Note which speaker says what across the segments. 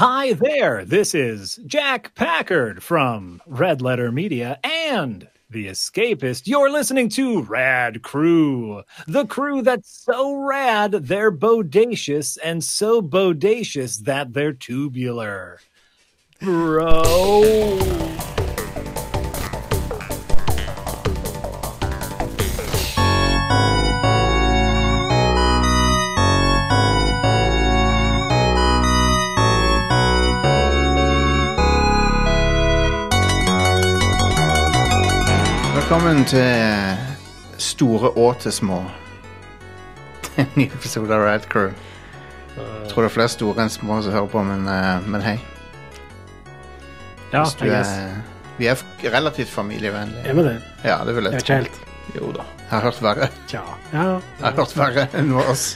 Speaker 1: Hi there. This is Jack Packard from Red Letter Media and The Escapist. You're listening to Rad Crew, the crew that's so rad they're bodacious and so bodacious that they're tubular. Bro.
Speaker 2: Velkommen til store og til små. En ny episode av Rad Crew. Jeg tror det er flere store enn små som hører på, men, eh, men hei.
Speaker 3: Ja,
Speaker 2: Hvis du
Speaker 3: jeg guess.
Speaker 2: er, vi er f- relativt familievennlige.
Speaker 3: Er vi det?
Speaker 2: Ja, det vil
Speaker 3: Jeg
Speaker 2: jeg
Speaker 3: vet
Speaker 2: tro.
Speaker 3: ikke helt.
Speaker 2: Jo da. Jeg har hørt verre.
Speaker 3: Tja. Ja.
Speaker 2: Jeg har hørt verre enn oss.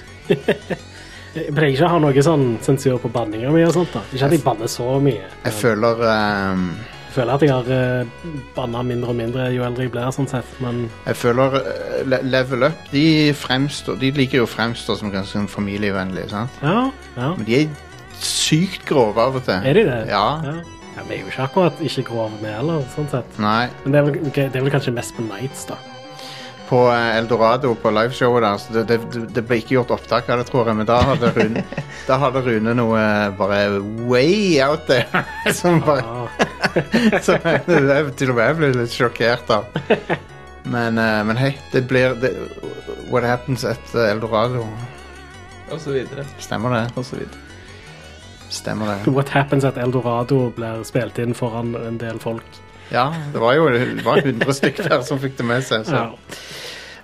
Speaker 3: Jeg pleier ikke å ha noe sånn sensur på banninga mi og sånt. da. Ikke at jeg banner så mye.
Speaker 2: Jeg føler ehm,
Speaker 3: Jeg føler at jeg har uh, banna mindre og mindre jo eldre jeg blir, sånn sett. Men
Speaker 2: Jeg føler eh, le- Level Up de, fremstår, de liker jo å fremstå som ganske sånn familievennlige, sant?
Speaker 3: ja. ja.
Speaker 2: Men de er sykt grove av og til.
Speaker 3: Er de det?
Speaker 2: Ja.
Speaker 3: ja. Ja, Vi er jo ikke akkurat ikke grove, vi heller, sånn sett.
Speaker 2: Nei.
Speaker 3: Men det er, vel, ok, det er vel kanskje mest på nights, da.
Speaker 2: på eh, Eldorado på liveshowet der. Så det, det, det ble ikke gjort opptak av det, tror jeg, men da hadde Rune, da hadde Rune noe eh, bare way out there. Som bare
Speaker 3: Ja.
Speaker 2: som jeg, jeg- Til og med jeg ble litt sjokkert av. Men, eh, men hei, det blir det, What happens at eh, Eldorado?
Speaker 4: Og så videre.
Speaker 2: Stemmer det?
Speaker 4: Og så videre.
Speaker 2: Stemmer det.
Speaker 3: What happens at Eldorado blir spilt inn foran en del folk?
Speaker 2: Ja, det var jo det var 100 stykker der som fikk det med seg. Så.
Speaker 3: Ja.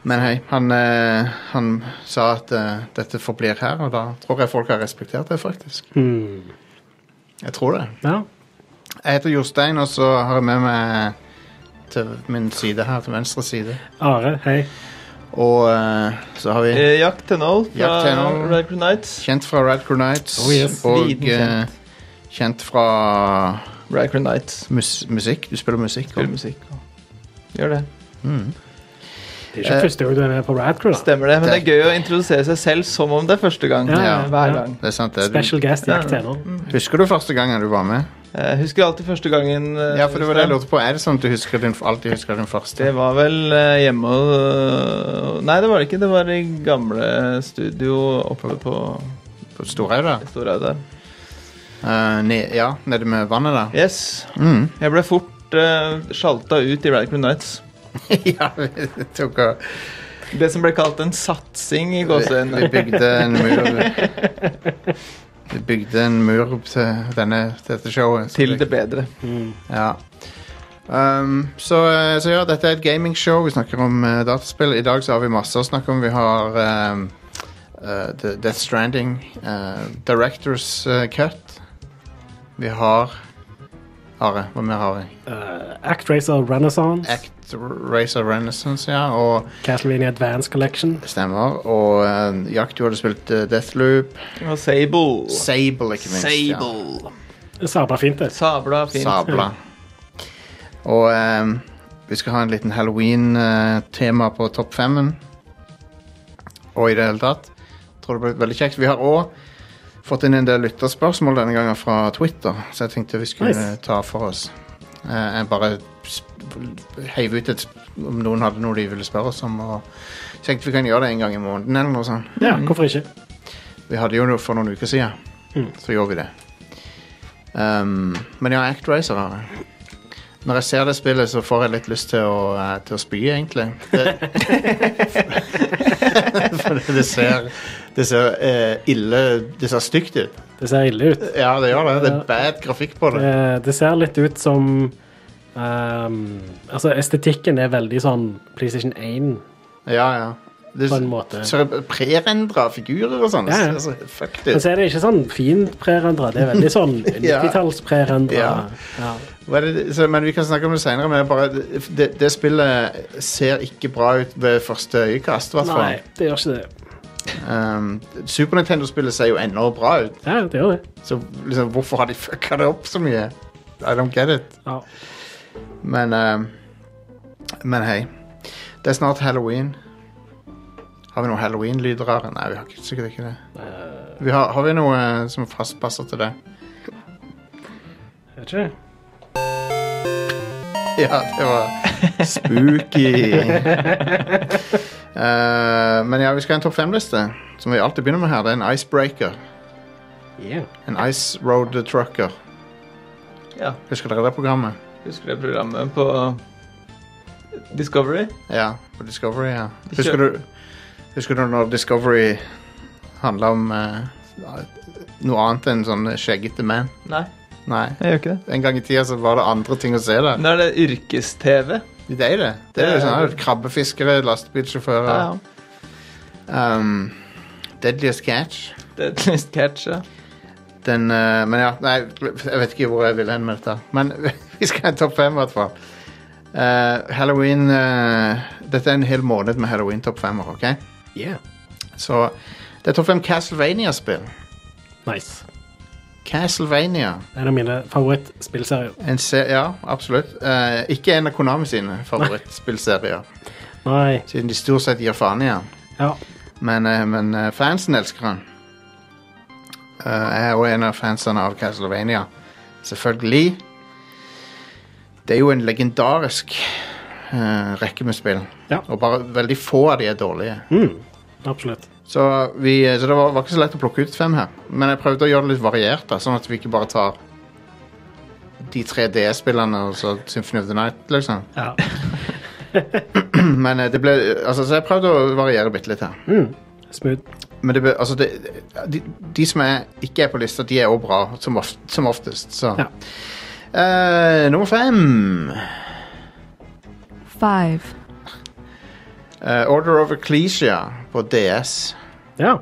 Speaker 2: Men hei, han, eh, han sa at eh, dette forblir her, og da tror jeg folk har respektert det, faktisk.
Speaker 3: Hmm.
Speaker 2: Jeg tror det.
Speaker 3: ja.
Speaker 2: Jeg heter Jostein, og så har jeg med meg til min side her, til venstre side.
Speaker 3: Are, hei.
Speaker 2: Og eh, så har vi
Speaker 4: Eh, Jack Tenhold fra
Speaker 2: Jack Tenhold.
Speaker 4: Radical Nights.
Speaker 2: kjent fra Radcrow Nights.
Speaker 3: Oh, yes.
Speaker 2: Og
Speaker 4: Liten
Speaker 2: eh,
Speaker 4: kjent.
Speaker 2: kjent fra
Speaker 4: Radical Nights.
Speaker 2: mus musikk. Du spiller musikk?
Speaker 4: Spiller musikk. Gjør det.
Speaker 2: Mm.
Speaker 3: Det er ikke
Speaker 2: Eh,
Speaker 3: første gang du er med på Radcrew, da.
Speaker 4: Stemmer det. Men det er gøy å introdusere seg selv som om det er første gang.
Speaker 3: Ja,
Speaker 2: ja, Mm.
Speaker 4: Hver
Speaker 3: ja.
Speaker 4: gang.
Speaker 2: Det er sant, det. Du,
Speaker 3: Special guest Jack Tenor.
Speaker 2: husker du første gangen du var med?
Speaker 4: Jeg Eh, husker alltid første gangen. eh,
Speaker 2: Ja, for det var det jeg lurte
Speaker 4: Jostein.
Speaker 2: på. Er det sånn at du husker din, alltid husker din første?
Speaker 4: Det var vel eh, hjemme og eh, Nei, det var det ikke. Det var i gamle studio oppe på
Speaker 2: På Storhaug, da?
Speaker 4: Storhaug der.
Speaker 2: Eh, ne ja, nede med vannet der?
Speaker 4: Yes.
Speaker 2: Mm.
Speaker 4: Jeg ble fort uh, sjalta ut i Radical Nights.
Speaker 2: ja, vi tok og
Speaker 4: Det som ble kalt en satsing i
Speaker 2: Vi,
Speaker 4: gåseøynene.
Speaker 2: vi bygde en mur Vi bygde en mur til denne, til dette showet. så
Speaker 4: Til det bedre.
Speaker 3: Mm.
Speaker 2: Ja. Um, så, eh, så ja, dette er et gamingshow. Vi snakker om eh, dataspill. I dag så har vi masse å snakke om. Vi har um, eh, The Death Stranding, eh, Directors eh, Cut. Vi har Are, hva mer har vi?
Speaker 3: Eh, Actracer Renaissance,
Speaker 2: Act Racer Renaissance, ja. Og
Speaker 3: Castlevania Advance Collection.
Speaker 2: stemmer. Og eh, Jack, du hadde spilt eh, Deathloop.
Speaker 4: Og Sable.
Speaker 2: Sable, ikke minst. Ja.
Speaker 4: Sable.
Speaker 3: Sabla fint, det.
Speaker 4: Sabla fint.
Speaker 2: Sabla. Og ehm, vi skal ha en liten halloween-tema på topp femmen. Og i det hele tatt. Tror det blir veldig kjekt. Vi har òg fått inn en del lytterspørsmål denne gangen fra Twitter, så jeg tenkte vi skulle
Speaker 3: Nice.
Speaker 2: ta for oss. Eh, jeg bare sp- heiv ut et sp om noen hadde noe de ville spørre oss om. Og så tenkte vi kan gjøre det en gang i måneden eller noe sånt.
Speaker 3: Ja, hvorfor ikke?
Speaker 2: Vi hadde jo noe for noen uker siden.
Speaker 3: Mm.
Speaker 2: Så gjorde vi det. Um, men ja, ActRaiser har jeg. Når jeg ser det spillet, så får jeg litt lyst til å, eh, til å spy, egentlig. Det, for det ser, det ser eh, ille Det ser stygt ut.
Speaker 3: Det ser ille ut.
Speaker 2: Ja, det gjør det. Det er
Speaker 3: Ja.
Speaker 2: bad grafikk på det.
Speaker 3: Eh, det ser litt ut som ehm, Altså, estetikken er veldig sånn PlayStation 1
Speaker 2: Ja, ja. Det
Speaker 3: på en måte.
Speaker 2: ser prerendra figurer og sånn.
Speaker 3: Ja, ja.
Speaker 2: Det ser så fucked
Speaker 3: Men
Speaker 2: ut.
Speaker 3: så er det ikke sånn fint prerendra. Det er veldig sånn
Speaker 2: Ja.
Speaker 3: 90-talls-prerendra.
Speaker 2: Ja.
Speaker 3: Ja.
Speaker 2: Hva er det, så, men vi kan snakke om det seinere. Men det, er bare, det, det spillet ser ikke bra ut ved første øyekast, i hvert fall.
Speaker 3: Nei, det gjør ikke det.
Speaker 2: Um, Super Nintendo-spillet ser jo ennå bra ut,
Speaker 3: Ja, det gjør det.
Speaker 2: så liksom, hvorfor har de fucka det opp så mye? I don't get it.
Speaker 3: Ja.
Speaker 2: Men um, Men hei. Det er snart halloween. Har vi noen halloween-lyder? her? Nei, vi har ikke, sikkert ikke det.
Speaker 3: Eh,
Speaker 2: Vi har, har vi noe eh, som fast passer til det?
Speaker 3: Er det ikke det?
Speaker 2: Ja, det var spooky. Eh, men ja, vi skal ha en topp fem-liste, som vi alltid begynner med her. Det er en icebreaker.
Speaker 3: Yeah.
Speaker 2: En ice road trucker.
Speaker 4: Ja,
Speaker 2: Husker dere det programmet?
Speaker 4: Husker du programmet på Discovery?
Speaker 2: Ja, på Discovery. ja.
Speaker 4: De
Speaker 2: Husker
Speaker 4: kjører-
Speaker 2: du, husker du når Discovery handla om eh, noe annet enn sånn skjeggete man?
Speaker 4: Nei,
Speaker 2: Nei.
Speaker 4: jeg gjør ikke det.
Speaker 2: En gang i tida så var det andre ting å se der.
Speaker 4: Nå er det yrkes-TV.
Speaker 2: Det er det. Det er jo sånn her, Krabbefiskere, lastebilsjåfører. Um, Deadliest Catch.
Speaker 4: Det er et list catch, ja.
Speaker 2: Den, eh, men ja, nei, jeg vet ikke hvor jeg vil hen med dette. Men vi skal ha en topp fem, i hvert fall. Eh, Halloween eh, Dette er en hel måned med Halloween-topp femmer, OK?
Speaker 3: Yeah.
Speaker 2: Så det er topp fem Castlevania-spill.
Speaker 3: Nice.
Speaker 2: Castlevania.
Speaker 3: En av mine favorittspillserier.
Speaker 2: En se ja, absolutt. Eh, ikke en av Konami sine favorittspillserier,
Speaker 3: Nei.
Speaker 2: siden de stort sett gir faen i den.
Speaker 3: Ja.
Speaker 2: Men, eh, men eh, fansen elsker han. Eh, jeg er også en av fansene av Castlevania. Selvfølgelig. Det er jo en legendarisk eh, rekke med spill.
Speaker 3: Ja.
Speaker 2: Og bare veldig få av de er dårlige.
Speaker 3: Mm. Absolutt.
Speaker 2: Så, vi, eh, så det var, var ikke så lett å plukke ut fem her. Men jeg prøvde å gjøre det litt variert, da, sånn at vi ikke bare tar de tre DS-spillene og så Symphony of the Night, liksom.
Speaker 3: Ja.
Speaker 2: Men eh, det ble, altså, så jeg prøvde å variere bitte litt her.
Speaker 3: Mm. Smooth.
Speaker 2: Men det, be- altså det, de, de som er, ikke er på lista, de er også bra, som, of, som oftest. Så.
Speaker 3: Ja.
Speaker 2: Eh, nummer fem.
Speaker 5: Five.
Speaker 2: Eh, Order of Ecclesia på DS.
Speaker 3: Ja.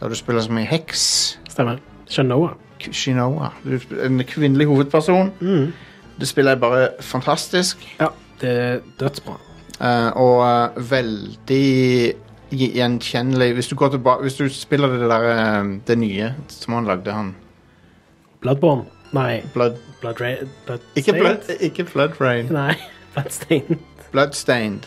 Speaker 2: Der du spiller som en heks.
Speaker 3: Stemmer. Shanoa.
Speaker 2: K- Shinoa. Du sp- En kvinnelig hovedperson.
Speaker 3: Mm.
Speaker 2: Det spiller jeg bare fantastisk.
Speaker 3: Ja. Det er dødsbra.
Speaker 2: eh, og eh, veldig gje- gjenkjennelig. Hvis du, går tilba- hvis du spiller det der eh, det nye som han lagde, han
Speaker 3: Bloodborne. Nei.
Speaker 2: Blood...
Speaker 3: Blood Ra Blood
Speaker 2: Ikke
Speaker 3: Stained?
Speaker 2: Blood, ikke blood Rain.
Speaker 3: Nei. Bloodstained.
Speaker 2: Bloodstained.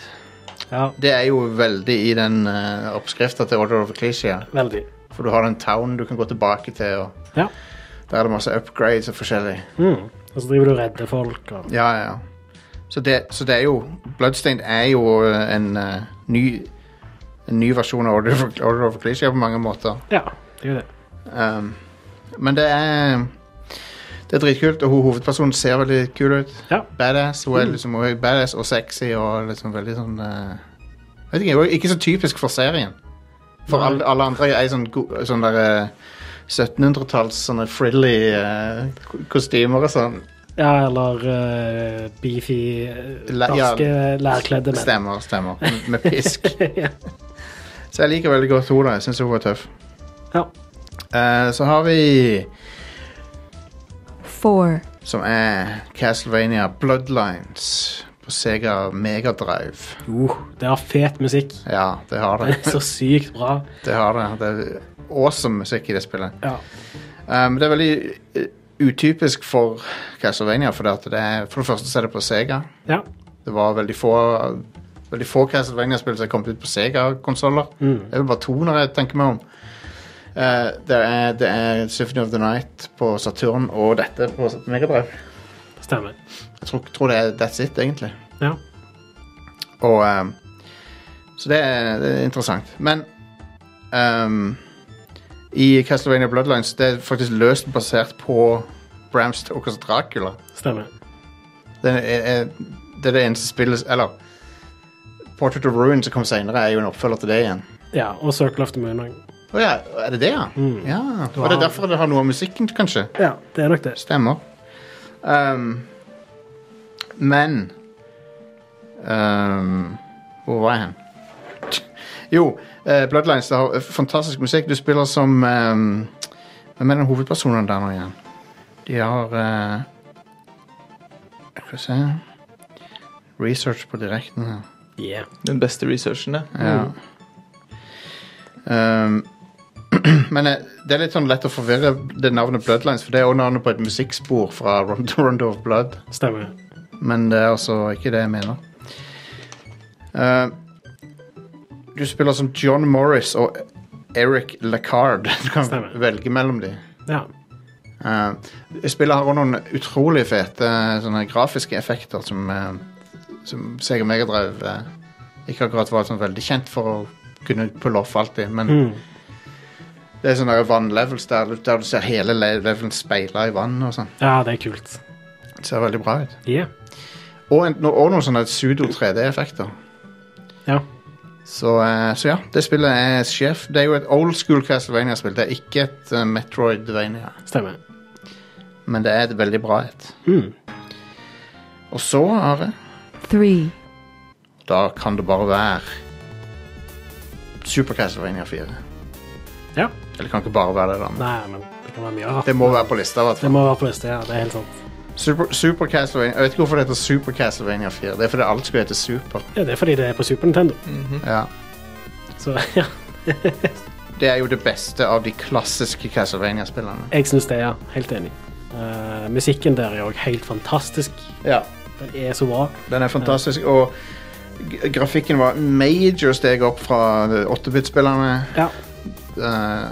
Speaker 3: Ja.
Speaker 2: Det er jo veldig i den uh, oppskrifta til Order of Ecclesia.
Speaker 3: Veldig.
Speaker 2: For du har den town du kan gå tilbake til, og
Speaker 3: Ja.
Speaker 2: der er det masse upgrades og forskjellig.
Speaker 3: Mm. Og så driver du og redder folk og
Speaker 2: Ja, ja, ja. Så det, så det er jo Bloodstained er jo eh, en eh, ny en ny versjon av Order of, Order of Ecclesia på mange måter.
Speaker 3: Ja. Det er jo det.
Speaker 2: Um, men det er det er dritkult, og hun hovedpersonen ser veldig kul ut.
Speaker 3: Ja. Mm.
Speaker 2: Badass. Hun er liksom hun er badass og sexy og liksom veldig sånn eh, Vet ikke, hun er ikke så typisk for serien. For
Speaker 3: Nei.
Speaker 2: alle, alle andre er i sånn, go- sånn der eh, 1700-talls sånne frilly eh, ko- kostymer og sånn.
Speaker 3: Ja, eller eh, beefy, eh,
Speaker 2: La- ja.
Speaker 3: norske, lærkledde menn.
Speaker 2: Stemmer, stemmer. Med- Med pisk.
Speaker 3: ja.
Speaker 2: så jeg liker veldig godt hun da. Jeg syns hun var tøff.
Speaker 3: ja.
Speaker 2: Eh, så har vi,
Speaker 5: Four.
Speaker 2: som er Castlevania Bloodlines på Sega Megadrive.
Speaker 3: Uh, det har fet musikk.
Speaker 2: Ja, det har
Speaker 3: Den
Speaker 2: det.
Speaker 3: er så sykt bra.
Speaker 2: Det har det. Det er awesome musikk i det spillet.
Speaker 3: Ja.
Speaker 2: Um, det er veldig eh, utypisk for Castlevania, for det, at det er, for det første så er det på Sega.
Speaker 3: ja.
Speaker 2: Det var veldig få, veldig få Castlevania-spill som er kommet ut på Sega-konsoller.
Speaker 3: Mm.
Speaker 2: Det er vel bare to når jeg tenker meg om. Eh, det, er, det er Symphony of the Night på Saturn og dette på Megadrive.
Speaker 3: Stemmer.
Speaker 2: Jeg tror, tror det er that's it, egentlig.
Speaker 3: Ja.
Speaker 2: Og ehm, Så det er, det er interessant. Men ehm, i Castlevania Bloodlines det er faktisk løst basert på Bram Stokers Dracula.
Speaker 3: Stemmer.
Speaker 2: Det er, er, det er det eneste spillet Eller Portrait of Ruin som kom senere, er jo en oppfølger til det igjen.
Speaker 3: Ja, og Circle of the Moon òg.
Speaker 2: Å ja, er det det, ja? ja. Og det er derfor det har noe av musikken, kanskje?
Speaker 3: Ja, det er nok det.
Speaker 2: Stemmer. Ehm, men ehm, Hvor var jeg hen? Jo, eh, Bloodlines det har eh, fantastisk musikk. Du spiller som ehm, Hvem er den hovedpersonen der nå igjen? De har eh, Skal vi se Research på direkten her.
Speaker 3: Yeah.
Speaker 4: Den beste researchen, ja.
Speaker 3: Mm.
Speaker 2: Ja. Ehm, men eh, det er litt sånn lett å forvirre det navnet Bloodlines, for det er også navnet på et musikkspor fra Rondo, Rondo of Blood.
Speaker 3: Stemmer.
Speaker 2: Men det er altså ikke det jeg mener. Eh, du spiller som John Morris og Eric Lacard. Du kan
Speaker 3: Stemmer.
Speaker 2: velge mellom dem.
Speaker 3: Ja.
Speaker 2: Eh, spillet har også noen utrolig fete eh, sånne grafiske effekter som, eh, som Sega Megadrive uh, ikke akkurat var sånn veldig kjent for å kunne pulle off alltid, men
Speaker 3: Mm.
Speaker 2: det er sånne vannlevels der, du- der du ser hele le- levelen speila i vann og sånn.
Speaker 3: Ja, det er kult.
Speaker 2: Det ser veldig bra ut.
Speaker 3: Yeah.
Speaker 2: Og, en, og sånn noen sånne pseudo-3D-effekter.
Speaker 3: Ja.
Speaker 2: Så, eh, så ja, det spillet er sjef. Det er jo et old school Castlevania-spill. Det er ikke et eh, Metroidvania,
Speaker 3: Stemmer.
Speaker 2: men det er et veldig bra et.
Speaker 3: Mm.
Speaker 2: Og så, Are,
Speaker 5: three,
Speaker 2: da kan det bare være Super Castlevania 4.
Speaker 3: Ja.
Speaker 2: Eller det kan ikke bare være det, da. Men
Speaker 3: Nei, men det kan være mye rart.
Speaker 2: det må være på lista, i hvert
Speaker 3: Det
Speaker 2: fall.
Speaker 3: må være på liste, ja. Det er helt sant.
Speaker 2: Super, Super Castlevania Jeg vet ikke hvorfor det heter Super Castlevania 4. Det er fordi alt skulle hete Super.
Speaker 3: Ja, det er fordi det er på Super Nintendo.
Speaker 2: Mm. Ja.
Speaker 3: Så ja,
Speaker 2: Det er jo det beste av de klassiske Castlevania-spillene.
Speaker 3: jeg syns det, ja. Helt enig. Eh, musikken der er òg helt fantastisk.
Speaker 2: Ja,
Speaker 3: Den er så bra.
Speaker 2: den er fantastisk. Og g- grafikken var major steg opp fra 8-bit-spillerne.
Speaker 3: Ja.
Speaker 2: eh,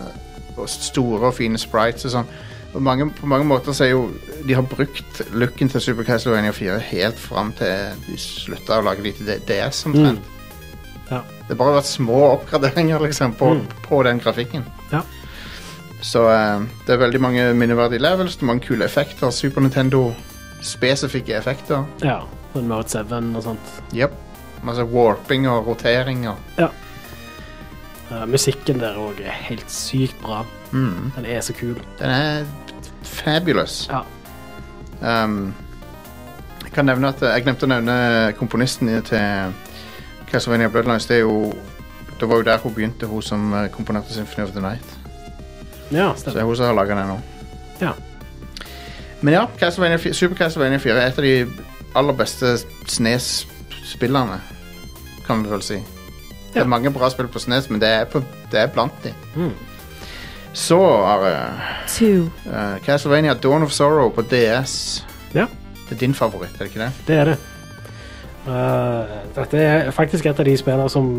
Speaker 2: og store og fine sprites og sånn. Og mange, på mange måter så er jo De har brukt looken til Super Castlevania 4 helt fram til de slutta å lage de til D- DS omtrent.
Speaker 3: Ja.
Speaker 2: Det har bare vært små oppgraderinger liksom på, på den grafikken.
Speaker 3: Ja.
Speaker 2: Så eh, det er veldig mange minneverdige levels, det er mange kule effekter. Super Nintendo-spesifikke effekter.
Speaker 3: ja. Den Mode 7 og sånt.
Speaker 2: Yep. Masse warping og rotering og
Speaker 3: Eh, musikken der òg er helt sykt bra.
Speaker 2: mm.
Speaker 3: Den er så kul.
Speaker 2: Den er fabulous.
Speaker 3: Ja.
Speaker 2: Um, jeg kan nevne at eh, jeg glemte å nevne komponisten i- til Castlevania Bloodlines. Det, er jo, det var jo der hun begynte, hun som eh, komponerte Symphony of the Night.
Speaker 3: Ja,
Speaker 2: Så det
Speaker 3: stemmer.
Speaker 2: er hun som har laga den nå.
Speaker 3: Ja.
Speaker 2: Men ja, Castlevania, fi- Super Castlevania 4 er et av de aller beste Snes-spillerne, kan vi vel si. Det
Speaker 3: Ja.
Speaker 2: er mange bra spill på Snes, men det er, på, det er blant de.
Speaker 3: Mm.
Speaker 2: Så, Are
Speaker 5: two,
Speaker 2: eh, Castlevania Dawn of Sorrow på DS.
Speaker 3: Ja.
Speaker 2: Det er din favoritt, er det ikke det?
Speaker 3: Det er det. Eh, dette er faktisk et av de spillene som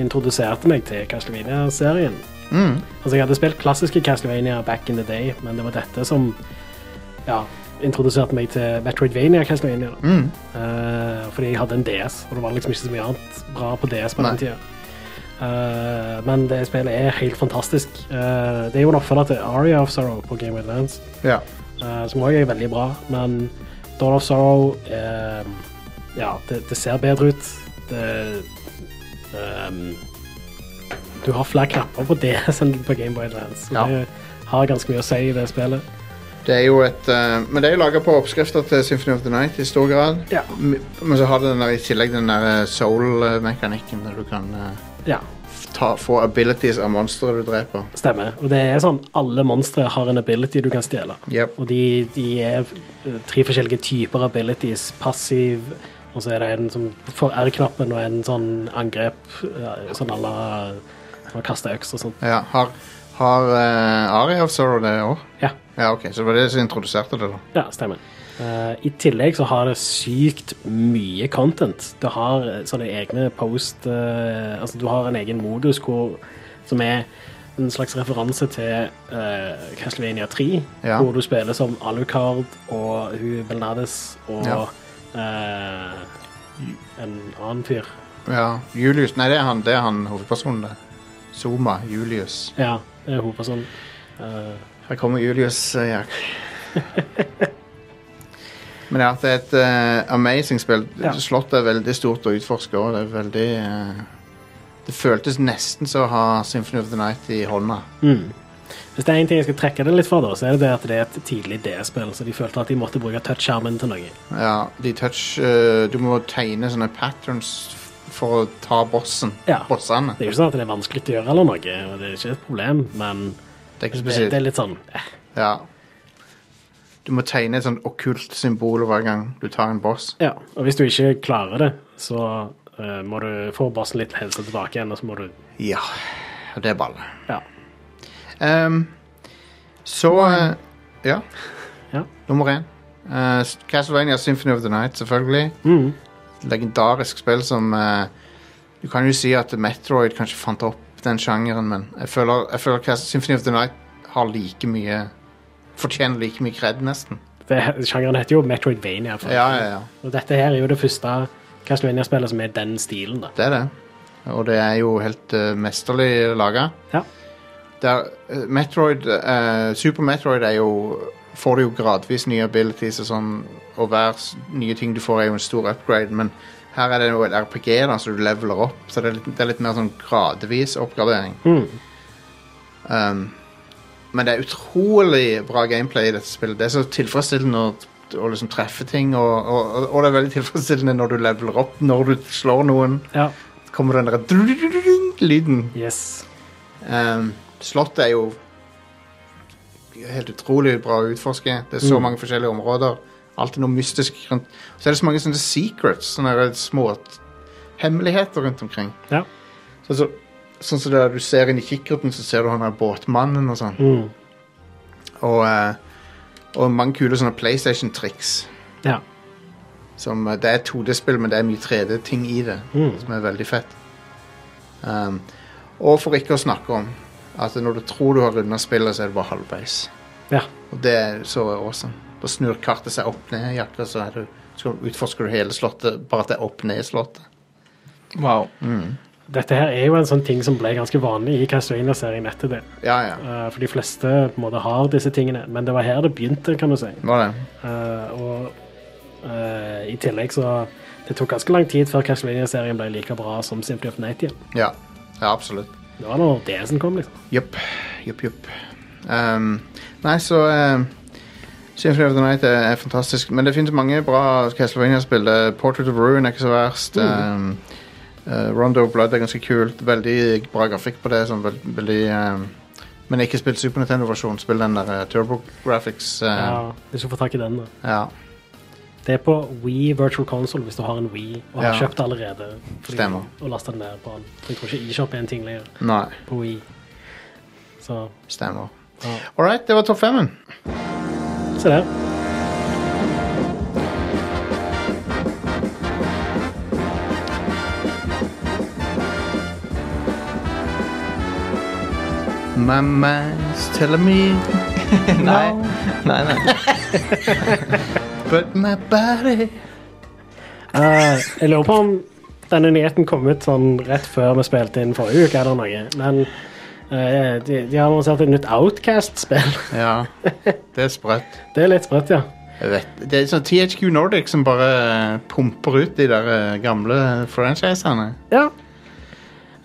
Speaker 3: introduserte meg til Castlevania-serien.
Speaker 2: Mm.
Speaker 3: Altså, jeg hadde spilt klassiske Castlevania back in the day, men det var dette som ja, introduserte meg til Metroidvania-Castlevania. da.
Speaker 2: Mm.
Speaker 3: Eh, fordi jeg hadde en DS, og det var liksom ikke så mye annet bra på DS på
Speaker 2: Nei.
Speaker 3: den tida. Eh, men det spillet er helt fantastisk. Eh, det er jo en oppfølger til Aria of Sorrow på Game of Advance.
Speaker 2: Ja.
Speaker 3: Eh, som òg er veldig bra, men Dawn of Sorrow eh, Ja, det, det ser bedre ut. Det ehm, Du har flere knapper på DS enn på Gameboy Advance. og
Speaker 2: Ja.
Speaker 3: Det har ganske mye å si i det spillet.
Speaker 2: Det er jo et eh, Men det er jo laga på oppskrifter til Symphony of the Night i stor grad.
Speaker 3: Ja.
Speaker 2: M- Men så har det den der, i tillegg den der eh, soul-mekanikken der du kan eh,
Speaker 3: ja.
Speaker 2: ta, få abilities av monstre du dreper.
Speaker 3: Stemmer. Og det er sånn alle monstre har en ability du kan stjele.
Speaker 2: Yep.
Speaker 3: Og de, de er eh, tre forskjellige typer abilities. Passiv, og så er det en som får R-knappen, og en sånn angrep, eh, sånn à la å kaste øks og sånn. sånt.
Speaker 2: Ja, har har eh, Aria of Sorrow det òg?
Speaker 3: Ja.
Speaker 2: Ja, OK. Så det var det som introduserte det, da.
Speaker 3: Ja, stemmer. Eh, I tillegg så har det sykt mye content. Du har eh, sånne egne post eh, Altså, du har en egen modus hvor, som er en slags referanse til eh, Castlevania 3,
Speaker 2: Ja.
Speaker 3: hvor du spiller som Alucard og hun Belnades og
Speaker 2: Ja.
Speaker 3: eh, en annen fyr.
Speaker 2: Ja. Julius Nei, det er han, det er han hovedpersonen, det. Zoma. Julius.
Speaker 3: Ja, det er hovedpersonen. Eh,
Speaker 2: Her kommer Julius eh, Jack. Men ja, det er et eh, amazing spill.
Speaker 3: Ja.
Speaker 2: Slottet er veldig stort å utforske òg. Det er veldig eh, Det føltes nesten som å ha Symphony of the Night i hånda.
Speaker 3: Mm. Hvis det er en ting jeg skal trekke det litt for, da, så er det det at det er et tidlig DS-spill, så de følte at de måtte bruke touch-skjermen til noe.
Speaker 2: Ja, de touch eh, Du må tegne sånne patterns f- for å ta bossen.
Speaker 3: Ja.
Speaker 2: Bossene.
Speaker 3: Det er jo ikke sånn at det er vanskelig å gjøre eller noe, og det er ikke et problem, men
Speaker 2: Det er ikke
Speaker 3: det, det
Speaker 2: spesielt.
Speaker 3: er litt sånn eh,
Speaker 2: Ja. Du må tegne et sånn okkult symbol hver gang du tar en boss.
Speaker 3: Ja. Og hvis du ikke klarer det, så eh, må du få bossen litt helse tilbake igjen, og så må du
Speaker 2: Ja. og Det er balle.
Speaker 3: Ja.
Speaker 2: Ehm, så eh, ja.
Speaker 3: Ja.
Speaker 2: Nummer én. Eh, Castlevania Symphony of the Night, selvfølgelig.
Speaker 3: Mm.
Speaker 2: Legendarisk spill som eh, Du kan jo si at Metroid kanskje fant opp den sjangeren, men jeg føler, jeg føler Cas- Symphony of the Night har like mye fortjener like mye kred, nesten.
Speaker 3: Det, sjangeren heter jo Metroidvania. For.
Speaker 2: Ja, ja, ja.
Speaker 3: Og dette her er jo det første Castlevania-spillet som er den stilen. da.
Speaker 2: Det er det. Og det er jo helt eh, mesterlig laga.
Speaker 3: Ja.
Speaker 2: Metroid, eh, Super Metroid er jo Får du jo gradvis nye abilities og sånn, og hver s- nye ting du får, er jo en stor upgrade, men her er det jo et RPG, da, så du leveler opp. Så det er litt, det er litt mer sånn gradvis oppgradering. Um, men det er utrolig bra gameplay i dette spillet. Det er så tilfredsstillende å, å liksom treffe ting, og, og, og- og det er veldig tilfredsstillende når du leveler opp, når du slår noen
Speaker 3: Ja.
Speaker 2: kommer den der lyden.
Speaker 3: Yes.
Speaker 2: Ehm, slottet er jo helt utrolig bra å utforske. Det er så mange forskjellige områder. Alltid noe mystisk rundt. Så er det så mange sånne secrets, sånne der små t- hemmeligheter rundt omkring.
Speaker 3: Ja.
Speaker 2: Sånn som sånn som det du ser inn i kikkerten, så ser du han der båtmannen og sånn.
Speaker 3: Mm.
Speaker 2: Og, eh, og mange kule sånne PlayStation-triks.
Speaker 3: Ja.
Speaker 2: Som, eh, det er 2D-spill, men det er mye 3D-ting i det,
Speaker 3: Mm.
Speaker 2: som er veldig fett. Um, og for ikke å snakke om at når du tror du har runda spillet, så er det bare halvveis.
Speaker 3: ja.
Speaker 2: Og det er så awesome. Da snur kartet seg opp ned, i jakka, så, er du, så utforsker du hele slottet, bare at det er opp ned i slottet.
Speaker 4: Wow.
Speaker 3: Dette her er jo en sånn ting som ble ganske vanlig i Castlevania-serien etter det.
Speaker 2: Ja, ja.
Speaker 3: Eh, for de fleste på en måte har disse tingene, men det var her det begynte, kan du si.
Speaker 2: Var det?
Speaker 3: Eh, og eh, i tillegg så Det tok ganske lang tid før Castlevania-serien ble like bra som Symphony of the Night igjen.
Speaker 2: Ja. ja absolutt.
Speaker 3: Det var når DS-en kom, liksom.
Speaker 2: Jupp. Jupp, jupp. Ehm, nei, så um, Symphony of the Night er, er fantastisk. Men det finnes mange bra Castlevania-spill. Det er Portrait of Ruin er ikke så
Speaker 3: Mm.
Speaker 2: verst. ehm, eh, Rondo of Blood er ganske kult. Veldig bra grafikk på det. Sånn veld, veldig, ehm, men ikke spill Super Nintendo-versjonen. Spill den der eh, Turbo Graphics. eh,
Speaker 3: Ja, hvis du får tak i den. da.
Speaker 2: ja.
Speaker 3: Det er på Wii Virtual Console hvis du har en Wii og har
Speaker 2: Ja.
Speaker 3: kjøpt det allerede. Fordi-
Speaker 2: Stemmer.
Speaker 3: Og lasta den ned på den. For Jeg tror ikke eShop er en ting lenger
Speaker 2: Nei,
Speaker 3: på Wii. Så
Speaker 2: stemmer.
Speaker 3: Ja.
Speaker 2: All right, det var topp femmen.
Speaker 3: se der.
Speaker 2: My mind's telling me
Speaker 4: Nei, nei. nei.
Speaker 2: But my body
Speaker 3: Eh, jeg lurer på om denne nyheten kom ut sånn rett før vi spilte inn forrige uke eller noe. Men eh, de, de har annonsert et nytt Outcast-spill.
Speaker 2: Ja, det er sprøtt.
Speaker 3: Det er litt sprøtt, ja.
Speaker 2: Jeg vet, det er sånn THQ Nordic som bare eh, pumper ut de der eh, gamle franchisene.
Speaker 3: ja.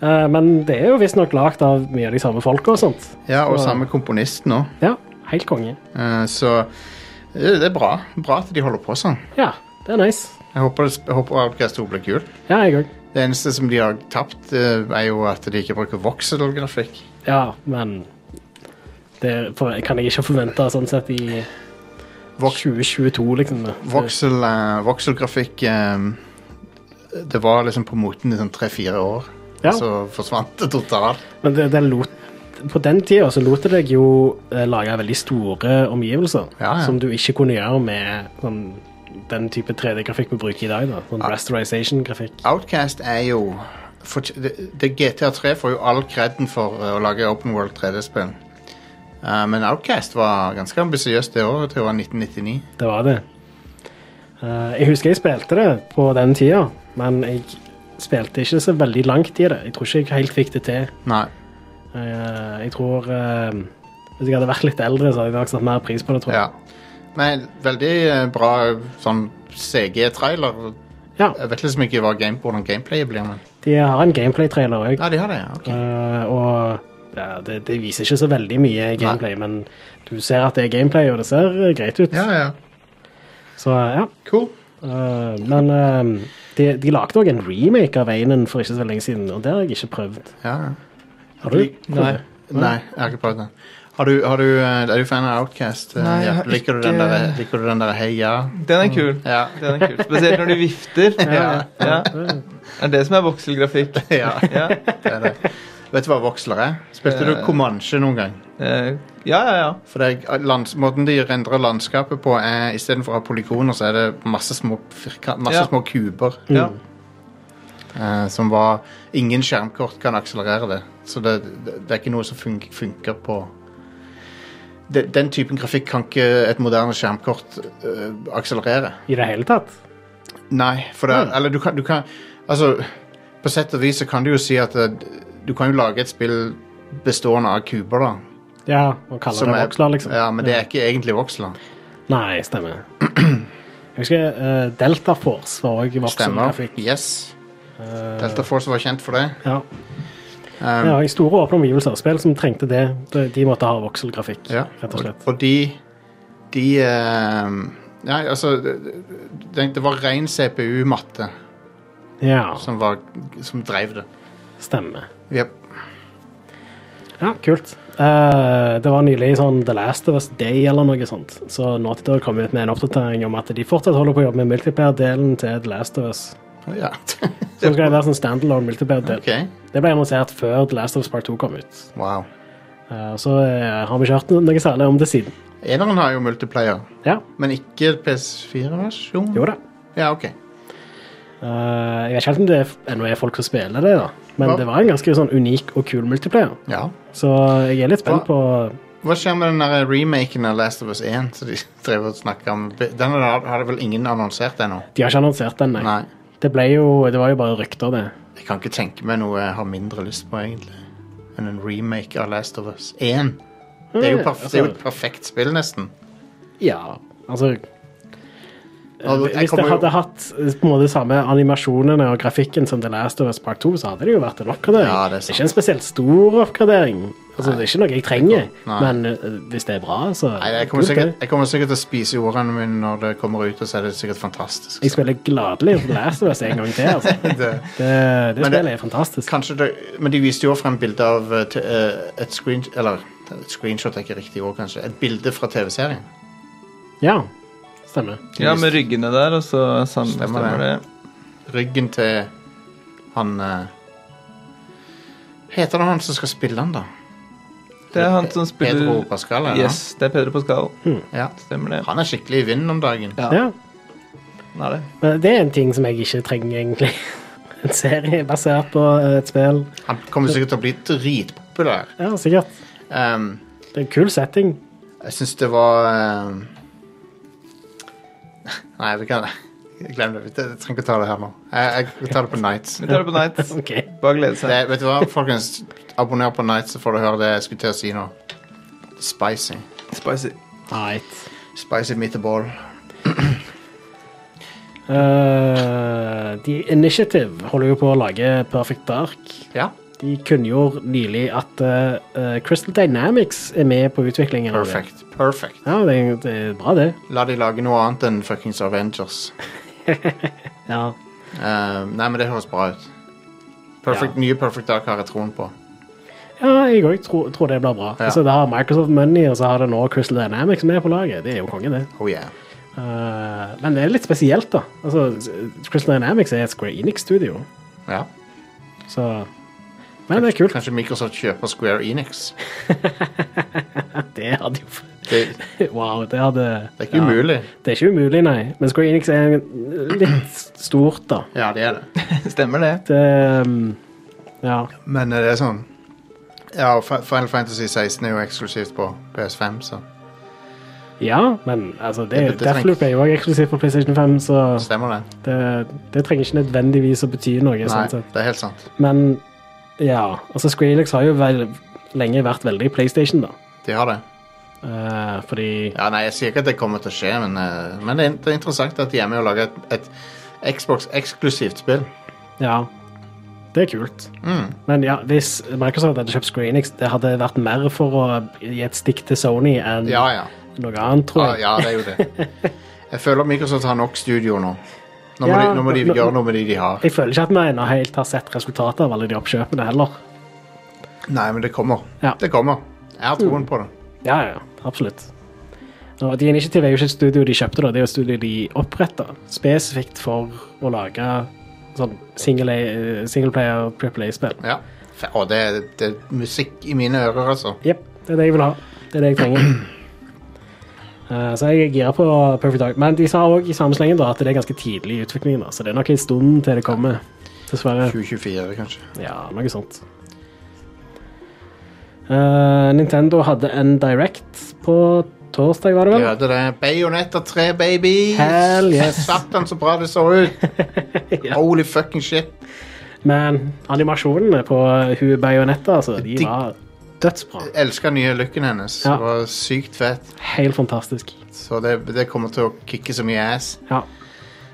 Speaker 3: Eh, men det er jo visstnok lagd av mye av de samme folka og sånt.
Speaker 2: Ja, og
Speaker 3: Så-
Speaker 2: samme komponist nå.
Speaker 3: Ja, helt konge.
Speaker 2: Eh, Så eh, det er bra. Bra at de holder på sånn.
Speaker 3: Ja, det er nice.
Speaker 2: Jeg håper, jeg håper Outcast 2 blir kult.
Speaker 3: Ja, jeg òg.
Speaker 2: Det eneste som de har tapt, eh, er jo at de ikke bruker voxel-grafikk.
Speaker 3: Ja, men det for, kan jeg ikke forvente sånn sett i
Speaker 2: Vox-
Speaker 3: 2022, liksom.
Speaker 2: Voxel, eh, Voxel-grafikk eh, Det var liksom på moten i sånn tre-fire år.
Speaker 3: Ja.
Speaker 2: Så forsvant det totalt.
Speaker 3: Men det, det lot, på den tida så lot det deg jo eh, lage veldig store omgivelser
Speaker 2: Ja, ja.
Speaker 3: som du ikke kunne gjøre med sånn, den type 3D-grafikk vi bruker i dag. da Sånn rasterization-grafikk.
Speaker 2: Outcast er jo for, det, det GTA 3 får jo all kreden for eh, å lage open world 3D-spill. Eh, men Outcast var ganske ambisiøst det året, til det var 1999.
Speaker 3: Det var det. Eh, jeg husker jeg spilte det på den tida, men jeg spilte ikke så veldig langt i det. Jeg tror ikke jeg helt fikk det til.
Speaker 2: Nei.
Speaker 3: Eh, jeg tror eh, Hvis jeg hadde vært litt eldre, så hadde jeg nok satt mer pris på det, tror
Speaker 2: Ja.
Speaker 3: jeg.
Speaker 2: Men veldig eh, bra sånn CG-trailer.
Speaker 3: Ja.
Speaker 2: Jeg vet liksom ikke hva game, hvordan gameplayet blir, men
Speaker 3: De har en gameplay-trailer òg.
Speaker 2: Ja, de har det, ja. ok.
Speaker 3: Eh, og ja, det, det viser ikke så veldig mye gameplay, men du ser at det er gameplay, og det ser eh, greit ut.
Speaker 2: Ja, ja.
Speaker 3: Så ja.
Speaker 2: Cool.
Speaker 3: Eh, men eh, de, de lagde òg en remake av Einen for ikke så veldig lenge siden, og det har jeg ikke prøvd.
Speaker 2: Ja, ja.
Speaker 3: Har du?
Speaker 4: Nei.
Speaker 2: Nei, jeg har ikke prøvd den. Har du, har du, eh, er du fan av Outcast? eh,
Speaker 4: Nei, jeg har
Speaker 2: Jakob? liker, du
Speaker 4: ikke-
Speaker 2: den der, liker du den der heia?
Speaker 4: Den er kul.
Speaker 2: Ja.
Speaker 4: Den er kul. Spesielt når du vifter.
Speaker 2: Ja.
Speaker 4: Ja. Det er det som er vokselgrafikk.
Speaker 2: ja.
Speaker 4: Ja.
Speaker 2: det er det. Vet du hva voksler er? Spilte du
Speaker 4: Eh.
Speaker 2: Comanche noen gang?
Speaker 4: Eh, ja, ja, ja.
Speaker 2: For det er, lands, Måten de rendrer landskapet på, er istedenfor å ha polygoner, så er det masse små, firka- masse
Speaker 4: Ja.
Speaker 2: små kuber.
Speaker 4: ja.
Speaker 2: Eh, som var Ingen skjermkort kan akselerere det. Så det, det, det er ikke noe som fun funker på de, den typen grafikk kan ikke et moderne skjermkort øh, akselerere.
Speaker 3: I det hele tatt?
Speaker 2: Nei, for det,
Speaker 3: Mm.
Speaker 2: eller du kan, du kan Altså, på sett og vis så kan du jo si at eh, du kan jo lage et spill bestående av kuber, da.
Speaker 3: Ja, og kaller det
Speaker 2: er-
Speaker 3: voksler, liksom.
Speaker 2: Ja, men det er ikke egentlig voksler.
Speaker 3: Nei, stemmer. Jeg husker eh, Delta Force var òg
Speaker 2: Stemmer.
Speaker 3: voksengrafikk.
Speaker 2: Yes.
Speaker 3: Eh,
Speaker 2: Delta Force var kjent for det.
Speaker 3: Ja.
Speaker 2: Um,
Speaker 3: ja, I store åpne omgivelser. Spill som trengte det. De de måtte ha vokselgrafikk,
Speaker 2: Ja,
Speaker 3: rett og slett.
Speaker 2: Og de, de ehm, Nei, altså Det, det var ren CPU-matte
Speaker 3: Ja,
Speaker 2: som, var- som drev det.
Speaker 3: stemmer.
Speaker 2: Jep.
Speaker 3: Ja, kult. Eh, det var nylig sånn The Last of Us Day eller noe sånt. Så Naughty Dog kom ut med en oppdatering om at de fortsatt holder på å jobbe med multiplayer-delen til The Last of Us.
Speaker 2: Å, Ja.
Speaker 3: Så skal det være sånn standalone multiplayer-del.
Speaker 2: OK.
Speaker 3: Det ble annonsert før The Last of Us Part 2 kom ut.
Speaker 2: Wow.
Speaker 3: Eh, så eh, har vi ikke hørt noe særlig om det siden.
Speaker 2: Eneren har jo multiplayer,
Speaker 3: Ja,
Speaker 2: men ikke PS4-versjon?
Speaker 3: jo da.
Speaker 2: Ja, OK.
Speaker 3: Eh, jeg vet ikke helt om det er- ennå er folk som spiller det, da. Men
Speaker 2: Ja.
Speaker 3: det var en ganske sånn unik og kul multiplayer.
Speaker 2: Ja.
Speaker 3: Så jeg er litt spent
Speaker 2: Ja.
Speaker 3: på
Speaker 2: Hva skjer med den der remaken av Last of Us 1? Som de drev og snakket om Den har har det vel ingen annonsert ennå?
Speaker 3: De har ikke annonsert den, nei.
Speaker 2: Nei.
Speaker 3: Det, ble jo, det var jo bare rykter, det.
Speaker 2: Jeg kan ikke tenke meg noe jeg har mindre lyst på, egentlig, enn en remake av Last of Us 1. Det er jo,
Speaker 3: Mm.
Speaker 2: perf det er jo et perfekt spill, nesten.
Speaker 3: Ja, altså
Speaker 2: Og Altså, jeg
Speaker 3: Hvis det
Speaker 2: kommer jo-
Speaker 3: hadde hatt eh, på en måte samme animasjonene og grafikken som The Last of Us Part 2, så hadde det jo vært en oppgradering.
Speaker 2: Ja, det er
Speaker 3: det,
Speaker 2: sant.
Speaker 3: er ikke en spesielt stor oppgradering. Altså, Det er ikke noe jeg trenger,
Speaker 2: Nei.
Speaker 3: men eh, hvis det er bra, så
Speaker 2: Nei, jeg kommer,
Speaker 3: kult,
Speaker 2: sikkert,
Speaker 3: det.
Speaker 2: jeg kommer sikkert til å spise ordene mine når det kommer ut, og så er det sikkert fantastisk.
Speaker 3: Jeg spiller gladelig The Last of Us en gang til. altså.
Speaker 2: Det,
Speaker 3: Det, det
Speaker 2: Men det-
Speaker 3: spillet er fantastisk.
Speaker 2: kanskje det, men de viste jo frem bilde av eh, te- eh, et screen... Eller et screenshot er ikke riktig ord, kanskje. Et bilde fra TV-serien.
Speaker 3: Ja, stemmer.
Speaker 4: Ja, med ryggene der, og så sam-
Speaker 2: Stemmer
Speaker 4: stemmer det.
Speaker 2: Ryggen til han eh, Heter det han som skal spille han, da?
Speaker 4: Det er han som spiller
Speaker 2: Pedro Pascal? er det
Speaker 4: Yes, det er Pedro Pascal.
Speaker 2: han? Ja.
Speaker 4: Stemmer det.
Speaker 2: Han er skikkelig i vinden om dagen.
Speaker 4: Ja.
Speaker 3: Ja,
Speaker 4: Han er det.
Speaker 3: men Det er en ting som jeg ikke trenger, egentlig. En serie basert på eh, et spill.
Speaker 2: Han kommer sikkert til å bli dritpopulær.
Speaker 3: Ja, sikkert.
Speaker 2: Um,
Speaker 3: Det er en kul setting.
Speaker 2: Jeg syns det var ehm, Nei, vi kan Glem det. Vi t- trenger ikke ta det her nå. Jeg, jeg vi tar det på Nights.
Speaker 4: Vi tar det på Nights.
Speaker 3: Ok.
Speaker 4: Bare glede seg.
Speaker 2: Det, vet du hva, folkens? Abonner på Nights, så får du høre det jeg skulle til å si nå. Spicy.
Speaker 4: Spicy.
Speaker 3: Right.
Speaker 2: Spicy meatball.
Speaker 3: Eh, The Initiative holder jo på å lage Perfect Dark.
Speaker 2: Ja.
Speaker 3: De kunngjorde nylig at eh, eh, Crystal Dynamics er med på utviklingen. av det.
Speaker 2: Perfect. Perfect.
Speaker 3: Ja, det, er- det er bra, det.
Speaker 2: La de lage noe annet enn fuckings Avengers.
Speaker 3: Ja.
Speaker 2: Ehm, nei, men det høres bra ut. Perfect, Nye Perfect Dark har jeg troen på.
Speaker 3: Ja, jeg òg tror, tror det blir bra.
Speaker 2: Ja.
Speaker 3: Altså, det har Microsoft Money, og så har det nå Crystal Dynamics med på laget. Det er jo konge, det.
Speaker 2: Oh yeah.
Speaker 3: Eh, men det er litt spesielt, da. Altså, Crystal Dynamics er et Square Enix-studio,
Speaker 2: Ja.
Speaker 3: så Men det er kult.
Speaker 2: Kanskje Microsoft kjøper Square Enix.
Speaker 3: Det hadde jo
Speaker 2: Det,
Speaker 3: Wow, det hadde
Speaker 2: det er ikke umulig.
Speaker 3: Det er ikke umulig, nei. Men Square Enix er litt stort, da.
Speaker 2: Ja, det er det.
Speaker 4: Stemmer det.
Speaker 3: Det, um, ja.
Speaker 2: Men eh, det er sånn Ja, og Fi- Final Fantasy 16 er jo eksklusivt på PS5, så
Speaker 3: ja, men altså, det,
Speaker 2: Det- det trenger-
Speaker 3: Deathloop er jo også eksklusivt på PlayStation 5, så
Speaker 2: stemmer det.
Speaker 3: det, det trenger ikke nødvendigvis å bety noe.
Speaker 2: Nei,
Speaker 3: Sånn sett.
Speaker 2: det er helt sant.
Speaker 3: Men ja, altså Square Enix har jo vel, lenge vært veldig PlayStation, da.
Speaker 2: De har det.
Speaker 3: Eh, fordi
Speaker 2: Ja, nei, Jeg sier ikke at det kommer til å skje, men, eh, men det, er, det er interessant at de er med og lager et, et Xbox-eksklusivt spill.
Speaker 3: Ja. Det er kult.
Speaker 2: Mm.
Speaker 3: Men ja, hvis Microsoft hadde kjøpt Square Enix, det hadde vært mer for å gi et stikk til Sony enn
Speaker 2: Ja, ja.
Speaker 3: noe annet,
Speaker 2: ja.
Speaker 3: tror jeg.
Speaker 2: Ja, det er jo det. Jeg føler Microsoft har nok studio nå. Nå må,
Speaker 3: Ja,
Speaker 2: de, nå må de
Speaker 3: nå-
Speaker 2: gjøre noe med de de har.
Speaker 3: Jeg føler ikke at vi ennå helt har sett resultatet av alle de oppkjøpene heller.
Speaker 2: Nei, men det kommer.
Speaker 3: Ja.
Speaker 2: Det kommer. Jeg har troen på det.
Speaker 3: Ja, ja, absolutt. Og de initiativ er jo ikke et studio de kjøpte, da. det er jo et studio de oppretta spesifikt for å lage sånn single- eh, singleplayer Triple A-spill.
Speaker 2: Ja. Fe- Og det, det er musikk i mine ører, altså.
Speaker 3: Jepp, det er det jeg vil ha. Det er det jeg trenger. Eh, så jeg er gira på Perfect Dark. Men de sa òg i samme slengen da, at det er ganske tidlig i utviklingen, da, så det er nok en stund til det kommer. Dessverre.
Speaker 2: 2024, kanskje.
Speaker 3: Ja, noe sånt. Eh, Eh, Nintendo hadde en Direct på torsdag, var det vel?
Speaker 2: Ja, det er Bayonetta 3, baby!
Speaker 3: Hell yes.
Speaker 2: Satan, så bra det så ut! Holy fucking shit.
Speaker 3: Men animasjonene på hun Bayonetta, altså, de
Speaker 2: Digg.
Speaker 3: var dødsbra.
Speaker 2: Jeg elsker den nye looken hennes.
Speaker 3: Ja.
Speaker 2: Det var sykt fett.
Speaker 3: Helt fantastisk.
Speaker 2: Så det, det kommer til å kicke så mye ass.
Speaker 3: Ja,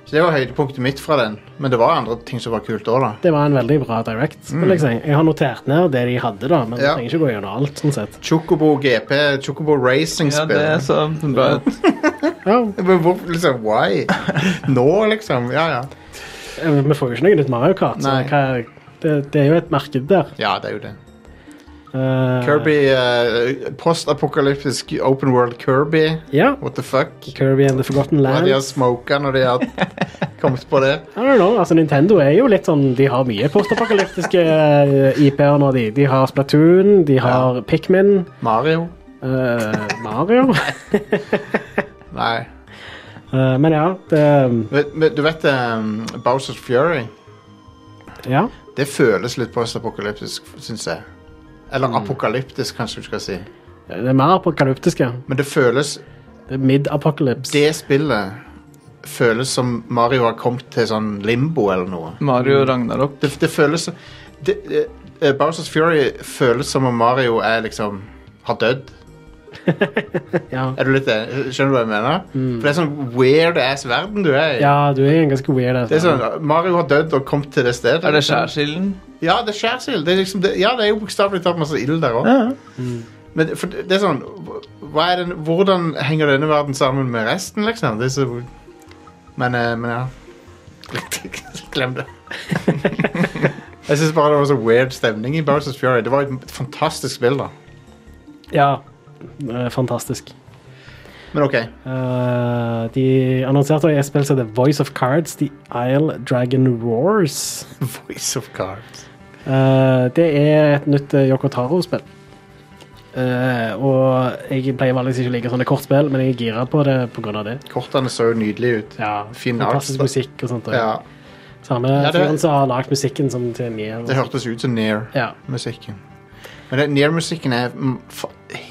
Speaker 2: Så det var høydepunktet mitt fra den. Men det var andre ting som var kult òg, da.
Speaker 3: det var en veldig bra Direct, vil jeg si. Jeg har notert ned det de hadde, da, men
Speaker 2: Ja.
Speaker 3: jeg trenger ikke gå gjennom alt, sånn sett.
Speaker 2: Chocobo GP, Chocobo
Speaker 4: Ja,
Speaker 2: Racing-spill.
Speaker 4: det så bra ut.
Speaker 3: Ja,
Speaker 2: Men hvorfor liksom, why? Nå, liksom? Ja, ja.
Speaker 3: eh, vi får jo ikke noe nytt Mario Kart, så
Speaker 2: Nei.
Speaker 3: hva er det, det er jo et marked der.
Speaker 2: Ja, det er jo det.
Speaker 3: Eh,
Speaker 2: Kirby eh, Postapokalyptisk open world Kirby.
Speaker 3: Ja.
Speaker 2: What the fuck?
Speaker 3: Kirby and the Forgotten
Speaker 2: Hva de har
Speaker 3: Lands.
Speaker 2: smoka når de har kommet på det?
Speaker 3: I don't know, altså Nintendo er jo litt sånn De har mye postapokalyptiske eh, IP-er nå, de. De har Splatoon, de har Pikmin,
Speaker 2: Mario?
Speaker 3: eh, Mario
Speaker 2: Nei.
Speaker 3: Eh, Men ja, det
Speaker 2: Men, men, du vet um, Bowsers Fury?
Speaker 3: Ja.
Speaker 2: Det føles litt postapokalyptisk, syns jeg.
Speaker 4: Mm.
Speaker 2: Eller apokalyptisk, kanskje du skal si.
Speaker 3: Det er mer apokalyptiske.
Speaker 2: Men det føles
Speaker 3: Det er mid-apokalypse.
Speaker 2: Det spillet føles som Mario har kommet til sånn limbo eller noe.
Speaker 4: Mario Ragnarok.
Speaker 2: Det, det føles som det, det- eh, Bowsers Fury føles som om Mario er liksom har dødd.
Speaker 3: Ja.
Speaker 2: Er du litt det? Skjønner du hva jeg mener?
Speaker 4: Mm.
Speaker 2: For det er sånn weird ass verden du er i.
Speaker 3: ja, du er en ganske weird. Altså.
Speaker 2: Det er sånn, Mario har dødd og kommet til det stedet. liksom.
Speaker 4: Er det skjærsilden?
Speaker 2: Ja, det er skjærsild. Det er liksom, det, ja, det er jo bokstavelig talt masse ild der òg. Men for det det er sånn hva er den, Hvordan henger denne verden sammen med resten, liksom? Det er så, men, eh, men ja. Glem det. Jeg syns bare det var så weird stemning i Bowsers Fury. Det var et fantastisk spill, da.
Speaker 3: Ja, eh, fantastisk.
Speaker 2: Men OK.
Speaker 3: Eh, de annonserte også et spill som heter Voice of Cards, The Isle Dragon Roars.
Speaker 2: Voice of Cards.
Speaker 3: Eh, det er et nytt eh, Yoko Taro-spill. Eh, og jeg pleier vanligvis ikke å like sånne kortspill, men jeg er gira på det pga. det.
Speaker 2: Kortene så jo nydelige ut.
Speaker 3: Ja,
Speaker 2: Fin
Speaker 3: Fantastisk
Speaker 2: arts,
Speaker 3: musikk og sånt. og-
Speaker 2: Ja,
Speaker 3: Samme
Speaker 2: det-
Speaker 3: fyren som har lagd musikken som til Nier.
Speaker 2: Det hørtes ut som Near.
Speaker 3: Ja,
Speaker 2: musikken. Men den Near-musikken er mm, fa-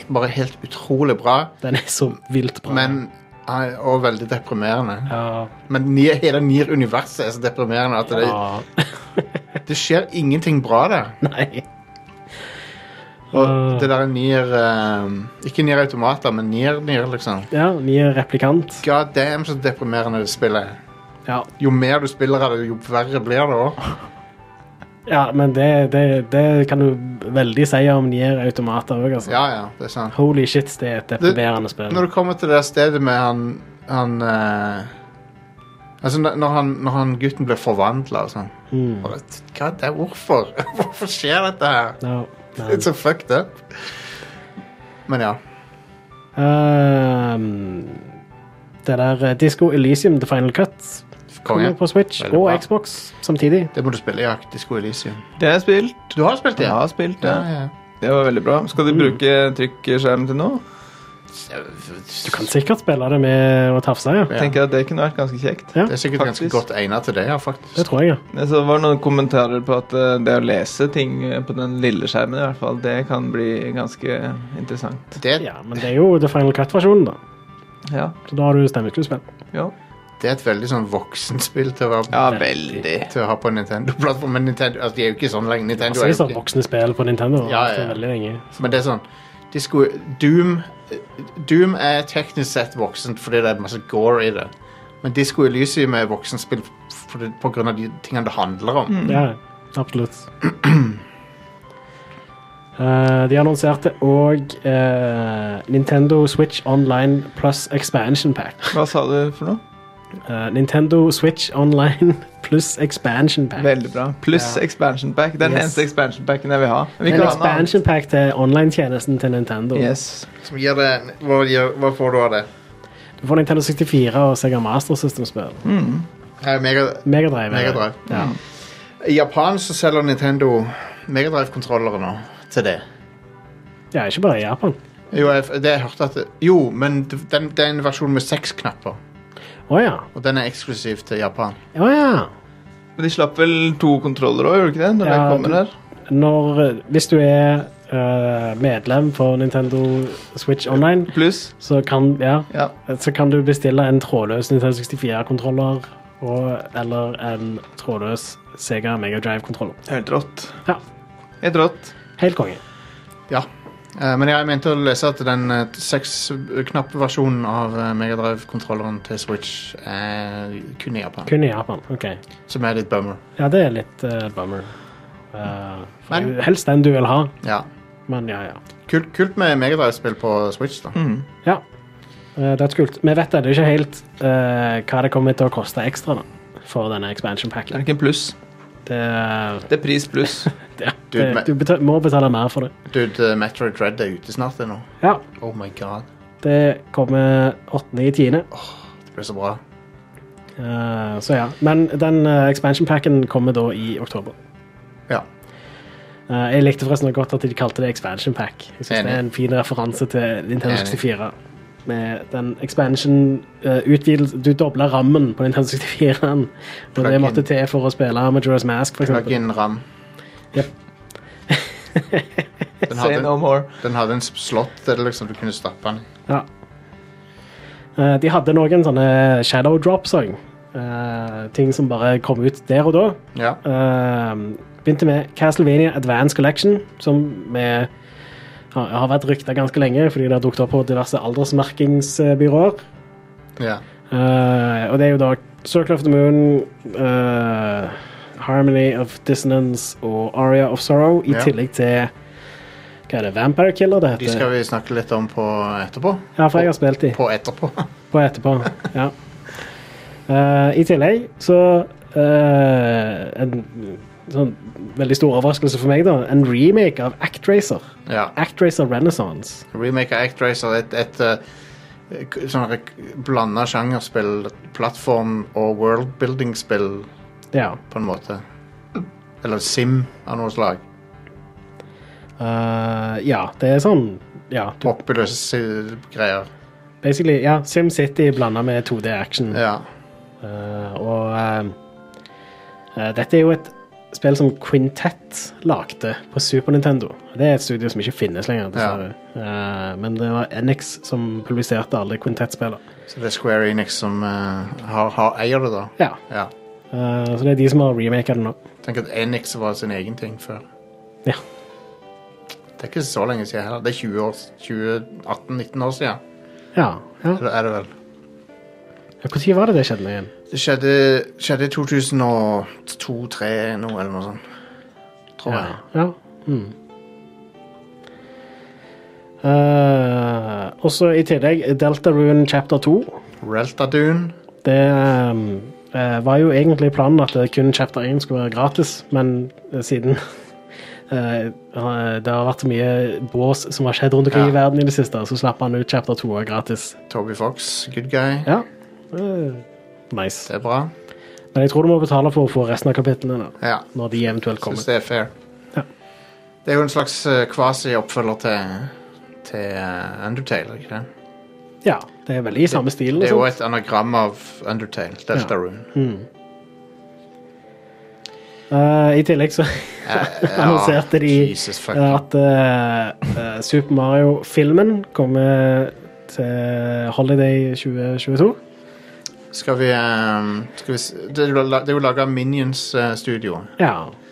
Speaker 2: bare helt utrolig bra,
Speaker 3: den er så vilt bra.
Speaker 2: men eh, og veldig deprimerende.
Speaker 3: ja,
Speaker 2: Men Nier, hele Nier-universet er så deprimerende at det,
Speaker 3: ja.
Speaker 2: det skjer ingenting bra der.
Speaker 3: Nei.
Speaker 2: Og det der er Nier eh, Ikke Nier Automater, men Nier-Nier, liksom.
Speaker 3: Ja, Nier replikant.
Speaker 2: God damn, så deprimerende det spillet er.
Speaker 3: Ja,
Speaker 2: Jo mer du spiller av det, jo verre blir det òg.
Speaker 3: ja men det, det, det kan du veldig si om Nier automater òg, altså.
Speaker 2: Ja, ja, det er sant.
Speaker 3: Holy shit, det er et deprimerende spill.
Speaker 2: Når du kommer til det der stedet med han, han eh, Altså, når når han, når han gutten blir forvandla og sånn Bare, Hva det er Hvorfor? Hvorfor skjer dette her?
Speaker 3: Ja,
Speaker 2: Det
Speaker 3: men,
Speaker 2: er så fucked up. Men ja.
Speaker 3: Ehm, det der Disko Elysium The Final Cut kommer
Speaker 2: Konge.
Speaker 3: på Switch
Speaker 2: Oh, Veldig
Speaker 3: og
Speaker 2: bra.
Speaker 3: Xbox samtidig.
Speaker 2: Det må du spille, Jack. Disko Elysium.
Speaker 4: Det har jeg spilt.
Speaker 2: Du har spilt det?
Speaker 4: Jeg har spilt
Speaker 2: Ja,
Speaker 4: det.
Speaker 2: ja.
Speaker 4: Det var veldig bra. Skal de bruke trykkskjermen til noe?
Speaker 3: Du kan sikkert spille det med å tafse, ja.
Speaker 2: Ja.
Speaker 4: Tenker jeg at Det kunne vært ganske kjekt.
Speaker 3: Ja.
Speaker 2: Det er sikkert ganske
Speaker 4: Faktisk.
Speaker 2: godt egnet til det, ja, faktisk.
Speaker 3: Det tror jeg, ja.
Speaker 4: Men Så var det noen kommentarer på at eh, det å lese ting eh, på den lille skjermen, i hvert fall, det kan bli ganske interessant.
Speaker 2: Det,
Speaker 3: ja. Men det er jo The Final Cut-versjonen, da.
Speaker 4: Ja.
Speaker 3: Så da har du stemmeskuespill.
Speaker 4: Jo.
Speaker 2: det er et veldig sånn voksenspill til å, være,
Speaker 4: Ja, veldig.
Speaker 2: til å ha på Nintendo-plattform. Men Nintendo, altså, de er jo ikke sånn lenger. Nintendo
Speaker 3: Altså,
Speaker 2: er
Speaker 3: det
Speaker 2: jo
Speaker 3: er voksne spill på Nintendo.
Speaker 2: Ja, ja, ja.
Speaker 3: Det er veldig lenge.
Speaker 2: Men det er sånn de skulle, Doom Doom er teknisk sett voksent fordi det er masse gore i det. Men Disco Elysium er voksenspill fordi, på grunn av de tingene det handler om.
Speaker 3: Ja, absolutt. Eh, de annonserte òg Nintendo Switch Online pluss expansion pack.
Speaker 4: Hva sa du for noe?
Speaker 3: Eh, Nintendo Switch Online pluss expansion pack.
Speaker 4: Veldig bra. Pluss expansion pack. Det er den
Speaker 3: Yes.
Speaker 4: eneste expansion packen jeg vil ha. Vi
Speaker 3: En
Speaker 4: kan ha noe annet.
Speaker 3: expansion pack til online-tjenesten til Nintendo.
Speaker 4: Yes.
Speaker 2: Som gir det, hva, gir, hva får du av det?
Speaker 3: Du får Nintendo 64 og Sega Master System-spill.
Speaker 2: Her er Mega,
Speaker 3: Megadrive.
Speaker 2: Mega Drive. I Japan så selger Nintendo Megadrive-kontrollere nå til det.
Speaker 3: Ja, ikke bare i Japan.
Speaker 2: Jo, jeg, det jeg hørte at det, jo men den, det er en versjon med seks knapper.
Speaker 3: Å ja.
Speaker 2: Og den er eksklusiv til Japan.
Speaker 3: Å ja.
Speaker 4: Men de slapp vel to kontroller òg, gjorde de ikke det? Når
Speaker 3: Ja,
Speaker 4: det kommer
Speaker 3: du-
Speaker 4: her.
Speaker 3: Når, eh, hvis du er eh, medlem på Nintendo Switch Online,
Speaker 4: Pluss.
Speaker 3: så kan, ja,
Speaker 4: Ja.
Speaker 3: så kan du bestille en trådløs Nintendo 64-kontroller eller en trådløs Sega Mega Drive-kontroller.
Speaker 4: Helt rått.
Speaker 3: Ja,
Speaker 4: Helt rått.
Speaker 3: helt konge.
Speaker 2: Ja. Eh, men jeg mente å lese at den eh, seksknappversjonen av eh, Mega Drive-kontrolleren til Switch er kun i Japan,
Speaker 3: Kun i Japan. ok.
Speaker 2: som er litt bummer.
Speaker 3: Ja, det er litt eh, bummer. Eh, for
Speaker 2: Men-
Speaker 3: det er jo helst den du vil ha,
Speaker 2: Ja.
Speaker 3: men ja, ja.
Speaker 2: Kult, kult med Mega Drive-spill på Switch, da.
Speaker 4: Mm.
Speaker 3: Ja, Eh, dødskult. Vi vet ennå ikke helt eh, hva det kommer til å koste ekstra da, for denne expansion
Speaker 4: Det er
Speaker 3: packen.
Speaker 4: ikke en pluss.
Speaker 3: Det,
Speaker 4: Det er pris pluss.
Speaker 3: det,
Speaker 2: Du, men-
Speaker 3: Eh, du beta- må betale mer for det.
Speaker 2: Dude, eh, Metroid Dread er ute snart ennå.
Speaker 3: Ja,
Speaker 2: Oh my god.
Speaker 3: det kommer 8. i 10.
Speaker 2: Det blir så bra.
Speaker 3: Eh, så ja. Men den eh, expansion packen kommer da i oktober.
Speaker 2: Ja.
Speaker 3: Eh, jeg likte forresten godt at de kalte det expansion pack. Jeg synes
Speaker 2: Enig.
Speaker 3: Det er en fin referanse til Nintendo
Speaker 2: Enig.
Speaker 3: 64. Med den expansion eh, utvidelse Du dobla rammen på Nintendo 64-en. Og
Speaker 2: Plug
Speaker 3: det
Speaker 2: in.
Speaker 3: måtte til for å spille Majora's Mask, for
Speaker 2: Plug
Speaker 3: eksempel.
Speaker 2: in RAM.
Speaker 3: Yep.
Speaker 2: Den
Speaker 4: Say no
Speaker 2: hadde,
Speaker 4: more.
Speaker 2: den hadde en slott der det liksom du kunne stappe den i.
Speaker 3: Ja. Eh, de hadde noen sånne shadow drops òg. ting som bare kom ut der og da.
Speaker 2: Ja.
Speaker 3: Ehm, begynte med Castlevania Advance Collection, som vi har, har vært rykta ganske lenge fordi det har dukket opp på diverse aldersmerkingsbyråer.
Speaker 2: ja.
Speaker 3: Eh, og det er jo da Circle of the Moon, eh, Harmony of Dissonance og Aria of Sorrow, i
Speaker 2: Ja.
Speaker 3: tillegg til hva er det, Vampire Killer det
Speaker 2: De
Speaker 3: heter?
Speaker 2: skal vi snakke litt om på etterpå.
Speaker 3: Ja, for jeg har spilt de.
Speaker 2: På etterpå.
Speaker 3: på etterpå. Ja. Eh, I tillegg så eh, En sånn veldig stor overraskelse for meg, da. En remake av Actracer.
Speaker 2: ja.
Speaker 3: Actracer Renaissance.
Speaker 2: Remake av Actracer, et, et eh, k- sånn her k- blanda sjangerspill, plattform og worldbuilding-spill,
Speaker 3: Ja.
Speaker 2: på en måte. Eller Sim av noe slag.
Speaker 3: Eh, ja, det er sånn Ja, du,
Speaker 2: Populøse si- greier.
Speaker 3: basically ja, SimCity blanda med 2D action.
Speaker 2: Ja.
Speaker 3: Eh, og eh, eh, dette er jo et spill som Quintet lagde på Super Nintendo. Det er et studio som ikke finnes lenger, dessverre. Eh, men det var NX som publiserte alle Quintet-spillene.
Speaker 2: Så det er Square Enix som eh, har, har, eier det, da.
Speaker 3: Ja,
Speaker 2: Ja.
Speaker 3: eh, så det er de som har remaka det nå.
Speaker 2: Tenk at Enix var sin egen ting før.
Speaker 3: Ja.
Speaker 2: Det er ikke så lenge siden heller. Det er 20 år, 2018-19 år siden.
Speaker 3: Ja, ja.
Speaker 2: Eller er det vel?
Speaker 3: Når var det det skjedde igjen?
Speaker 2: Det skjedde, skjedde i 2002-2003 nå, eller noe sånt. Tror
Speaker 3: Ja.
Speaker 2: jeg.
Speaker 3: ja. Mm. Eh, også i tillegg Deltarune chapter 2.
Speaker 2: Reltadune.
Speaker 3: Det eh, var jo egentlig planen at det kun chapter 1 skulle være gratis, men eh, siden eh, eh, det har vært så mye bås som har skjedd rundt omkring
Speaker 2: Ja.
Speaker 3: i verden i det siste, så slapp han ut chapter 2 gratis.
Speaker 2: Toby Fox, good guy.
Speaker 3: Ja. Eh, nice.
Speaker 2: Det er bra.
Speaker 3: Men jeg tror du må betale for å få resten av kapitlene da,
Speaker 2: Ja,
Speaker 3: når de eventuelt
Speaker 2: synes
Speaker 3: kommer.
Speaker 2: det er fair.
Speaker 3: Ja.
Speaker 2: Det er jo en slags eh, quasi-oppfølger til, til eh, Undertale, ikke det?
Speaker 3: Ja, det er veldig i samme liksom. stilen.
Speaker 2: Det er jo
Speaker 3: og sånt.
Speaker 2: et anagram av Undertale, Deltarune.
Speaker 3: Eh, I tillegg så
Speaker 2: Eh,
Speaker 3: annonserte de
Speaker 2: Jesus
Speaker 3: eh,
Speaker 2: fuck.
Speaker 3: at eh, eh, Super Mario-filmen kommer til Holiday 2022.
Speaker 2: Skal vi, eh, skal vi s- Det er jo la- det er jo laga Minions-studio.
Speaker 3: Ja,
Speaker 2: eh,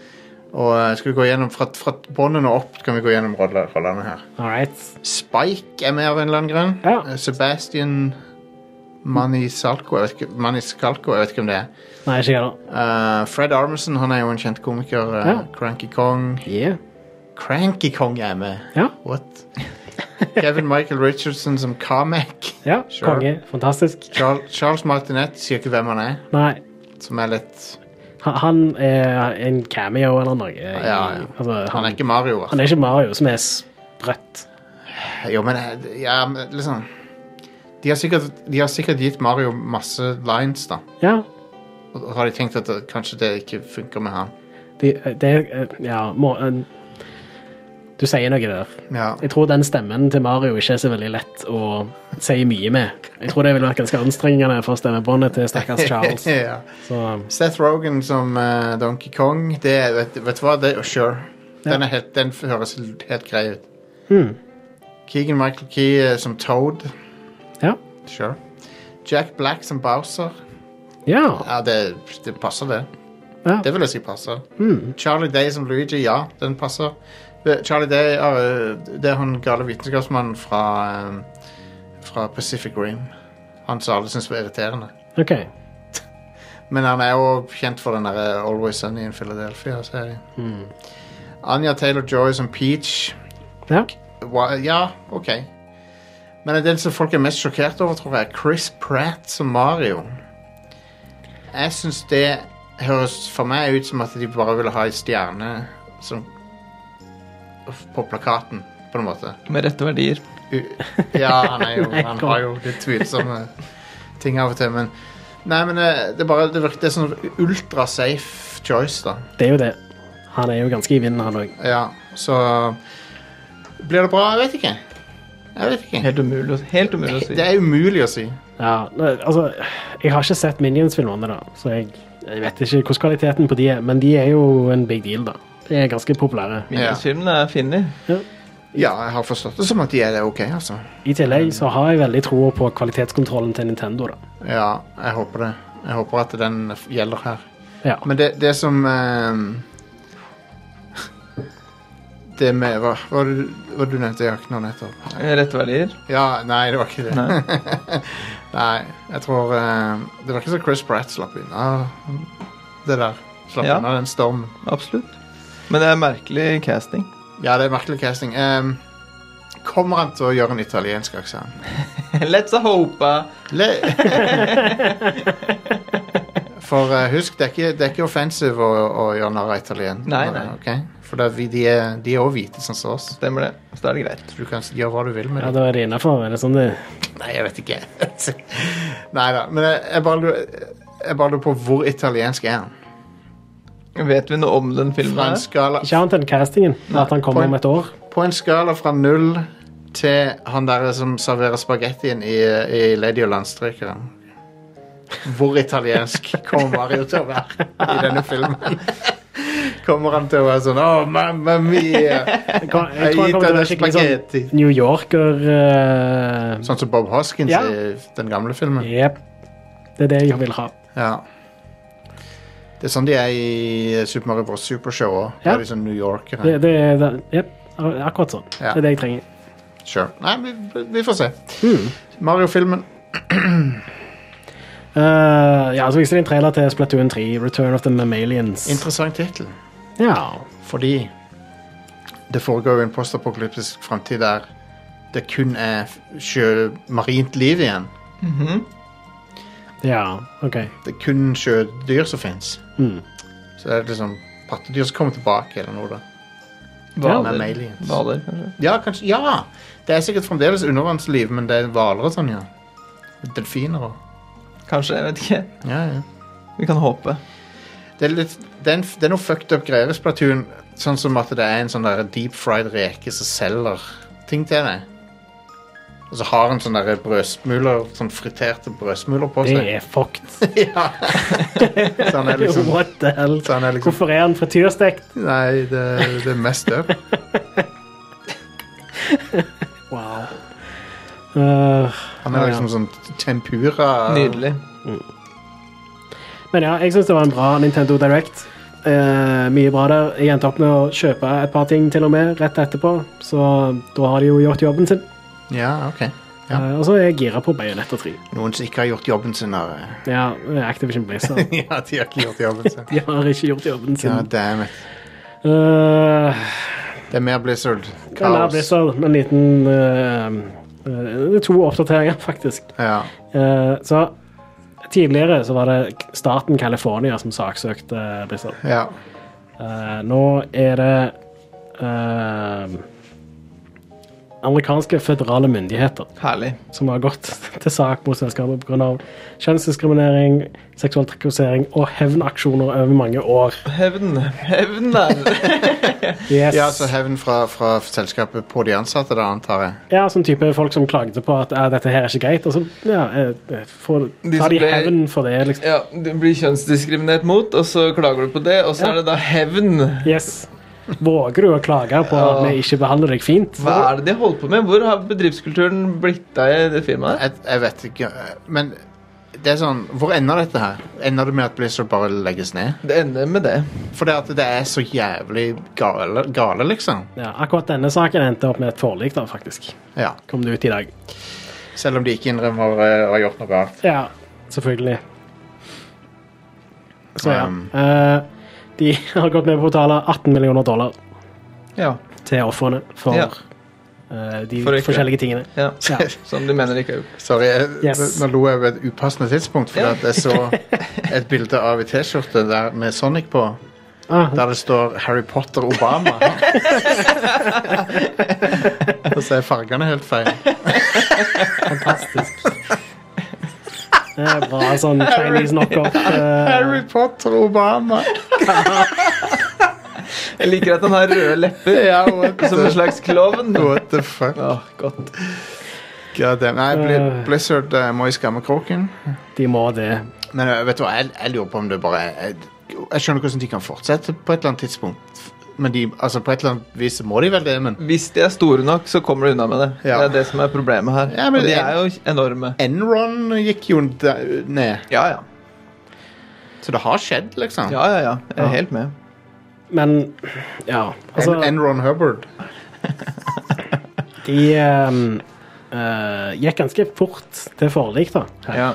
Speaker 2: Og eh, skal vi gå gjennom fra, fra båndene og opp kan vi gå gjennom rolle- rollene her.
Speaker 3: all right.
Speaker 2: Spike er med av en eller annen grunn.
Speaker 3: Ja.
Speaker 2: Eh, Sebastian Manisalco, jeg vet ikke, Maniscalco, jeg vet ikke om det er.
Speaker 3: Nei, ikke heller.
Speaker 2: Eh, Fred Armisen, han er jo en kjent komiker. eh,
Speaker 3: Ja.
Speaker 2: Cranky Kong.
Speaker 3: Yeah.
Speaker 2: Cranky Kong er med!
Speaker 3: Ja,
Speaker 2: What? Kevin Michael Richardson som Kamek.
Speaker 3: ja.
Speaker 2: Sure.
Speaker 3: konge. Fantastisk.
Speaker 2: Charles, Charles Martinet sier ikke hvem han er,
Speaker 3: Nei,
Speaker 2: som er litt
Speaker 3: han- han er en cameo eller noe. i-
Speaker 2: Ja, ja.
Speaker 3: Altså, han,
Speaker 2: Han er ikke Mario, altså.
Speaker 3: han er ikke Mario, som er sprøtt.
Speaker 2: Jo, men eh, ja, men liksom de har, sikkert, de har sikkert gitt Mario masse lines, da.
Speaker 3: Ja,
Speaker 2: Og og har de tenkt at det, kanskje det ikke funker med han.
Speaker 3: De, det, eh, ja, må, en- du sier noe der.
Speaker 2: Ja.
Speaker 3: Jeg tror den stemmen til Mario ikke er så veldig lett å si mye med. Jeg tror det ville vært ganske anstrengende for stemmebåndet til stakkars Charles.
Speaker 2: ja.
Speaker 3: Så,
Speaker 2: Seth Rogen som eh, Donkey Kong, det er- vet, vet du hva, det er sure. Den, er helt, den høres helt grei ut.
Speaker 3: Hmm.
Speaker 2: Keegan Michael Key eh, som Toad.
Speaker 3: Ja.
Speaker 2: Sure. Jack Black som Bowser.
Speaker 3: ja.
Speaker 2: Ja, det, det passer, det.
Speaker 3: Ja.
Speaker 2: Det vil jeg si passer.
Speaker 3: Hmm.
Speaker 2: Charlie Day som Luigi, ja, den passer. Det- Charlie Day er, eh, det er han gale vitenskapsmannen fra, eh, fra Pacific Rim. Han som alle syns var irriterende.
Speaker 3: OK.
Speaker 2: Men han er jo kjent for den der eh, Always Sunny in Philadelphia-serien.
Speaker 3: Hmm.
Speaker 2: Anja Taylor-Joy som Peach.
Speaker 3: Ja.
Speaker 2: Hva- Ja, ok. Men den som folk er mest sjokkert over, tror jeg, er Chris Pratt som Mario. Jeg syns det høres for meg ut som at de bare ville ha ei stjerne som På plakaten, på en måte.
Speaker 4: Med rette verdier.
Speaker 2: U- Ja, han, er jo,
Speaker 3: Nei,
Speaker 2: han
Speaker 3: kom.
Speaker 2: har jo litt tvilsomme ting av og til, men Nei, men eh, det, er bare, det virker det er sånn ultra-safe choice, da.
Speaker 3: Det er jo det. Han er jo ganske i vinden, han òg.
Speaker 2: Ja, så Blir det bra? Jeg vet ikke. Jeg vet ikke.
Speaker 4: Helt umulig, å- helt umulig å si.
Speaker 2: Det er umulig å si.
Speaker 3: Ja, ne, altså, jeg har ikke sett Minions-filmene, da, så jeg, jeg vet ikke hvordan kvaliteten på de er, men de er jo en big deal, da. De er ganske populære.
Speaker 4: Minionsfilmene er finner.
Speaker 2: Ja, jeg har forstått det som at de er det ok, altså.
Speaker 3: I tillegg så har jeg veldig tro på kvalitetskontrollen til Nintendo, da.
Speaker 2: Ja, jeg håper det. Jeg håper at den f- gjelder her.
Speaker 3: Ja.
Speaker 2: Men det, det som ehm, Det med Hva hva var det du- hva du nevnte jeg har ikke noe nettopp?
Speaker 4: Med Rette verdier.
Speaker 2: Ja, nei, det var ikke det.
Speaker 4: Nei.
Speaker 2: Nei, jeg tror ehm, Det var ikke så Chris Pratt slapp unna det der. Slapp
Speaker 4: Ja.
Speaker 2: unna den stormen.
Speaker 4: Absolutt. Men det er merkelig casting.
Speaker 2: Ja, det er merkelig casting. Ehm, kommer han til å gjøre en italiensk aksent?
Speaker 4: Let's a hope.
Speaker 2: Le For eh, husk, det er ikke, det er ikke offensive å, å gjøre narr av italienerne.
Speaker 4: Nei, nei.
Speaker 2: ok? For det er vi, de, er, de er også hvite, sånn som oss.
Speaker 4: Stemmer det. Så da er det greit.
Speaker 2: Så du kan gjøre hva du vil med
Speaker 3: ja,
Speaker 2: dem.
Speaker 3: da er det innafor. Er det sånn det
Speaker 2: Nei, jeg vet ikke. nei da. Men jeg, jeg bare lurer jeg bare lurer på hvor italiensk er han?
Speaker 4: Vet vi noe om den filmen?
Speaker 2: Fra en
Speaker 4: her?
Speaker 2: skala,
Speaker 3: Ikke annet enn castingen. At han kommer
Speaker 2: point.
Speaker 3: om et år.
Speaker 2: på en skala fra null til han der som serverer spagettien i, i Lady og Landstrykeren. Hvor italiensk kommer Mario til å være i denne filmen? Kommer han til å være sånn Å, mamma mia!
Speaker 3: Jeg, kan, jeg
Speaker 2: Jeg
Speaker 3: tror han
Speaker 2: gir
Speaker 3: kommer til å
Speaker 2: deg
Speaker 3: være skikkelig sånn
Speaker 2: spagetti.
Speaker 3: New Yorker eh,
Speaker 2: Sånn som Bob Hoskins
Speaker 3: Ja.
Speaker 2: i den gamle filmen.
Speaker 3: Jep. Det er det jeg vil ha.
Speaker 2: Ja. Det er sånn de er i Super Mario Bros. Supershow òg.
Speaker 3: Ja.
Speaker 2: er De sånn New Yorkere.
Speaker 3: Det, det, det, jep, akkurat sånn.
Speaker 2: Ja.
Speaker 3: Det er det jeg trenger.
Speaker 2: Sure. Nei, vi, vi får se.
Speaker 3: Mm.
Speaker 2: Mario-filmen.
Speaker 3: Eh, ja, så viste de en trailer til Splatoon 3, Return of the Mammalians.
Speaker 2: Interessant tittel.
Speaker 3: ja.
Speaker 2: Fordi det foregår jo en postapokalyptisk fremtid der det kun er f- sjø, marint liv igjen.
Speaker 4: Mhm.
Speaker 3: ja, ok.
Speaker 2: Det er kun sjødyr som fins.
Speaker 3: Mm.
Speaker 2: Så det er liksom pattedyr som kommer tilbake eller noe. da.
Speaker 4: Hvaler.
Speaker 2: Mammalians.
Speaker 4: Hvaler, kanskje.
Speaker 2: Ja, kanskje, ja! Det er sikkert fremdeles undervannsliv, men det er hvaler og sånn, ja. Delfiner og
Speaker 4: Kanskje, jeg vet ikke.
Speaker 2: ja, ja.
Speaker 4: Vi kan håpe.
Speaker 2: Det er, litt, det, er en, f- det er noe fucked up greier i Splatoon. Sånn som at det er en sånn der deep fried reke som selger ting til deg. Og så har han sånne der brødsmuler, sånn friterte brødsmuler på
Speaker 3: Det
Speaker 2: seg.
Speaker 3: er fucked.
Speaker 2: Ja. så han er liksom,
Speaker 3: What the hell?
Speaker 2: så han er liksom
Speaker 3: Hvorfor er han frityrstekt?
Speaker 2: Nei, det, det er mest up.
Speaker 3: Wow. Eh,
Speaker 2: Han er liksom sånn tempura.
Speaker 4: Nydelig.
Speaker 3: men ja, jeg syns det var en bra Nintendo Direct. Eh, mye bra der. Jeg endte opp med å kjøpe et par ting til og med rett etterpå, så da har de jo gjort jobben sin.
Speaker 2: Ja, ok. Ja.
Speaker 3: Eh, og så er jeg gira på Bayonetta 3.
Speaker 2: Noen som ikke har gjort jobben sin, har
Speaker 3: Ja, Activision Blizzard.
Speaker 2: Ja, de har ikke gjort jobben sin.
Speaker 3: De har ikke gjort jobben
Speaker 2: Ja,
Speaker 3: sin.
Speaker 2: damn it.
Speaker 3: Eh,
Speaker 2: Det er mer Blizzard.
Speaker 3: Kan være
Speaker 2: Kaos.
Speaker 3: Blizzard, men en liten eh, eh, To oppdateringer, faktisk.
Speaker 2: Ja.
Speaker 3: Eh, så tidligere så var det k- staten California som saksøkte eh, Blizzard.
Speaker 2: ja.
Speaker 3: Eh, nå er det eh, amerikanske føderale myndigheter
Speaker 4: Herlig.
Speaker 3: som har gått til sak mot selskapet pga. kjønnsdiskriminering, seksuell trakassering og hevnaksjoner over mange år.
Speaker 4: Hevn. Hevn der.
Speaker 3: Yes.
Speaker 2: ja, altså, så hevn fra, fra selskapet på de ansatte, da, antar jeg.
Speaker 3: Ja, sånn type folk som klagde på at «Ja, dette her er ikke greit. Og så ja, eh, får,
Speaker 4: De
Speaker 3: tar
Speaker 4: som
Speaker 3: de
Speaker 4: ble-
Speaker 3: hevn for det, liksom.
Speaker 4: Ja, du blir kjønnsdiskriminert mot, og så klager du på det, og
Speaker 3: Ja.
Speaker 4: så er det da hevn.
Speaker 3: Yes. Våger du å klage på at vi ikke behandler deg fint?
Speaker 4: Hva er det de holder på med? Hvor har bedriftskulturen blitt av i det firmaet?
Speaker 2: Jeg, jeg vet ikke, men det er sånn Hvor ender dette her? Ender det med at Blizzard bare legges ned?
Speaker 4: Det ender med det.
Speaker 2: For det at det er så jævlig gale, gale liksom.
Speaker 3: Ja, akkurat denne saken endte opp med et forlik, da, faktisk.
Speaker 2: Ja.
Speaker 3: Kom det ut i dag.
Speaker 2: Selv om de ikke innrømmer eh, å ha gjort noe galt.
Speaker 3: Ja, selvfølgelig. Så ja.
Speaker 2: Um.
Speaker 3: Eh, de har gått med på å betale 18 millioner dollar
Speaker 4: Ja.
Speaker 3: til ofrene for
Speaker 4: Ja.
Speaker 3: eh, de
Speaker 4: For ikke.
Speaker 3: forskjellige tingene.
Speaker 4: ja.
Speaker 3: Ja.
Speaker 4: Som de mener ikke er gjort.
Speaker 2: Sorry, jeg-
Speaker 3: Yes.
Speaker 2: nå lo jeg ved et upassende tidspunkt, fordi at jeg så et bilde av ei T-skjorte der med Sonic på,
Speaker 3: Ah,
Speaker 2: der det står Harry Potter Obama. Og så er fargene helt feil.
Speaker 3: fantastisk. Det er bra sånn Chinese knockoff. eh,
Speaker 2: Harry Potter Obama!
Speaker 4: Jeg liker at han har røde lepper
Speaker 2: Ja, what
Speaker 4: som en
Speaker 2: the,
Speaker 4: slags klovn.
Speaker 2: what the fuck?
Speaker 4: Åh, godt.
Speaker 2: God damn. Nei, Bli- Blizzard eh, må i skammekroken.
Speaker 3: de må det.
Speaker 2: Men eh, vet du hva, jeg, jeg lurer på om det bare er jeg, jeg skjønner hvordan de kan fortsette på et eller annet tidspunkt. Men de, altså på et eller annet vis må de vel det, men
Speaker 4: Hvis de er store nok, så kommer de unna med det.
Speaker 2: Ja.
Speaker 4: Det er det som er problemet her.
Speaker 2: Ja, men
Speaker 4: Og de
Speaker 2: det-
Speaker 4: er jo enorme.
Speaker 2: Enron gikk jo da- ned.
Speaker 4: Ja, ja.
Speaker 2: Så det har skjedd, liksom.
Speaker 4: Ja, ja, ja. Jeg er helt med.
Speaker 3: Men ja. Altså,
Speaker 2: en, Enron Hubbard.
Speaker 3: de ehm, eh, gikk ganske fort til forlik, da.
Speaker 4: Ja.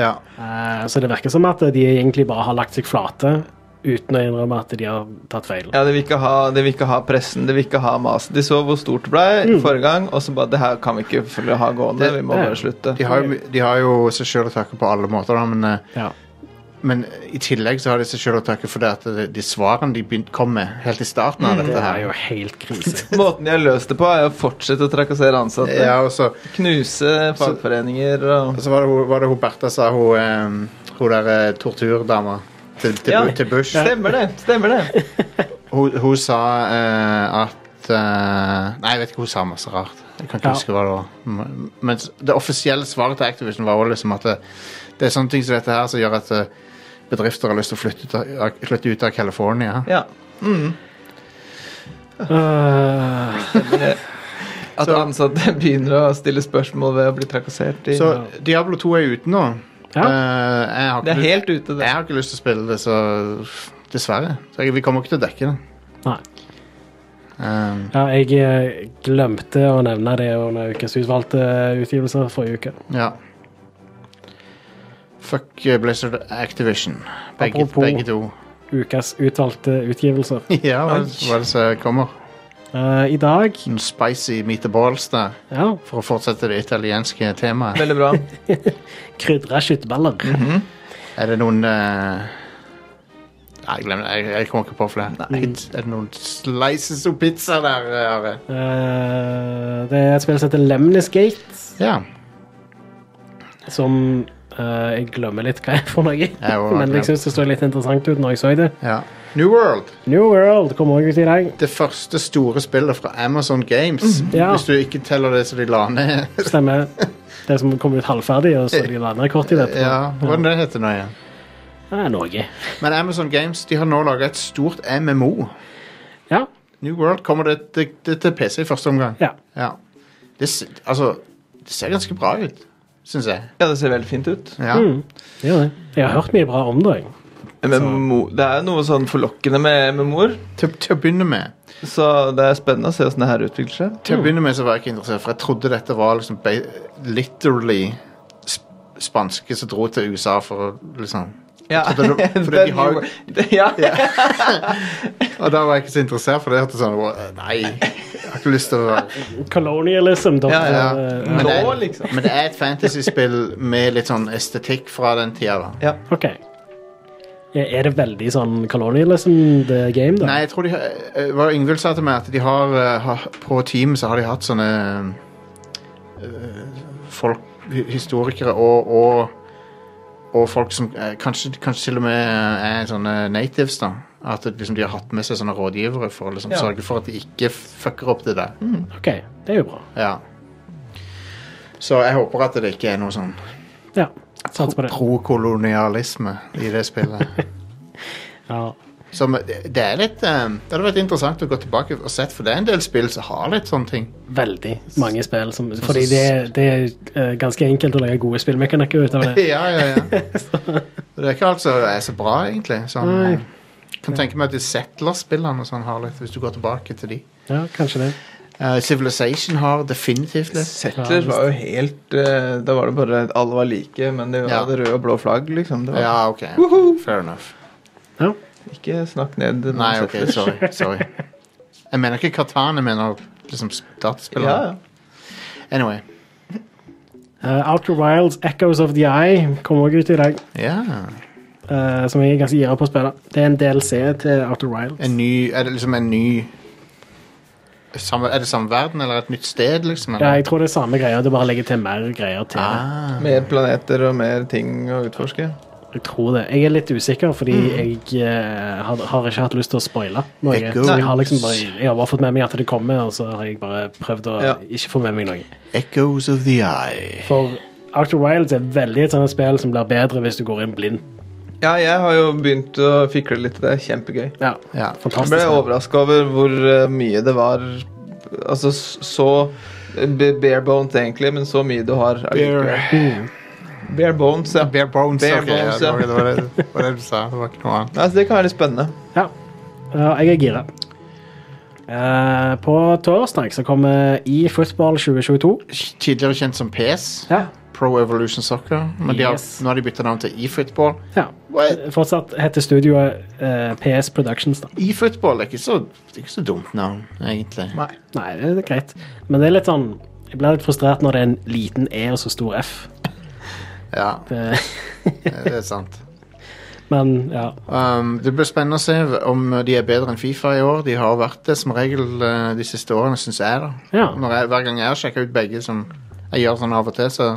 Speaker 2: Ja.
Speaker 3: Eh, så det virker som at de egentlig bare har lagt seg flate uten å innrømme at de har tatt feil.
Speaker 4: Ja, de vil, ikke ha, de vil ikke ha pressen, de vil ikke ha mas. De så hvor stort det ble
Speaker 2: Mm.
Speaker 4: forrige gang, og så bare Det her kan vi ikke følge- ha gående, vi må
Speaker 3: det-
Speaker 4: bare slutte.
Speaker 2: De har, jo, de har jo seg sjøl å takke på alle måter, da, men, eh,
Speaker 3: Ja.
Speaker 2: men i tillegg så har de seg sjøl å takke for det at de, de svarene de begynte kom med helt i starten av
Speaker 3: Det
Speaker 2: dette
Speaker 3: er
Speaker 2: her.
Speaker 3: Mm. jo helt krise.
Speaker 4: Måten de har løst det på, er å fortsette å trakassere ansatte.
Speaker 2: Ja, og så,
Speaker 4: Knuse fagforeninger og
Speaker 2: så var, det, hun- var det hun Bertha sa, hun, eh, hun der eh, torturdama til, til,
Speaker 4: Ja.
Speaker 2: Bu- til Bush.
Speaker 4: Stemmer det! stemmer det
Speaker 2: Hun, hun sa eh, at eh, Nei, jeg vet ikke, hun sa masse rart. Jeg kan ikke
Speaker 3: Ja.
Speaker 2: huske hva det var. M- Men s- det offisielle svaret til Activision var jo liksom at det, det er sånne ting som dette her som gjør at eh, bedrifter har lyst til å flytte ut av, av- flytte ut av California.
Speaker 4: Ja.
Speaker 3: Øh,
Speaker 4: At
Speaker 2: Så-
Speaker 4: ansatte begynner å stille spørsmål ved å bli trakassert. I,
Speaker 2: Så Diablo 2 er ute nå.
Speaker 3: Ja.
Speaker 2: Eh, jeg, har
Speaker 4: det
Speaker 2: ikke,
Speaker 4: er
Speaker 2: lyst-
Speaker 4: helt ute, det.
Speaker 2: jeg har ikke lyst til å spille det, så dessverre. Så jeg, vi kommer ikke til å dekke det.
Speaker 3: nei.
Speaker 2: Um,
Speaker 3: Ja, jeg eh, glemte å nevne det under ukens utvalgte utgivelser forrige uke.
Speaker 2: ja. Fuck eh, Blizzard Activision. Begge,
Speaker 3: Apropos-
Speaker 2: begge to.
Speaker 3: Ukas utvalgte utgivelser.
Speaker 2: Ja, hva hva er det som kommer?
Speaker 3: Eh, I dag
Speaker 2: noen spicy meatballs der,
Speaker 3: ja,
Speaker 2: for å fortsette det italienske temaet.
Speaker 4: Veldig bra.
Speaker 3: krydra kjøttballer.
Speaker 2: Mhm. Er det noen eh, Nei, glem det. Jeg, jeg kommer ikke på flere.
Speaker 4: Nei.
Speaker 2: Hit- Er det noen slices og pizza der, eh, Are?
Speaker 3: Eh, det er et spill som heter Lemnis Gate,
Speaker 2: Ja.
Speaker 3: som eh, jeg glemmer litt hva er for noe.
Speaker 2: var-
Speaker 3: Men jeg syns det så litt interessant ut når jeg så det.
Speaker 2: ja. New World.
Speaker 3: New World kom òg ut i dag.
Speaker 2: Det første store spillet fra Amazon Games.
Speaker 3: ja.
Speaker 2: Hvis du ikke teller det som de la ned.
Speaker 3: Stemmer. Det som kom ut halvferdig, og så de landa kort i det. etterpå.
Speaker 2: ja, Hva er det det heter nå igjen?
Speaker 3: Det er Norge.
Speaker 2: Men Amazon Games de har nå laga et stort MMO.
Speaker 3: Ja.
Speaker 2: New World kommer det, det, det til PC i første omgang.
Speaker 3: ja.
Speaker 2: Ja. Det, s- altså, det ser ganske bra ut, syns jeg.
Speaker 4: Ja, det ser veldig fint ut.
Speaker 2: Ja.
Speaker 3: Mm. Det gjør det. Jeg har hørt mye bra om det. jeg.
Speaker 4: MMO, det er jo noe sånn forlokkende med MMO-er,
Speaker 2: Til, til å begynne med
Speaker 4: så det er spennende å se åssen det her utvikler seg.
Speaker 2: Til å begynne med så var jeg ikke interessert, for jeg trodde dette var liksom ba- literally sp spanske som dro til USA for å liksom
Speaker 4: Ja.
Speaker 2: For det- for det de har jo-
Speaker 4: ja.
Speaker 2: Og da var jeg ikke så interessert, for det hørtes sånn «Åh, Nei, jeg har ikke lyst til å være
Speaker 3: Colonialism, da.
Speaker 4: Ja,
Speaker 2: ja.
Speaker 3: Eh,
Speaker 2: Men det,
Speaker 4: Nå,
Speaker 2: er,
Speaker 4: liksom.
Speaker 2: men det er et fantasyspill med litt sånn estetikk fra den tida, da.
Speaker 3: OK. Er det veldig sånn colonialism the game, da?
Speaker 2: Nei, jeg tror de har- eh, Hva Yngvild sa til meg, at de har eh, ha- På Team så har de hatt sånne eh, Folk hi- Historikere og, og Og folk som eh, kanskje, kanskje til og med eh, er sånne natives, da. At det liksom, de har hatt med seg sånne rådgivere for å liksom,
Speaker 4: Ja.
Speaker 2: sørge for at de ikke fucker opp det der.
Speaker 3: OK, det er jo bra.
Speaker 2: Ja. Så jeg håper at det ikke er noe sånn
Speaker 3: Ja. Satser på det.
Speaker 2: prokolonialisme i det spillet.
Speaker 3: Ja.
Speaker 2: Som, det det er litt ehm, Det hadde vært interessant å gå tilbake og sett, for det er en del spill som har litt sånne ting.
Speaker 3: Veldig mange spill. Som, fordi det, det er eh, ganske enkelt å lage gode spillmekanikker ut av det.
Speaker 2: ja, ja, ja. Det er ikke alt som er så bra, egentlig. Sånn,
Speaker 3: Nei.
Speaker 2: jeg kan tenke meg at de Settlers-spillene og sånn har litt, hvis du går tilbake til de.
Speaker 3: Ja, kanskje det.
Speaker 2: Eh, Civilization har definitivt litt.
Speaker 4: Settlers var jo helt eh, Da var det bare at alle var like, men de
Speaker 2: Ja.
Speaker 4: hadde røde og blå flagg, liksom. Det var
Speaker 2: Ja, ok. Fair enough.
Speaker 3: Ja.
Speaker 4: Ikke snakk ned noen
Speaker 2: Nei, ok,
Speaker 4: Settlers.
Speaker 2: sorry. sorry. Jeg mener ikke Katan, jeg mener liksom
Speaker 4: Ja,
Speaker 2: dataspillere.
Speaker 4: ja.
Speaker 2: Anyway.
Speaker 3: Eh, Outer Wilds, Echoes of the Eye kommer også ut i dag,
Speaker 2: Ja.
Speaker 3: eh, som jeg er ganske gira på å spille. Det er en DLC til Outer Wilds.
Speaker 2: En ny Er det liksom en ny samme, Er det samme verden, eller et nytt sted, liksom?
Speaker 3: Ja,
Speaker 2: Eller?
Speaker 3: jeg tror det er samme greia, det bare legger til mer greier til. det.
Speaker 2: Ah,
Speaker 4: Mer planeter og mer ting å utforske.
Speaker 3: Jeg tror det. Jeg er litt usikker, fordi jeg eh, har, har ikke hatt lyst til å spoile noe.
Speaker 2: It
Speaker 3: Så jeg har
Speaker 2: goes.
Speaker 3: liksom bare, jeg har bare fått med meg at det kommer, og så har jeg bare prøvd å
Speaker 4: Ja.
Speaker 3: ikke få med meg noe.
Speaker 2: Echoes of the Eye.
Speaker 3: For Outer Wilds er veldig et sånt spill som blir bedre hvis du går inn blind.
Speaker 4: Ja, jeg har jo begynt å fikle litt til det. er Kjempegøy.
Speaker 3: Ja,
Speaker 2: Ja.
Speaker 4: Jeg
Speaker 3: fantastisk.
Speaker 4: ble
Speaker 3: spill.
Speaker 4: overraska over hvor eh, mye det var Altså s- så eh, b- bare bones, egentlig, men så mye du har. allikevel.
Speaker 3: Mm.
Speaker 4: bare bones, ja.
Speaker 2: Bare bones,
Speaker 4: Bare
Speaker 2: ok.
Speaker 4: bones,
Speaker 2: ja,
Speaker 4: ja.
Speaker 2: det, var, det, var det, det var det du sa. Det var ikke noe annet.
Speaker 4: Nei, så Altså, det kan være litt spennende.
Speaker 3: Ja, Ja, jeg er gira. Eh, på torsdag så kommer E eFootball 2022.
Speaker 2: Tidligere kjent som PS.
Speaker 3: Ja.
Speaker 2: Pro Evolution Soccer. Men de har,
Speaker 3: Yes.
Speaker 2: nå har de bytta navn til eFootball.
Speaker 3: ja.
Speaker 2: What?
Speaker 3: Fortsatt heter studioet eh, PS Productions, da.
Speaker 2: eFootball er ikke så, det er ikke så dumt navn, egentlig.
Speaker 4: Nei.
Speaker 3: Nei, det er greit. Men det er litt sånn Jeg blir litt frustrert når det er en liten E og så stor F.
Speaker 2: Ja,
Speaker 3: Det,
Speaker 2: det er sant.
Speaker 3: men ja.
Speaker 2: Um, det blir spennende å se om de er bedre enn Fifa i år. De har vært det som regel eh, de siste årene, syns jeg. da.
Speaker 3: ja.
Speaker 2: Når jeg, hver gang jeg har sjekka ut begge, som jeg gjør sånn av og til, så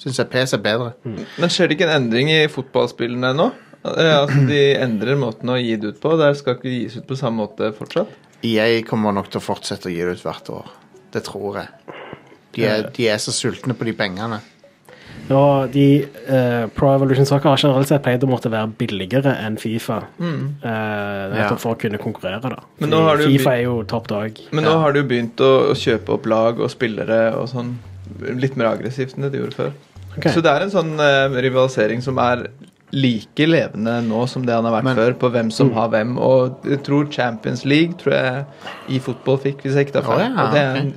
Speaker 2: syns jeg PS er bedre.
Speaker 4: Men skjer det ikke en endring i fotballspillene nå? Eh, Altså, De endrer måten å gi det ut på. Det skal ikke gis ut på samme måte fortsatt.
Speaker 2: Jeg E kommer nok til å fortsette å gi det ut hvert år. Det tror jeg. De er, de er så sultne på de pengene.
Speaker 3: Og de eh, Pro Evolution Soccer har generelt sett pleid å måtte være billigere enn Fifa. Eh, nettopp
Speaker 2: Ja.
Speaker 3: for å kunne konkurrere, da.
Speaker 4: Mm. Men nå har
Speaker 3: Fordi
Speaker 4: du jo
Speaker 3: Fifa
Speaker 4: by-
Speaker 3: er jo topp dog.
Speaker 4: Men nå har du begynt å, å kjøpe opp lag og spillere og sånn litt mer aggressivt enn det du gjorde før.
Speaker 3: Ok.
Speaker 4: Så det er en sånn eh, rivalisering som er like levende nå som det han har vært
Speaker 2: Men- Mm.
Speaker 4: før, på hvem som har hvem. Og jeg tror Champions League tror jeg i fotball fikk, hvis jeg ikke tar
Speaker 2: Å,
Speaker 4: feil.
Speaker 2: ja,
Speaker 4: og det er en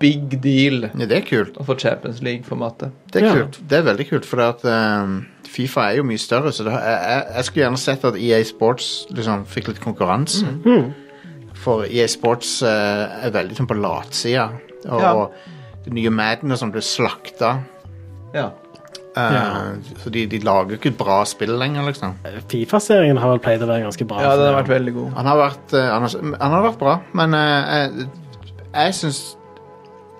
Speaker 4: big deal
Speaker 2: Ja, det er kult.
Speaker 4: å få Champions League-formatet.
Speaker 2: Det er,
Speaker 3: Ja.
Speaker 2: kult. Det er veldig kult, for at, ehm, Fifa er jo mye større. Så det, har- jeg, jeg, jeg skulle gjerne sett at EA Sports liksom, fikk litt konkurranse.
Speaker 3: Mhm.
Speaker 2: For EA Sports eh, er veldig sånn på latsida. Og,
Speaker 4: Ja.
Speaker 2: og det nye Madden og sånn blir slakta.
Speaker 4: Ja.
Speaker 2: Eh,
Speaker 3: Ja.
Speaker 2: Så de, de lager jo ikke et bra spill lenger, liksom.
Speaker 3: Fifa-serien har vel pleid å være ganske bra.
Speaker 4: ja, den har vært veldig god.
Speaker 2: Han har vært, eh, han har, han har vært bra, men eh, jeg, jeg syns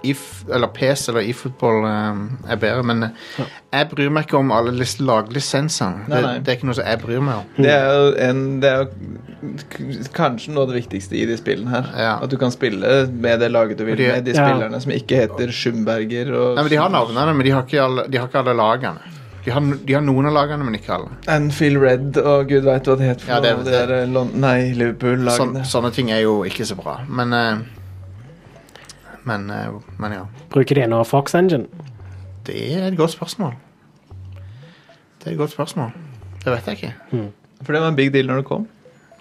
Speaker 2: if, eller PS eller eFootball eh, er bedre, men eh, jeg bryr meg ikke om alle lis- laglisensene.
Speaker 4: Nei,
Speaker 2: Det,
Speaker 4: nei.
Speaker 2: det er ikke noe som jeg bryr meg om.
Speaker 4: Det er jo, en, det er jo k- kanskje noe av det viktigste i de spillene her.
Speaker 2: Ja.
Speaker 4: At du kan spille med det laget du vil,
Speaker 2: Fordi-
Speaker 4: med de
Speaker 3: Ja.
Speaker 4: spillerne som ikke heter Schumberger og
Speaker 2: Nei, men De har navnene, men de har ikke alle, de har ikke alle lagene. De har, no- de har noen av lagene, men ikke alle.
Speaker 4: Anfield Red og gud veit hva det het for
Speaker 2: Ja, det er
Speaker 4: noe.
Speaker 2: det.
Speaker 4: Det der Lon- nei,
Speaker 2: Sånn,
Speaker 4: Liverpool-lagene.
Speaker 2: sånne ting er jo ikke så bra, men eh, men, eh, men ja.
Speaker 3: Bruker de nå Fox Engine?
Speaker 2: Det er et godt spørsmål. Det er et godt spørsmål. Det vet jeg ikke.
Speaker 4: For det var en big deal når det kom.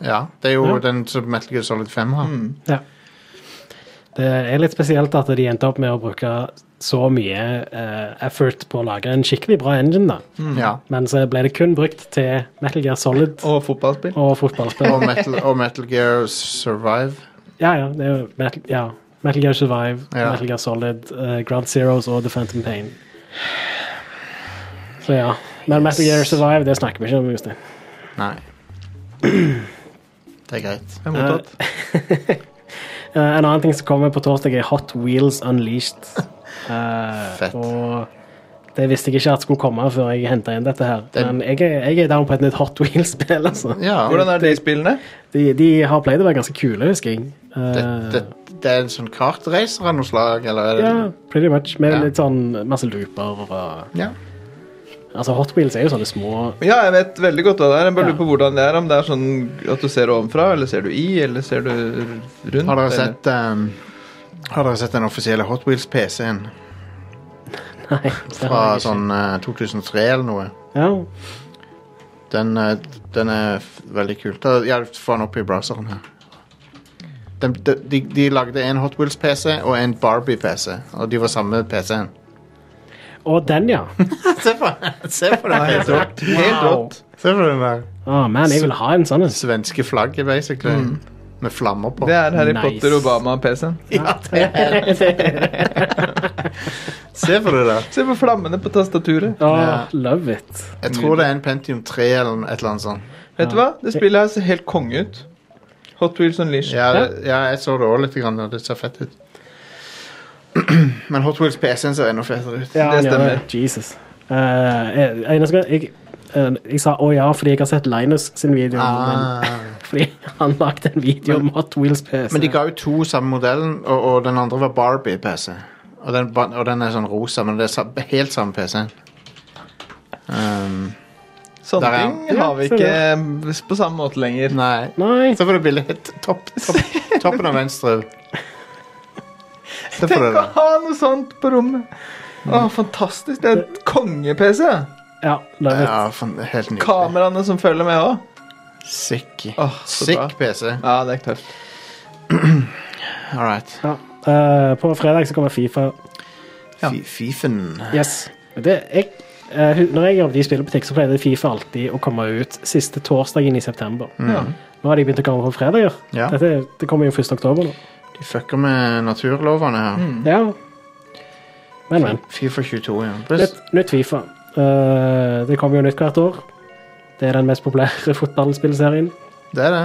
Speaker 2: Ja, Det er jo
Speaker 3: Ja.
Speaker 2: den som Metal Gear Solid 5 har.
Speaker 3: Ja. Det er litt spesielt at de endte opp med å bruke så mye eh, effort på å lage en skikkelig bra engine, da.
Speaker 2: Ja.
Speaker 3: Men så ble det kun brukt til Metal Gear Solid
Speaker 4: Og fotballspill.
Speaker 3: og fotballspill.
Speaker 2: og, metal, og Metal Gear Survive.
Speaker 3: Ja, ja, det er jo Metal, ja. Metal Gear Survive,
Speaker 2: Ja.
Speaker 3: Metal Gear Solid, eh, Ground Zeroes og The Phantom Pain. Så ja. Men Metal Gear Survive, det snakker vi ikke om, Jostein.
Speaker 2: Nei. Det er greit.
Speaker 4: Jeg er mottatt.
Speaker 3: Eh, en annen ting som kommer på torsdag, er Hot Wheels Unleashed. Eh,
Speaker 2: Fett.
Speaker 3: Og det visste jeg ikke at skulle komme før jeg henta inn dette her.
Speaker 2: Det-
Speaker 3: Men jeg er, jeg er down på et nytt Hot Wheels-spill, altså.
Speaker 2: Eh, Ja,
Speaker 4: Hvordan er de spillene?
Speaker 3: De, de har pleid å være ganske kule, husker jeg. Eh,
Speaker 2: det, det, det er en sånn kartreiser av noe slag, eller er det
Speaker 3: Ja, pretty much. Med
Speaker 2: Ja.
Speaker 3: litt sånn masse looper og
Speaker 2: Ja.
Speaker 3: ja, Altså, Hot Wheels er jo sånne små
Speaker 4: Ja, jeg vet veldig godt hva det er. Jeg bare
Speaker 3: Ja.
Speaker 4: lurer på hvordan det er. Om det er sånn at du ser ovenfra, eller ser du i, eller ser du rundt.
Speaker 2: Har dere
Speaker 4: eller-
Speaker 2: sett ehm, Har dere sett den offisielle Hot Wheels PC-en
Speaker 3: Nei. det
Speaker 2: fra
Speaker 3: har jeg ikke.
Speaker 2: sånn eh, 2003 eller noe?
Speaker 3: Ja.
Speaker 2: Den, eh, den er f- veldig kul. Da, ja, få den opp i browseren her. De, de, de, de lagde en Hot Wheels PC og en Barbie-PC, og de var samme PC-en.
Speaker 3: Og den, ja.
Speaker 2: Se på, se på den
Speaker 4: Helt
Speaker 2: PC-en!
Speaker 4: rått. Helt
Speaker 3: Wow.
Speaker 4: rått.
Speaker 2: Se på den der.
Speaker 3: Å, Ah, man, jeg vil ha en sånn en.
Speaker 2: Svenske flagget, basically. Med flammer på.
Speaker 4: Mm. Det er Harry
Speaker 3: Nice.
Speaker 4: Potter Obama-PC-en.
Speaker 2: Ja, det er. Se på det der.
Speaker 4: Se på flammene på tastaturet.
Speaker 3: Å,
Speaker 2: Ja.
Speaker 3: Ah, love it.
Speaker 2: Jeg tror det er en Pentium 3 eller et eller annet sånt.
Speaker 4: Vet du hva? Det spillet her ser helt konge ut. Hot Wheels Unleashed.
Speaker 2: Ja, det, ja jeg så det òg litt, grann, og det ser fett ut. Men Hot Wheels PC-en ser enda fetere ut.
Speaker 3: Ja,
Speaker 4: Det
Speaker 3: han gjør
Speaker 4: stemmer.
Speaker 3: Jesus. Eh, jeg, eneste gang jeg, eh, jeg sa å ja fordi jeg har sett Linus sin video.
Speaker 2: Ah.
Speaker 3: Men, fordi han lagde en video om Hot Wheels PC.
Speaker 2: Men de ga jo to samme modellen, og, og den andre var Barbie-PC. Og, den ba- og den er sånn rosa, men det er sa- helt samme PC-en. Um,
Speaker 4: Sånne
Speaker 2: Der er han.
Speaker 4: ting har vi
Speaker 3: Ja,
Speaker 4: ikke eh, på samme måte lenger.
Speaker 2: nei.
Speaker 3: Nei.
Speaker 2: Se på det bildet. Topp, topp, toppen av venstre. Se på det Mm.
Speaker 4: Tenk å
Speaker 2: der.
Speaker 4: ha noe sånt på rommet. Å, fantastisk. Det er et konge-PC.
Speaker 3: Ja, love it.
Speaker 2: Ja, fan, det er helt nydelig.
Speaker 4: Kameraene som følger med òg.
Speaker 2: Sick.
Speaker 4: Åh, så bra.
Speaker 2: Sick PC.
Speaker 4: Ja, det er tøft.
Speaker 2: All right.
Speaker 3: Ja. Eh, på fredag så kommer Fifa.
Speaker 4: Ja.
Speaker 2: Fi- Fifen.
Speaker 3: Yes. Det, jeg, eh, hu- når jeg jobbet i spillebutikk, så pleide Fifa alltid å komme ut siste torsdagen i september.
Speaker 4: Ja.
Speaker 3: Nå har de begynt å komme på fredager.
Speaker 2: Mm. Ja.
Speaker 3: Dette, det kommer jo 1. oktober nå.
Speaker 2: De fucker med naturlovene her.
Speaker 4: Mm.
Speaker 3: Ja. Men, men.
Speaker 2: Fifa 22, ja. Pluss-
Speaker 3: Nytt, nytt Fifa. Eh, det kommer jo nytt hvert år. Det er den mest populære fotballspillserien.
Speaker 2: Det er det.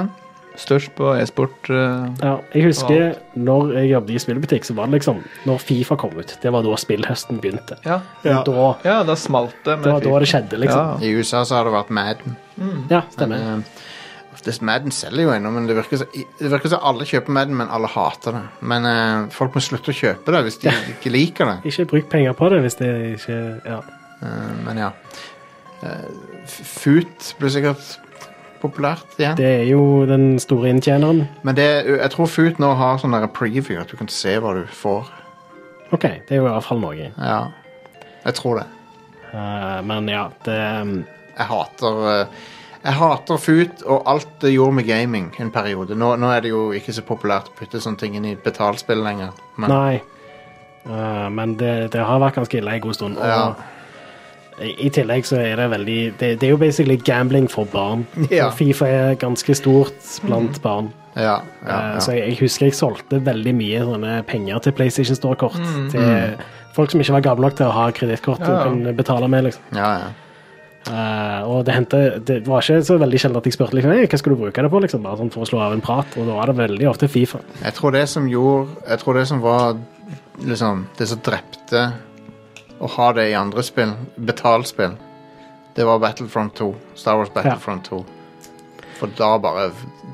Speaker 4: Størst på e-sport. eh,
Speaker 3: Ja, jeg husker når jeg jobbet i spillbutikk, så var det liksom Når Fifa kom ut, det var da spillhøsten begynte.
Speaker 4: Ja.
Speaker 3: Da,
Speaker 4: ja, da smalt det
Speaker 3: det
Speaker 4: med
Speaker 3: var da det skjedde, liksom.
Speaker 2: I USA så har det vært Madden.
Speaker 3: Ja, stemmer.
Speaker 2: Eh, det- Madden selger jo ennå, men det virker, så, det virker som alle kjøper Madden, men alle hater det. Men eh, folk må slutte å kjøpe det hvis de ikke liker det.
Speaker 3: Ikke bruk penger på det hvis det ikke Ja.
Speaker 2: Eh, men ja. Eh, F- Foot blir sikkert populært igjen.
Speaker 3: Det er jo den store inntjeneren.
Speaker 2: Men det, jeg tror Foot nå har sånn der preview, at du kan se hva du får.
Speaker 3: OK, det er jo i hvert fall noe.
Speaker 2: Ja. Jeg tror det.
Speaker 3: Eh, men ja, det um,
Speaker 2: Jeg hater eh, Jeg hater FUT og alt det gjorde med gaming en periode. Nå, nå er det jo ikke så populært å putte sånne ting inn i betalspill lenger. Men
Speaker 3: Nei. Eh, men det, det har vært ganske ille en god stund. Og
Speaker 2: Ja.
Speaker 3: i, I tillegg så er det veldig det, det er jo basically gambling for barn.
Speaker 2: Ja.
Speaker 3: Og Fifa er ganske stort blant barn.
Speaker 2: ja, ja,
Speaker 3: Eh, Så
Speaker 2: ja.
Speaker 3: jeg, jeg husker jeg solgte veldig mye sånne penger til PlayStation Store-kort.
Speaker 2: Mhm.
Speaker 3: Til folk som ikke var gamle nok til å ha kredittkort
Speaker 4: Ja, ja.
Speaker 3: og kunne betale med. liksom.
Speaker 2: ja, ja.
Speaker 3: Eh, og det, hendte, det var ikke så veldig sjelden at jeg spurte liksom, «Hey, hva skulle du bruke det på, liksom, bare sånn for å slå av en prat. Og da var det veldig ofte Fifa.
Speaker 2: Jeg tror det som gjorde Jeg tror det som var liksom Det som drepte å ha det i andre spill, betalspill, det var Battlefront 2. Star Wars Battlefront 2. For da bare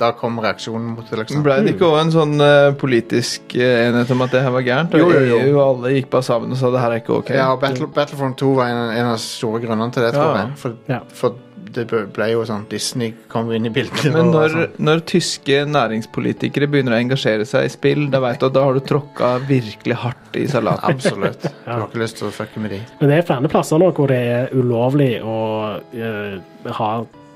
Speaker 2: Da kom reaksjonen mot det, liksom.
Speaker 4: Ble det ikke også en sånn eh, politisk eh, enighet om at det her var gærent? Og
Speaker 2: Jo, jo, jo.
Speaker 4: EU og alle gikk bare sammen og sa det her er ikke ok.
Speaker 2: Ja, og Battle, Battlefront 2 var en, en av de store grunnene til det, tror
Speaker 4: Ja.
Speaker 2: jeg. For,
Speaker 3: Ja.
Speaker 2: for det ble- ble jo sånn Disney kom jo inn i bildet.
Speaker 4: Men
Speaker 2: og
Speaker 4: når,
Speaker 2: sånn.
Speaker 4: når tyske næringspolitikere begynner å engasjere seg i spill, da vet du at da har du tråkka virkelig hardt i salaten.
Speaker 2: Absolutt. Du har ikke lyst til å fucke med de.
Speaker 3: Men det er flere plasser nå hvor det er ulovlig å eh, ha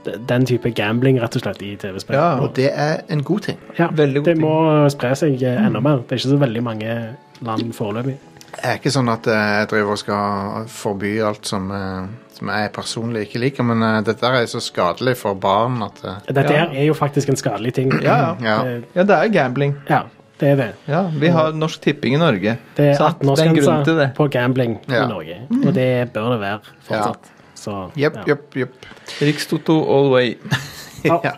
Speaker 3: d- den type gambling, rett og slett, i TV-spill.
Speaker 4: Ja,
Speaker 2: Og det er en god ting.
Speaker 3: Ja,
Speaker 4: veldig god
Speaker 3: det
Speaker 4: ting. Mm.
Speaker 3: må spre seg eh, enda mer. Det er ikke så veldig mange land foreløpig.
Speaker 2: Det er ikke sånn at eh, jeg driver og skal forby alt som, eh, som jeg personlig ikke liker, men eh, dette er så skadelig for barn at eh,
Speaker 3: Dette
Speaker 4: Ja.
Speaker 3: her er jo faktisk en skadelig ting.
Speaker 4: Ja, ja.
Speaker 2: Mm, Ja.
Speaker 3: Det,
Speaker 4: ja, det er jo gambling.
Speaker 3: ja, det er det.
Speaker 4: Ja, Vi har Norsk Tipping i Norge.
Speaker 3: Det er
Speaker 4: Sant? Det er en grunn til det.
Speaker 3: 18-årsgrense på gambling
Speaker 2: Ja.
Speaker 3: i Norge, og det bør det være fortsatt. Så,
Speaker 2: Jepp,
Speaker 3: ja.
Speaker 2: jepp, jepp.
Speaker 4: Rikstoto all way.
Speaker 3: Ja.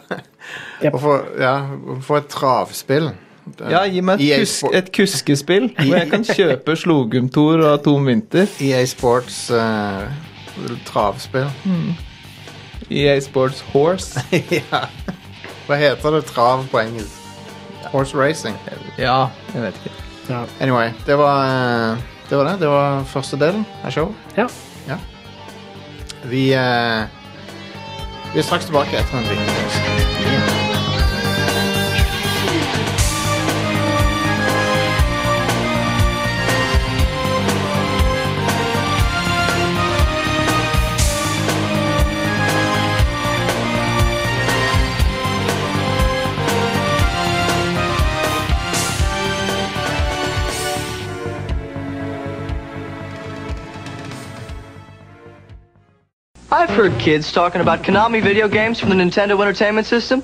Speaker 2: Og for, ja, og for et travspill. Eh, E Det-
Speaker 4: Ja, gi meg
Speaker 2: EA
Speaker 4: et, kus
Speaker 2: Sport-
Speaker 4: et kuskespill hvor jeg kan kjøpe Slogumtor og Atom Winter.
Speaker 2: EA E Sports eh, travspill.
Speaker 4: EA E Sports Horse.
Speaker 2: ja. Hva heter det trav på engelsk? Horse racing.
Speaker 4: Ja, jeg vet ikke.
Speaker 3: Ja.
Speaker 2: Anyway, det var eh, det. Var det. det var første delen av showet.
Speaker 3: ja.
Speaker 2: Ja. Vi, eh, vi er straks tilbake etter en liten pause.
Speaker 5: I've heard kids talking about Konami video games from the Nintendo Entertainment System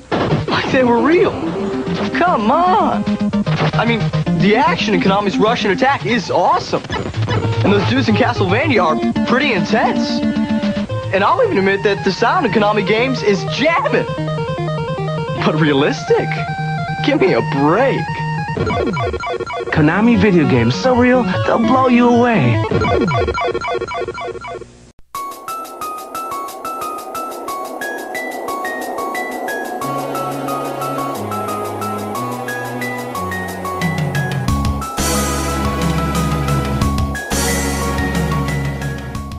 Speaker 5: like they were real. Come on. I mean, the action in Konami's Russian attack is awesome. And those dudes in Castlevania are pretty intense. And I'll even admit that the sound in Konami games is jabbing. But realistic? Give me a break. Konami video games, so real, they'll blow you away.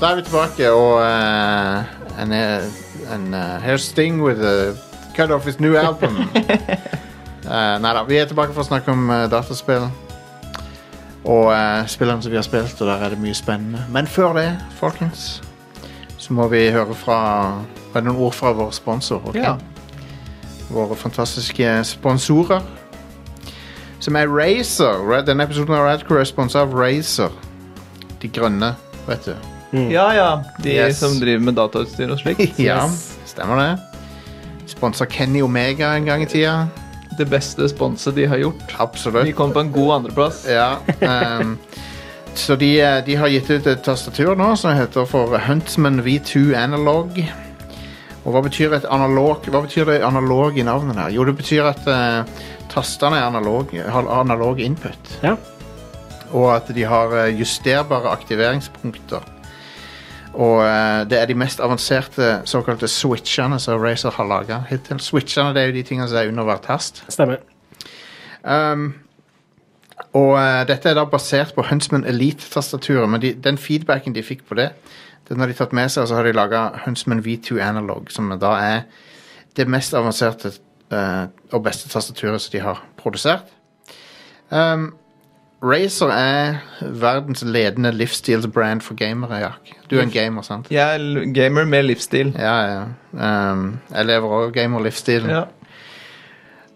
Speaker 2: Da er vi tilbake, og uh, and, uh, and, uh, Here's Sting with a cut off his new album. uh, nei da, vi er tilbake for å snakke om uh, dataspill. Og uh, spillene som vi har spilt, og der er det mye spennende. Men før det, folkens, så må vi høre fra var det noen ord fra vår sponsor. ok?
Speaker 4: Ja.
Speaker 2: Våre fantastiske sponsorer. Som er Razer. Ra- Denne episoden av Radcrew er sponsa av Razer. De grønne, vet du.
Speaker 4: Ja, ja. De
Speaker 2: Yes.
Speaker 4: som driver med datautstyr og slikt.
Speaker 2: Ja, stemmer det. Sponsa Kenny Omega en gang i tida.
Speaker 4: Det beste sponset de har gjort. De
Speaker 2: Absolutt.
Speaker 4: kom på en god andreplass.
Speaker 2: Ja. ehm, så de, eh, de har gitt ut et tastatur nå som heter for Huntsman V2 Analog. Og hva betyr, et analog, hva betyr det analog i navnet her? Jo, det betyr at eh, tastene er analog, har analog input.
Speaker 3: Ja.
Speaker 2: Og at de har eh, justerbare aktiveringspunkter. Og eh, det er de mest avanserte såkalte switchene som Razer har laga hittil. Switchene det er jo de tingene som er under hver tast.
Speaker 3: Stemmer.
Speaker 2: Um, og eh, dette er da basert på Huntsman Elite-tastaturet, men de, den feedbacken de fikk på det, den har de tatt med seg, og så har de laga Huntsman V2 Analog, som da er det mest avanserte eh, og beste tastaturet som de har produsert. Um, Razer er verdens ledende livsstilsbrand for gamere, Jack. Du er en gamer, sant?
Speaker 4: Jeg er l- gamer med livsstil.
Speaker 2: Ja, ja. Um, jeg lever òg gamerlivsstilen.
Speaker 4: Ja.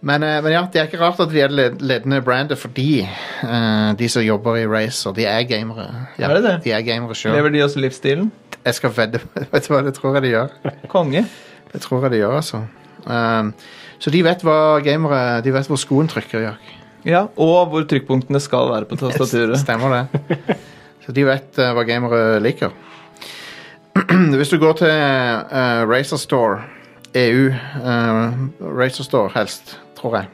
Speaker 2: Men, eh, men ja, det er ikke rart at vi er led- ledende brandet fordi eh, de som jobber i Razer, de er gamere. Ja,
Speaker 4: Er det det?
Speaker 2: De er gamere sjøl.
Speaker 4: Lever de også livsstilen?
Speaker 2: Jeg skal vedde Vet du hva, det tror jeg de gjør.
Speaker 4: Konge.
Speaker 2: Det tror jeg de gjør, altså. Um, så de vet hva gamere De vet hvor skoen trykker, Jack.
Speaker 4: Ja, Og hvor trykkpunktene skal være på tastaturet.
Speaker 2: Stemmer det. Så de vet eh, hva gamere liker. Hvis du går til uh, Racer Store, E EU uh, Racer Store helst, tror jeg.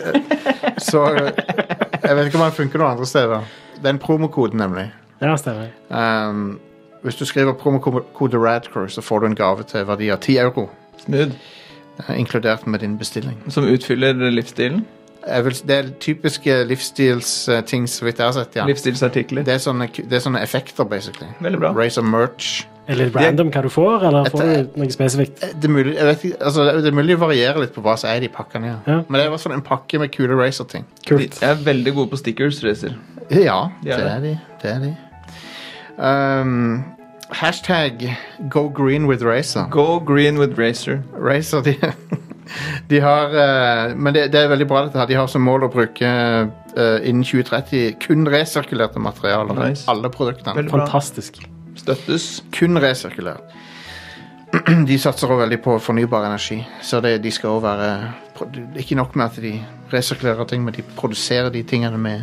Speaker 2: Så eh, jeg vet ikke om den funker noen andre steder. Det er en promokode, nemlig.
Speaker 3: Ja, stemmer.
Speaker 2: Um, hvis du skriver promokode Radcrew, så får du en gave til verdi av 10 euro.
Speaker 4: Smooth.
Speaker 2: eh, Inkludert med din bestilling.
Speaker 4: Som utfyller livsstilen.
Speaker 2: Jeg vil, det er typiske livsstilsting, så vidt jeg har sett. ja.
Speaker 4: Livsstilsartikler.
Speaker 2: Det er sånne, det er sånne effekter, basically.
Speaker 4: Veldig bra.
Speaker 2: Razer merch.
Speaker 3: Er det litt random hva du får, eller får
Speaker 2: Dette-
Speaker 3: du noe spesifikt?
Speaker 2: Eh, Det er mulig, jeg vet, ikke- altså, det er mulig å variere litt på hva som er i de pakkene. Ja.
Speaker 3: Ja.
Speaker 2: Men det er i hvert fall en pakke med kule Razer-ting.
Speaker 4: De
Speaker 3: Kult.
Speaker 4: er veldig gode på stickers, Razer.
Speaker 2: Ja,
Speaker 4: De er
Speaker 2: det er de. Det er de. Um, hashtag go green with Razer.
Speaker 4: Go green with Razer.
Speaker 2: Razer, de, de har eh, Men det, det er veldig bra, dette her. De har som mål å bruke eh, innen 2030 kun resirkulerte materialer. i
Speaker 4: Nice.
Speaker 2: Alle produktene.
Speaker 4: Veldig bra.
Speaker 3: Fantastisk.
Speaker 4: Støttes.
Speaker 2: kun resirkulert. De satser også veldig på fornybar energi. Så det, de skal også være pro- Ikke nok med at de resirkulerer ting, men de produserer de tingene med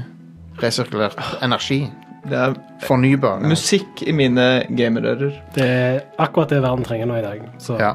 Speaker 2: resirkulert energi.
Speaker 4: Det er
Speaker 2: Fornybar. energi.
Speaker 4: musikk i mine gamerører.
Speaker 3: Det er akkurat det verden trenger nå i dag. Så
Speaker 2: Ja.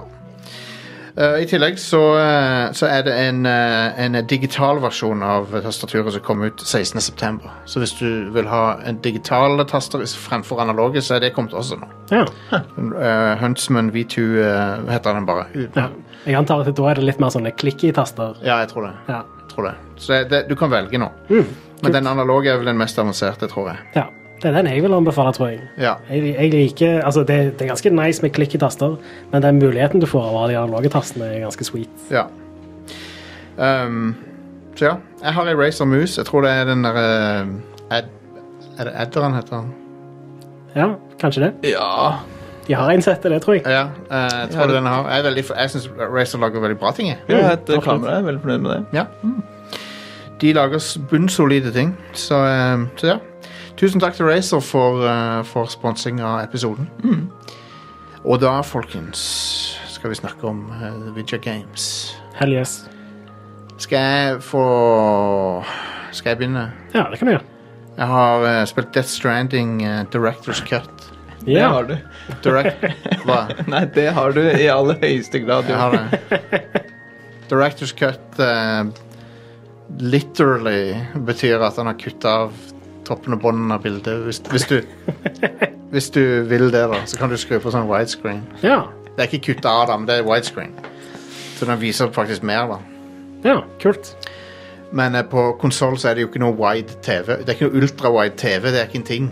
Speaker 2: Eh, I tillegg så, eh, så er det en, eh, en digital versjon av tastaturet som kom ut 16.9. Så hvis du vil ha en digital taster fremfor analoge, så er det kommet også nå.
Speaker 3: ja.
Speaker 2: Eh, Huntsman V2 eh, heter den bare.
Speaker 3: ja. Jeg antar at da er det litt mer sånne klikk i taster.
Speaker 2: Ja, jeg tror det.
Speaker 3: Ja.
Speaker 2: tror det. Så det, det, du kan velge nå.
Speaker 3: Mm.
Speaker 2: Men den analoge er vel den mest avanserte, tror jeg.
Speaker 3: ja. Det er den jeg vil anbefale, tror jeg.
Speaker 2: Ja.
Speaker 3: Jeg, jeg liker, altså det, det er ganske nice med klikk i taster, men den muligheten du får av å ha de analoge tastene, er ganske sweet.
Speaker 2: ja. Ehm, så ja. Jeg har Eraser Moose. Jeg tror det er den derre Ad... Er det Adderen heter han?
Speaker 3: Ja, kanskje det.
Speaker 4: Ja.
Speaker 3: De har innsett det, tror jeg.
Speaker 2: Ja, eh, jeg tror
Speaker 4: Ja,
Speaker 2: det
Speaker 4: det-
Speaker 2: den har. Jeg, er veldig- jeg syns Racer lager veldig bra ting. Jeg.
Speaker 4: Jeg har et
Speaker 2: Mm.
Speaker 3: absolutt.
Speaker 4: kamera. Jeg er veldig fornøyd med det.
Speaker 2: Ja. De lager s- bunnsolide ting. Så, eh, så ja. Tusen takk til Racer for, eh, for sponsing av episoden. Og da, folkens, skal vi snakke om eh, Vidja Games.
Speaker 3: Hell yes.
Speaker 2: Skal jeg få Skal jeg begynne?
Speaker 3: Ja, det kan du gjøre.
Speaker 2: Jeg har eh, spilt Death Stranding eh, Directors Cut.
Speaker 4: Det
Speaker 3: Ja.
Speaker 4: har du.
Speaker 2: Direct... Hva?
Speaker 4: Nei, det har du i aller høyeste grad.
Speaker 2: Jeg
Speaker 4: Ja.
Speaker 2: har det. Directors cut eh, literally betyr at han har kutta av toppen og bånden av bildet. Hvis, hvis, du, hvis du vil det, da, så kan du skru på sånn widescreen.
Speaker 3: Ja.
Speaker 2: Det er ikke kutta av, da, men det er widescreen. Så den viser faktisk mer, da.
Speaker 3: ja, kult.
Speaker 2: Men eh, på konsoll så er det jo ikke noe wide TV. Det er ikke noe ultrawide TV, det er ikke en ting.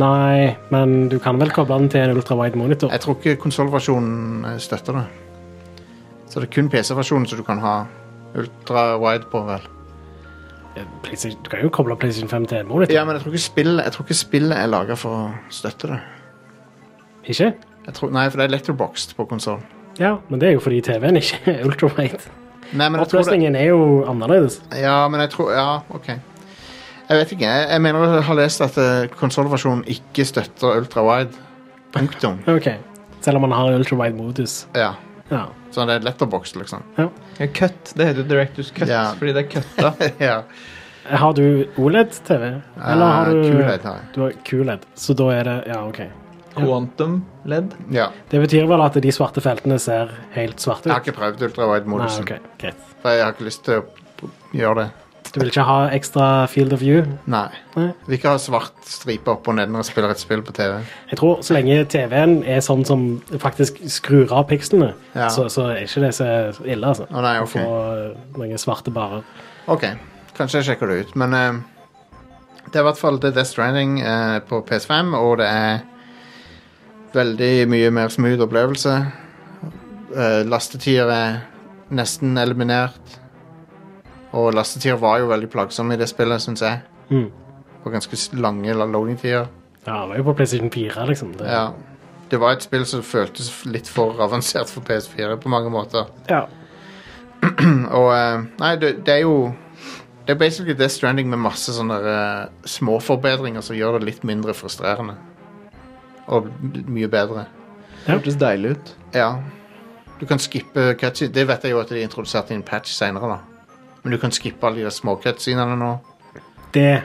Speaker 3: Nei, men du kan vel koble den til en ultrawide monitor.
Speaker 2: Jeg tror ikke konsollversjonen eh, støtter det. Så det er kun PC-versjonen som du kan ha ultrawide på, vel.
Speaker 3: PlayStation- Du kan jo koble PlayStation 5 til en monitor.
Speaker 2: Ja, men jeg tror ikke spillet, jeg tror ikke spillet er laga for å støtte det.
Speaker 3: Ikke?
Speaker 2: Jeg tror, nei, for det er letterboxed på konsoll.
Speaker 3: Ja, men det er jo fordi TV-en ikke er ultrawide.
Speaker 2: Nei, men jeg tror det
Speaker 3: Oppløsningen er jo annerledes.
Speaker 2: Ja, men jeg tror Ja, OK. Jeg vet ikke. Jeg, jeg mener jeg har lest at konsollversjonen ikke støtter ultrawide. Punktum.
Speaker 3: Ok, selv om man har ultrawide modus.
Speaker 2: Ja.
Speaker 3: Ja.
Speaker 2: Så det er letterboxed, liksom.
Speaker 4: Ja, Cut. Det heter jo Directors Cut
Speaker 2: Ja.
Speaker 4: fordi det er cutta.
Speaker 2: ja.
Speaker 3: Har du OLED-TV? Eller har
Speaker 2: Eh,
Speaker 3: du
Speaker 2: Kulhet har jeg.
Speaker 3: Du har QLED, så da er det Ja, OK.
Speaker 4: Quantum LED.
Speaker 2: Ja.
Speaker 3: Det betyr vel at de svarte feltene ser helt svarte
Speaker 2: Jeg har
Speaker 3: ut?
Speaker 2: ikke prøvd ultrawide-modusen.
Speaker 3: Nei, ok, greit.
Speaker 2: For Jeg har ikke lyst til å gjøre det.
Speaker 3: Du vil ikke ha ekstra field of view?
Speaker 2: Nei.
Speaker 3: Nei.
Speaker 2: Vil ikke ha svart stripe opp og ned når jeg spiller et spill på TV.
Speaker 3: Jeg tror så lenge TV-en er sånn som faktisk skrur av pikslene,
Speaker 2: Ja.
Speaker 3: så, så er ikke det så ille, altså.
Speaker 2: Å nei, ok.
Speaker 3: Og mange svarte barer.
Speaker 2: Ok, kanskje jeg sjekker det ut Men eh, det er i hvert fall det er Death Stranding eh, på PS5 Og det er veldig mye mer smooth opplevelse uh, Lastetider er nesten eliminert Og lastetider var jo veldig plagsomme i det spillet, synes jeg
Speaker 3: Mm.
Speaker 2: Og ganske s- lange la- loading-tider
Speaker 3: Ja, det var jo på PlayStation 4, liksom. Det,
Speaker 2: ja. Det var et spill som føltes litt for avansert for PS4 på mange måter
Speaker 3: ja.
Speaker 2: og eh, Nei, det, det er jo Det er basically Death Stranding med masse sånne eh, små forbedringer som gjør det litt mindre frustrerende. Og m- mye bedre.
Speaker 3: Ja.
Speaker 4: Hørtes deilig ut.
Speaker 2: Ja. Du kan skippe cutscenes. Det vet jeg jo at de introduserte i en patch seinere, da. Men du kan skippe alle de der små cutscenene nå.
Speaker 3: det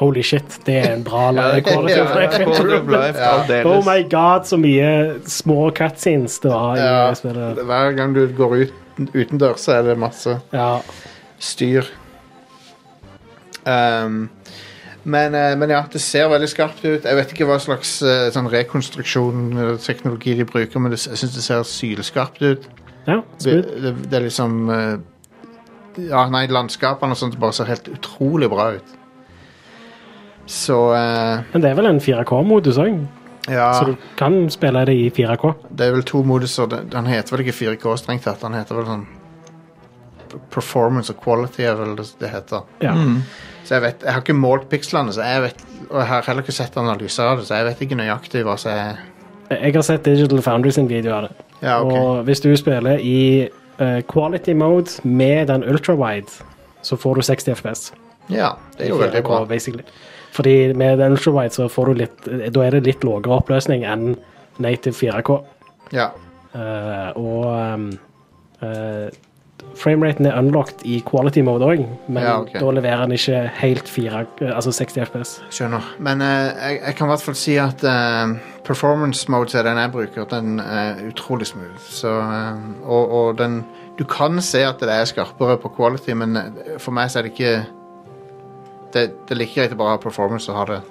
Speaker 3: Holy shit, det er en bra
Speaker 4: Ja, det
Speaker 3: live
Speaker 4: er quality of life. Quality of life
Speaker 3: Oh
Speaker 4: aldeles.
Speaker 3: my god, så mye små cutscenes det var i
Speaker 2: Ja.
Speaker 3: det spillet.
Speaker 2: Hver gang du går ut utendørs, så er det masse
Speaker 3: Ja.
Speaker 2: styr. Ehm, men, eh, men ja, det ser veldig skarpt ut. Jeg vet ikke hva slags eh, sånn rekonstruksjon eller teknologi de bruker, men det, jeg syns det ser sylskarpt ut.
Speaker 3: ja
Speaker 2: Det,
Speaker 3: smooth.
Speaker 2: det, det er liksom eh, Ja, nei, landskapene og sånt bare ser helt utrolig bra ut. Så eh,
Speaker 3: Men det er vel en 4K-modus òg,
Speaker 2: ja
Speaker 3: så du kan spille det i 4K.
Speaker 2: Det er vel to moduser. Den den heter vel ikke 4K strengt tatt. Den heter vel sånn Performance og quality er vel det det heter.
Speaker 3: Ja.
Speaker 2: Mm. Så jeg vet, jeg har ikke målt pikslene, så jeg vet, og jeg har heller ikke sett analyser av det, så jeg vet ikke nøyaktig hva som er
Speaker 3: Jeg har sett Digital Foundry sin video av det.
Speaker 2: Ja, ok.
Speaker 3: Og hvis du spiller i eh, quality mode med den ultrawide, så får du 60 FPS.
Speaker 2: Ja, det er jo veldig bra.
Speaker 3: basically. Fordi med den ultrawide så får du litt eh, Da er det litt lavere oppløsning enn native 4K.
Speaker 2: Ja,
Speaker 3: Eh, og um, eh, frameraten er unlocked i quality mode òg, men
Speaker 2: Ja, ok.
Speaker 3: da leverer den ikke helt 4, eh, altså 60 FPS.
Speaker 2: skjønner. Men eh, jeg, jeg kan i hvert fall si at eh, performance mode som er den jeg bruker, den er utrolig smooth. Så, eh, og, og den Du kan se at det er skarpere på quality, men eh, for meg så er det ikke Det, det er like greit å bare ha performance og ha det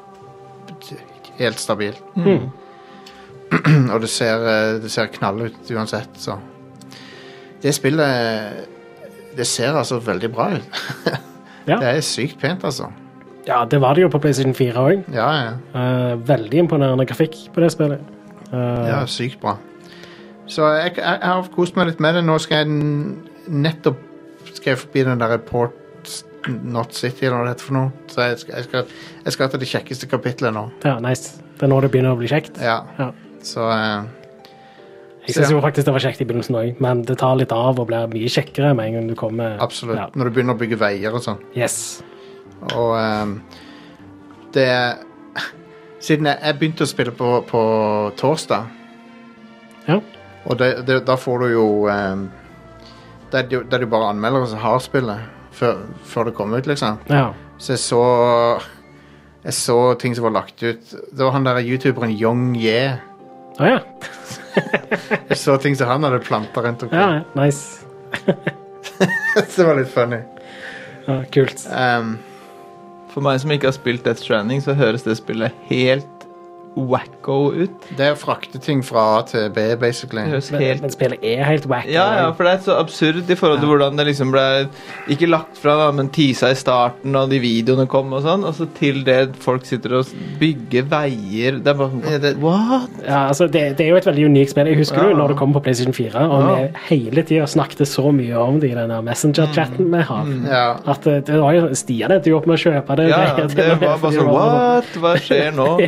Speaker 2: helt stabilt.
Speaker 3: Mm.
Speaker 2: Og det ser, eh, det ser knall ut uansett, så Det spillet Det ser altså veldig bra ut.
Speaker 3: Ja.
Speaker 2: Det er sykt pent, altså.
Speaker 3: Ja, det var det jo på PlayStation 4 òg.
Speaker 2: Ja, ja.
Speaker 3: veldig imponerende grafikk på det spillet. Eh,
Speaker 2: ja sykt bra. Så jeg, jeg, jeg har kost meg litt med det. Nå skal jeg n- nettopp skal jeg forbi den der Port Not City, eller hva det heter for noe. Så jeg, skal- jeg, skal, jeg skal til det kjekkeste kapitlet nå.
Speaker 3: ja, nice. Det er nå det begynner å bli kjekt.
Speaker 2: Ja.
Speaker 3: Ja.
Speaker 2: Så eh,
Speaker 3: Jeg synes
Speaker 2: Ja.
Speaker 3: jo faktisk det var kjekt i begynnelsen òg, men det tar litt av og blir mye kjekkere med en gang du kommer
Speaker 2: absolutt.
Speaker 3: Ja.
Speaker 2: Når du begynner å bygge veier og sånn.
Speaker 3: Yes.
Speaker 2: Og ehm, det Siden jeg, jeg begynte å spille på, på torsdag,
Speaker 3: Ja.
Speaker 2: og det, det, da får du jo ehm, Det er jo- det er jo bare anmeldere som har spillet før, før det kom ut, liksom.
Speaker 3: Ja.
Speaker 2: Så jeg så Jeg så ting som var lagt ut. Det var han der youtuberen Yong Ye.
Speaker 3: Å ja.
Speaker 2: Jeg så ting som han hadde planta rundt
Speaker 3: ja.
Speaker 2: omkring.
Speaker 3: ja. Nice.
Speaker 2: det var litt funny.
Speaker 3: Ja, kult.
Speaker 2: Ehm,
Speaker 4: For meg som ikke har spilt Death Stranding, så høres det spillet helt wacko ut.
Speaker 2: det er å frakte ting fra A til B, basically.
Speaker 4: Det høres
Speaker 3: Men,
Speaker 4: helt
Speaker 3: men spillet er helt wack.
Speaker 4: Ja, ja, for det er så absurd i forhold til hvordan det liksom ble Ikke lagt fra, da, men tisa i starten, og de videoene kom og sånn. Og så til det folk sitter og bygger veier Det er bare
Speaker 2: Ja, det-
Speaker 4: sånn What?
Speaker 3: Ja, altså, det, det er jo et veldig unikt spill. Jeg husker
Speaker 4: Ja.
Speaker 3: jo når det kom på PlayStation 4, og
Speaker 4: Ja.
Speaker 3: vi hele tida snakket så mye om det i den der Messenger-chatten vi har.
Speaker 2: Ja.
Speaker 3: At det, det var jo Stian endte jo opp med å kjøpe det.
Speaker 4: Ja,
Speaker 3: det-
Speaker 4: ja,
Speaker 3: det-
Speaker 4: det var bare
Speaker 3: fordi
Speaker 4: sånn
Speaker 3: det var-
Speaker 4: What? Hva skjer nå?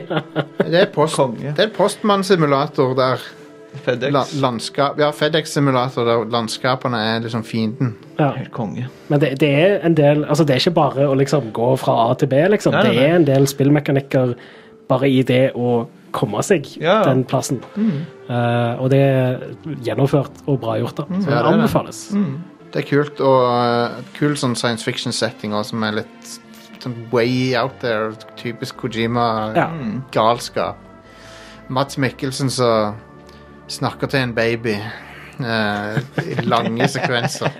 Speaker 2: Det er, post,
Speaker 4: Konge.
Speaker 2: det er postmannsimulator der la,
Speaker 4: FedEx.
Speaker 2: landskap, Ja, FedEx-simulator der landskapene er liksom fienden.
Speaker 3: Ja.
Speaker 4: Helt konge.
Speaker 3: Men det, det er en del Altså, det er ikke bare å liksom gå fra A til B, liksom.
Speaker 4: Nei, nei,
Speaker 3: Det er en del spillmekanikker bare i det å komme seg
Speaker 4: Ja. Mm.
Speaker 3: den plassen. Eh, og det er gjennomført og bra gjort, da.
Speaker 4: Mm.
Speaker 2: Ja,
Speaker 3: Så det
Speaker 2: det er det.
Speaker 3: anbefales.
Speaker 2: Det er kult, og uh, kul sånn science fiction-setting også, som er litt sånn way out there. Typisk
Speaker 3: Ja.
Speaker 4: Mm.
Speaker 2: Kojima-galskap. Mats Mikkelsen som snakker til en baby eh, i lange sekvenser.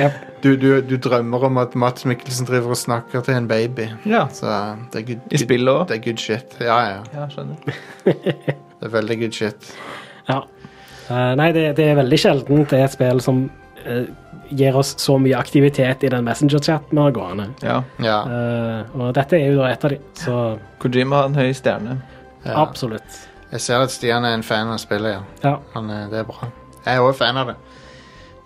Speaker 3: Yep.
Speaker 2: Du, du, du drømmer om at Mats Mikkelsen driver og snakker til en baby.
Speaker 4: Ja.
Speaker 2: Så det er good,
Speaker 4: I
Speaker 2: good,
Speaker 4: spillet òg.
Speaker 2: det er good shit. Ja, ja.
Speaker 4: Ja, skjønner.
Speaker 2: Det er veldig good shit.
Speaker 3: Ja. Eh, nei, det, det er veldig sjelden det er et spill som eh, gir oss så mye aktivitet i den Messenger-chatten vi har gående.
Speaker 4: Ja.
Speaker 2: Ja.
Speaker 3: Eh, og dette er jo da et av de, så
Speaker 4: Kojima har en høy stjerne.
Speaker 2: ja.
Speaker 3: absolutt.
Speaker 2: Jeg ser at Stian er en fan av spillet, ja.
Speaker 3: Ja.
Speaker 2: Han, eh, det er bra. Jeg er òg fan av det.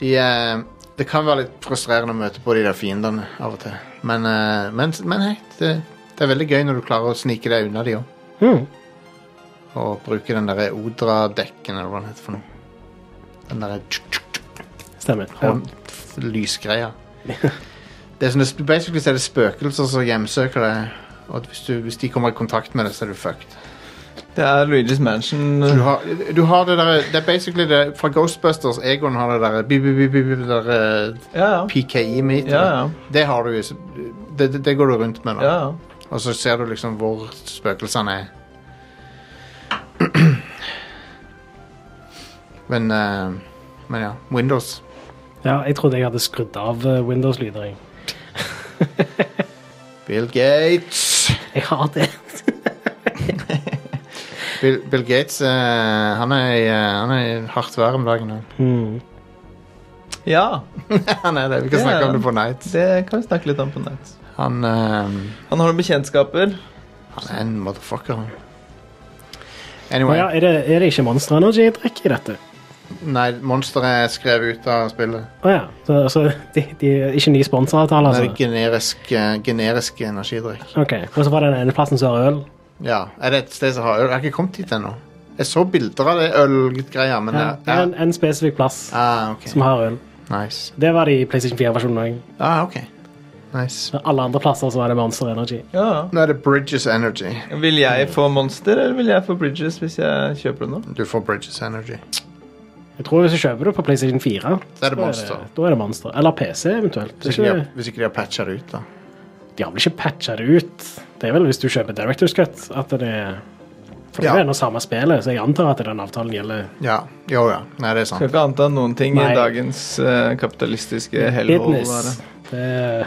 Speaker 2: De, eh, det kan være litt frustrerende å møte på de der fiendene av og til. Men, eh, men, men hei, det, det er veldig gøy når du klarer å snike deg unna de òg.
Speaker 3: Mm.
Speaker 2: Og bruke den derre Odra-dekken, eller hva den heter for noe. Den derre tsk, tsk, tsk,
Speaker 3: Stemmer. Ja.
Speaker 2: hånd- f- lysgreia. Det er sånn, det- basically så er det spøkelser som hjemsøker deg. Og at hvis, du, hvis de kommer i kontakt med deg, så er du fucked.
Speaker 4: Det er Luigi's Mansion.
Speaker 2: Du har, du har det derre Det er basically det fra Ghostbusters. Egon har det derre bi, bi, bi, bi, eh, bi, det derre
Speaker 4: Ja, ja.
Speaker 2: PKI-meter.
Speaker 4: Ja, ja.
Speaker 2: E Det har du jo så- det, det, det går du rundt med nå.
Speaker 4: ja, ja.
Speaker 2: Og så ser du liksom hvor spøkelsene er. Men eh, Men ja. Windows.
Speaker 3: ja, jeg trodde jeg hadde skrudd av eh, Windows-lyder. jeg.
Speaker 2: Bill Gates.
Speaker 3: Jeg har det.
Speaker 2: Bill, Bill Gates eh, han, er i, eh, han er i hardt vær om dagen. han.
Speaker 3: Mm.
Speaker 4: ja,
Speaker 2: han er det. Vi kan
Speaker 4: Ja,
Speaker 2: snakke
Speaker 4: ja.
Speaker 2: om det på Night.
Speaker 4: det kan vi snakke litt om på nett.
Speaker 2: Han, eh,
Speaker 4: Han har noen bekjentskaper.
Speaker 2: han er en motherfucker, han.
Speaker 3: Men
Speaker 2: Anyway.
Speaker 3: ja, er, det, er det ikke Monster Energy-drikk i dette?
Speaker 2: Nei, monsteret er skrevet ut av spillet.
Speaker 3: Å ja. Så, så de, de er ikke ny sponsoravtale,
Speaker 2: Det er
Speaker 3: altså?
Speaker 2: generisk, eh, generisk energidrikk.
Speaker 3: Ok, Og så var det den ene plassen som har øl?
Speaker 2: Ja, er det et sted som har øl? Jeg har ikke kommet dit ennå. Jeg så bilder av det ølgreia, men
Speaker 3: Ja,
Speaker 2: jeg-
Speaker 3: det er en, en spesifikk plass
Speaker 2: Ah, ok.
Speaker 3: som har øl.
Speaker 2: Nice.
Speaker 3: Det var det i PlayStation 4-versjonen òg.
Speaker 2: Ah, ok. Nice.
Speaker 3: Men alle andre plasser så er det Monster Energy.
Speaker 4: Ja,
Speaker 2: Nå er det Bridges Energy.
Speaker 4: ja. Vil jeg få Monster, eller vil jeg få Bridges hvis jeg kjøper det nå?
Speaker 2: Du får Bridges Energy.
Speaker 3: Jeg tror Hvis du kjøper det på PlayStation 4,
Speaker 2: Så er det
Speaker 3: da
Speaker 2: Monster.
Speaker 3: da er det Monster. Eller PC, eventuelt. Det
Speaker 2: Hvis
Speaker 3: er
Speaker 2: ikke de har,
Speaker 3: Ikke,
Speaker 2: hvis ikke de har patcha det ut, da.
Speaker 3: de har vel ikke patcha det ut? Det er vel hvis du kjøper Director's Cut at det er For
Speaker 2: Ja.
Speaker 3: det er nå samme spillet, så jeg antar at den avtalen gjelder.
Speaker 2: Ja. Jo ja. Nei, det er
Speaker 4: Skal
Speaker 2: sant.
Speaker 4: ikke anta noen ting
Speaker 3: Nei.
Speaker 4: i dagens eh, kapitalistiske hellhole.
Speaker 3: Business. Det
Speaker 4: bare.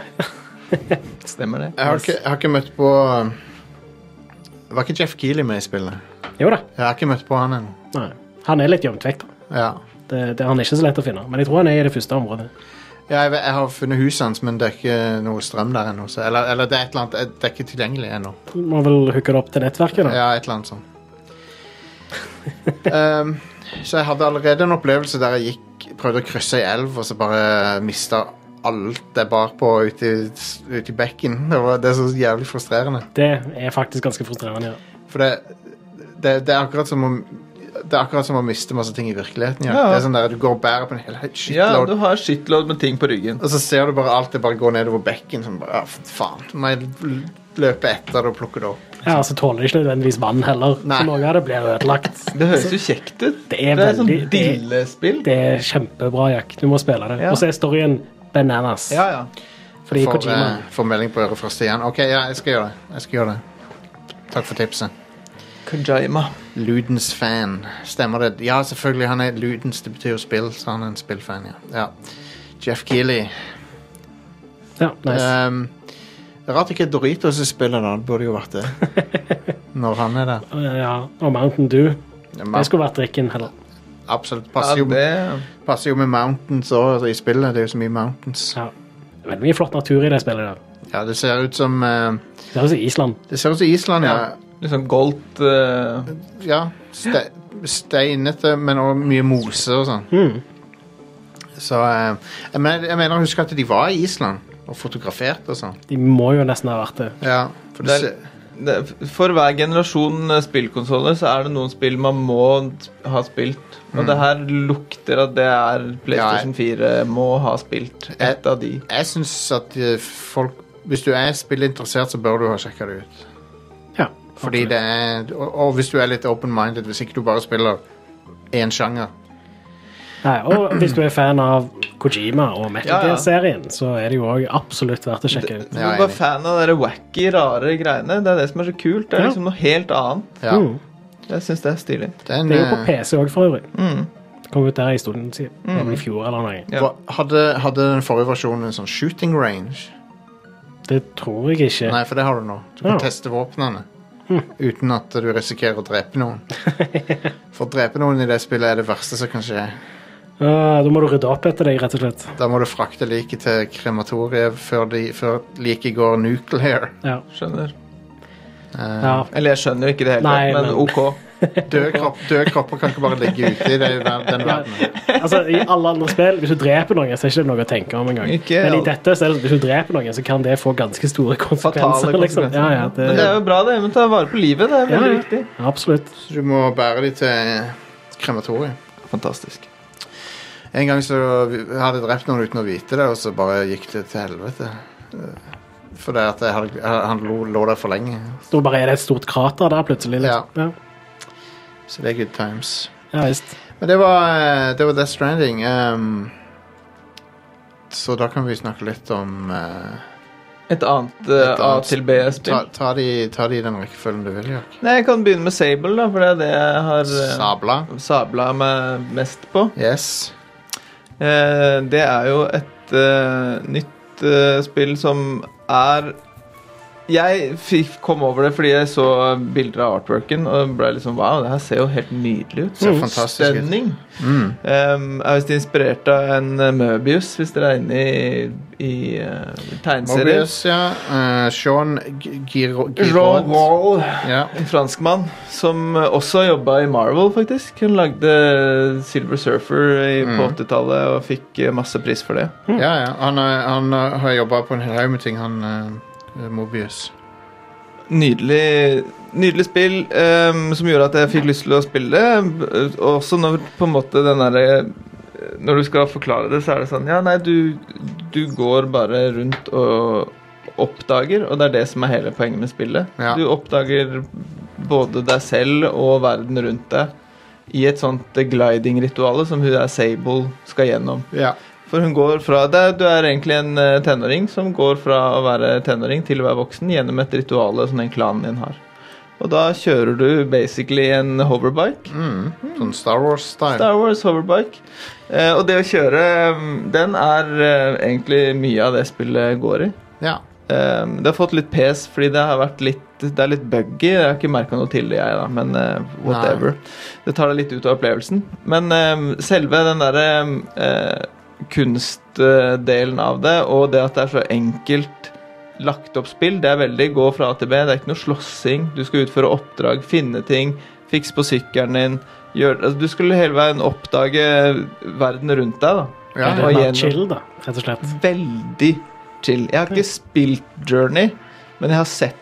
Speaker 3: er
Speaker 4: Stemmer det?
Speaker 2: Jeg har ikke, jeg har ikke møtt på um, Var ikke Jeff Keeley med i spillet?
Speaker 3: Jo da.
Speaker 2: Jeg har ikke møtt på han ennå.
Speaker 3: Nei. Han er litt gjemt vekk, da.
Speaker 2: Ja.
Speaker 3: Det, det, han er ikke så lett å finne, men jeg tror han er i det første området.
Speaker 2: Ja, jeg, vet- jeg har funnet huset hans, men det er ikke noe strøm der ennå. så- Eller, eller det er et eller annet Det er ikke tilgjengelig ennå.
Speaker 3: Du må vel hooke det opp til nettverket, da.
Speaker 2: Ja, et eller annet sånt. Ehm, så jeg hadde allerede en opplevelse der jeg gikk, prøvde å krysse ei elv, og så bare mista alt jeg bar på ute i, ut i bekken. Det, var, det er så jævlig frustrerende.
Speaker 3: Det er faktisk ganske frustrerende, ja.
Speaker 2: For det, det, det er akkurat som om det er akkurat som å miste masse ting i virkeligheten. Ja.
Speaker 4: Ja.
Speaker 2: Det er sånn der, Du går og bærer på en hel
Speaker 4: Ja,
Speaker 2: shitload,
Speaker 4: du har shitload med ting på ryggen.
Speaker 2: og så ser du bare alt det bare går nedover bekken. Sånn, bare, ah, faen, så må jeg l- løpe etter det og plukke det opp.
Speaker 3: ja altså tåler ikke nødvendigvis vann heller,
Speaker 2: Nei.
Speaker 3: så noe av det blir ødelagt.
Speaker 4: Det høres jo kjekt ut.
Speaker 3: Altså, Det er
Speaker 4: det er sånn
Speaker 3: veldig- det-
Speaker 4: dillespill.
Speaker 3: Det er kjempebra, Jack. Du må spille det.
Speaker 4: Ja.
Speaker 3: Og så er storyen bananas.
Speaker 4: Ja, ja.
Speaker 3: Fordi
Speaker 2: Får,
Speaker 3: Kojima
Speaker 2: eh, får melding på øret først igjen. OK, ja, jeg skal gjøre det. Jeg skal gjøre det. Takk for tipset.
Speaker 4: Kajaima.
Speaker 2: Ludens fan. Stemmer det? Ja, selvfølgelig. Han er Ludens. Det betyr jo spill, så han er en spillfan, ja. ja. Jeff Keeley.
Speaker 3: Ja, nice.
Speaker 2: Ehm, det er rart ikke Doritos er spillet, da. Det burde jo vært det. Når han er der.
Speaker 3: Ja, og Mountain Dew.
Speaker 2: Men
Speaker 3: Det skulle vært drikken heller.
Speaker 2: Absolutt.
Speaker 4: Ja,
Speaker 2: Passer jo,
Speaker 4: det
Speaker 2: passer jo med Mountains òg, altså, i spillet. Det er jo så mye Mountains.
Speaker 3: Ja. Veldig mye flott natur i det spillet. der.
Speaker 2: Ja, det ser ut som eh,
Speaker 3: Det høres ut som Island.
Speaker 2: Det ser ut som Island, ja.
Speaker 4: Litt sånn goldt eh,
Speaker 2: ja ste Steinete, men òg mye mose og sånn.
Speaker 3: Mm.
Speaker 2: Så eh, jeg, men, jeg mener å huske at de var i Island og fotograferte og sånn.
Speaker 3: De må jo nesten ha vært det.
Speaker 2: Ja, for det,
Speaker 4: Det er-
Speaker 2: ser-
Speaker 4: det, For hver generasjon eh, spillkonsoller så er det noen spill man må ha spilt. Og det her lukter at det er PlayStation 4 må ha spilt. Et av de.
Speaker 2: jeg syns at eh, folk Hvis du er spillinteressert, så bør du ha sjekka det ut.
Speaker 3: Ja,
Speaker 2: Fordi det er og, og hvis du er litt open-minded, hvis ikke du bare spiller én sjanger.
Speaker 3: Nei, og hvis du er fan av Kojima og Metal
Speaker 4: Ja, ja.
Speaker 3: Gear-serien, så er det jo òg absolutt verdt å sjekke ut.
Speaker 4: Du
Speaker 2: Ja,
Speaker 4: er bare
Speaker 2: enig.
Speaker 4: fan av de wacky, rare greiene. Det er det som er så kult. Det er
Speaker 3: Ja.
Speaker 4: liksom noe helt annet.
Speaker 2: Ja,
Speaker 3: Mm.
Speaker 4: Jeg syns det er stilig.
Speaker 2: det er en,
Speaker 3: Det er jo på
Speaker 2: eh,
Speaker 3: PC òg, for øvrig.
Speaker 4: Mm.
Speaker 3: Kom ut der en stund siden. Det var vel I fjor eller noe.
Speaker 4: Ja.
Speaker 2: Hva- Hadde, hadde den forrige versjonen en sånn shooting range?
Speaker 3: Det tror jeg ikke.
Speaker 2: Nei, for det har du nå. Du kan
Speaker 3: Ja. Hm.
Speaker 2: teste våpnene uten at du risikerer å drepe noen. For å drepe noen i det spillet er det verste som kan skje.
Speaker 3: Ah, da må du rydde opp etter deg, rett og slett.
Speaker 2: Da må du frakte liket til krematoriet før, de- før liket går nuclear.
Speaker 3: Ja.
Speaker 4: Skjønner.
Speaker 2: Eh,
Speaker 3: ja.
Speaker 4: Eller jeg skjønner ikke det hele
Speaker 3: Nei,
Speaker 4: tatt, men,
Speaker 3: men-
Speaker 4: ok.
Speaker 2: døde, kropp, døde kropper kan ikke bare ligge ute i det, den verdenen.
Speaker 3: Altså, I alle andre spill, hvis du dreper noen, så er det ikke noe å tenke om engang.
Speaker 4: Ikke
Speaker 3: Men i
Speaker 4: alt.
Speaker 3: dette, så er det, hvis du dreper noen, så kan det få ganske store konsekvenser.
Speaker 4: Fatale
Speaker 3: Liksom. Ja, ja, det,
Speaker 4: Men det er jo bra, det. Men ta vare på livet. Det er
Speaker 3: Ja,
Speaker 4: veldig
Speaker 3: ja.
Speaker 4: viktig.
Speaker 3: Absolutt.
Speaker 2: Så du må bære de til krematoriet.
Speaker 4: Fantastisk.
Speaker 2: En gang så vi- jeg hadde drept noen uten å vite det, og så bare gikk det til helvete. Fordi at jeg hadde, han lå, lå der for lenge.
Speaker 3: Da bare er det et stort krater der plutselig. Liksom. Ja.
Speaker 2: Så det er good times.
Speaker 3: Ja, visst.
Speaker 2: Men det var, eh, det var Death Stranding. ehm, så da kan vi snakke litt om eh,
Speaker 4: Et annet eh,
Speaker 2: Et
Speaker 4: A
Speaker 2: annet
Speaker 4: til
Speaker 2: ta,
Speaker 4: B-spill.
Speaker 2: ta, de, ta de i den rekkefølgen du vil, Jack.
Speaker 4: Nei, Jeg kan begynne med Sable, da, for det er det jeg har eh,
Speaker 2: Sabla.
Speaker 4: sabla meg mest på.
Speaker 2: Yes.
Speaker 4: Eh, det er jo et eh, nytt eh, spill som er Jeg fikk, kom over det fordi jeg så bilder av artworken og ble liksom Wow, det her ser jo helt nydelig ut.
Speaker 2: Ser fantastisk ut.
Speaker 4: Stunning.
Speaker 2: Mm.
Speaker 4: Um, jeg er visst inspirert av en eh, Möbius, hvis dere er inne i, i eh, tegneserier.
Speaker 2: Mobius, ja. Eh, Sean G- Giro...
Speaker 4: Jean
Speaker 2: Giraud.
Speaker 4: Wall,
Speaker 2: Ja.
Speaker 4: en franskmann som eh, også jobba i Marvel, faktisk. Han lagde Silver Surfer i, på 80-tallet og fikk eh, masse pris for det.
Speaker 2: ja, ja. Han, eh, han eh, har jobba på en hel haug med ting, han eh, Mobius.
Speaker 4: Nydelig, nydelig spill ehm, som gjorde at jeg fikk lyst til å spille det. Og også når på en måte den derre Når du skal forklare det, så er det sånn Ja, nei, du, du går bare rundt og oppdager, og det er det som er hele poenget med spillet.
Speaker 2: Ja.
Speaker 4: Du oppdager både deg selv og verden rundt deg i et sånt gliding-rituale som hun der Sable skal gjennom.
Speaker 2: Ja.
Speaker 4: For hun går fra det, er- Du er egentlig en eh, tenåring som går fra å være tenåring til å være voksen gjennom et ritual som den klanen din har. Og da kjører du basically en hoverbike.
Speaker 2: Mm. Sånn Star Wars-style.
Speaker 4: Star Wars hoverbike. Eh, og det å kjøre mm, den er eh, egentlig mye av det spillet går i.
Speaker 2: Ja.
Speaker 4: Eh, det har fått litt pes fordi det har vært litt Det er litt buggy. Jeg har ikke merka noe til det, jeg, da, men eh, ehm, whatever. Det tar deg litt ut av opplevelsen. Men eh, selve den derre eh, kunstdelen av det, og det at det er så enkelt lagt opp spill. Det er veldig gå fra A til B. Det er ikke noe slåssing. Du skal utføre oppdrag, finne ting, fikse på sykkelen din. Gjør, altså, du skulle hele veien oppdage verden rundt deg. da.
Speaker 2: Ja,
Speaker 3: det er
Speaker 4: og
Speaker 3: bare
Speaker 4: gjennom-
Speaker 3: chill, da, rett og slett.
Speaker 4: Veldig chill. Jeg har
Speaker 3: Mm.
Speaker 4: ikke spilt Journey, men jeg har sett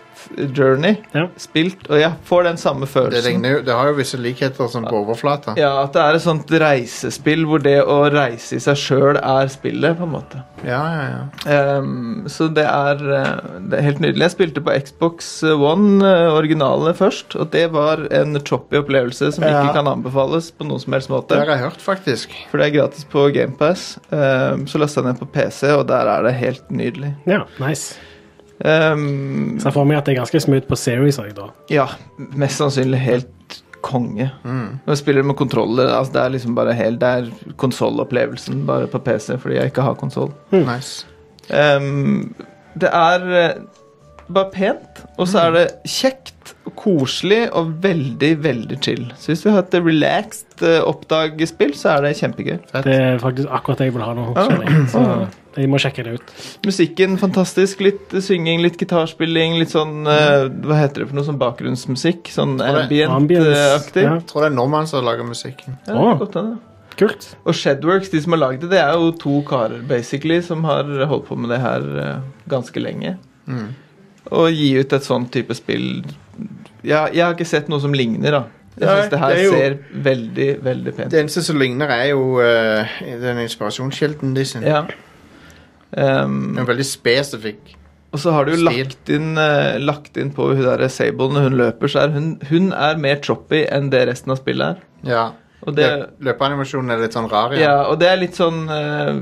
Speaker 4: Journey
Speaker 3: Ja.
Speaker 4: spilt, og jeg får den samme
Speaker 2: Det,
Speaker 4: følelsen.
Speaker 2: ligner, jo- det har jo visse likheter sånn på overflata.
Speaker 4: Ja, At det er et sånt reisespill hvor det å reise i seg sjøl er spillet, på en måte.
Speaker 2: Ja, ja, ja.
Speaker 4: Ehm, så det er, eh, det er helt nydelig. Jeg spilte på Xbox One, eh, originalene først, og det var en choppy opplevelse som
Speaker 2: Ja.
Speaker 4: ikke kan anbefales på noen som helst måte.
Speaker 2: Det har jeg hørt, faktisk.
Speaker 4: For det er gratis på GamePass. Um, så lasta jeg ned på PC, og der er det helt nydelig.
Speaker 3: Ja, nice.
Speaker 4: Ehm,
Speaker 3: Så jeg får meg at det er ganske smooth på series òg, da.
Speaker 4: Ja, mest sannsynlig helt konge.
Speaker 2: Mm.
Speaker 4: Når jeg spiller med kontroller, altså det er liksom bare helt Det er konsollopplevelsen bare på PC, fordi jeg ikke har konsoll.
Speaker 2: Nice.
Speaker 4: Ehm, det er eh, bare pent, og så er det kjekt, og koselig og veldig, veldig chill. Så hvis du har et relaxed eh, oppdagespill, så er det kjempegøy.
Speaker 3: Det er faktisk akkurat det jeg vil ha nå.
Speaker 4: Ja.
Speaker 3: skjønner jeg. Så jeg må sjekke det ut.
Speaker 4: Musikken fantastisk. Litt eh, synging, litt gitarspilling, litt sånn eh, Hva heter det for noe sånn bakgrunnsmusikk? Sånn
Speaker 2: Tror det-
Speaker 3: Ambience.
Speaker 4: ambient-aktig.
Speaker 3: Ja,
Speaker 2: Jeg tror det er nordmannen som lager musikken.
Speaker 4: Ja, det
Speaker 3: Å.
Speaker 4: er godt, det, da.
Speaker 3: kult.
Speaker 4: Og Shedworks, de som har lagd det, det er jo to karer basically som har holdt på med det her eh, ganske lenge.
Speaker 2: Mm.
Speaker 4: Å gi ut et sånt type spill ja, Jeg har ikke sett noe som ligner, da. Jeg
Speaker 2: Nei,
Speaker 4: syns det her
Speaker 2: det er jo-
Speaker 4: ser veldig, veldig pent ut.
Speaker 2: Det eneste som ligner, er jo eh, den inspirasjonskilden de sin.
Speaker 4: Ja. Ehm,
Speaker 2: Den er veldig spesifikk.
Speaker 4: og så har du jo
Speaker 2: Stil.
Speaker 4: lagt inn, eh, lagt inn på hun der Sable når hun løper, så er hun, hun er mer choppy enn det resten av spillet er.
Speaker 2: Ja.
Speaker 4: Og det,
Speaker 2: Løp- Løpeanimasjonen er litt sånn rar.
Speaker 4: Ja, og det er litt sånn eh,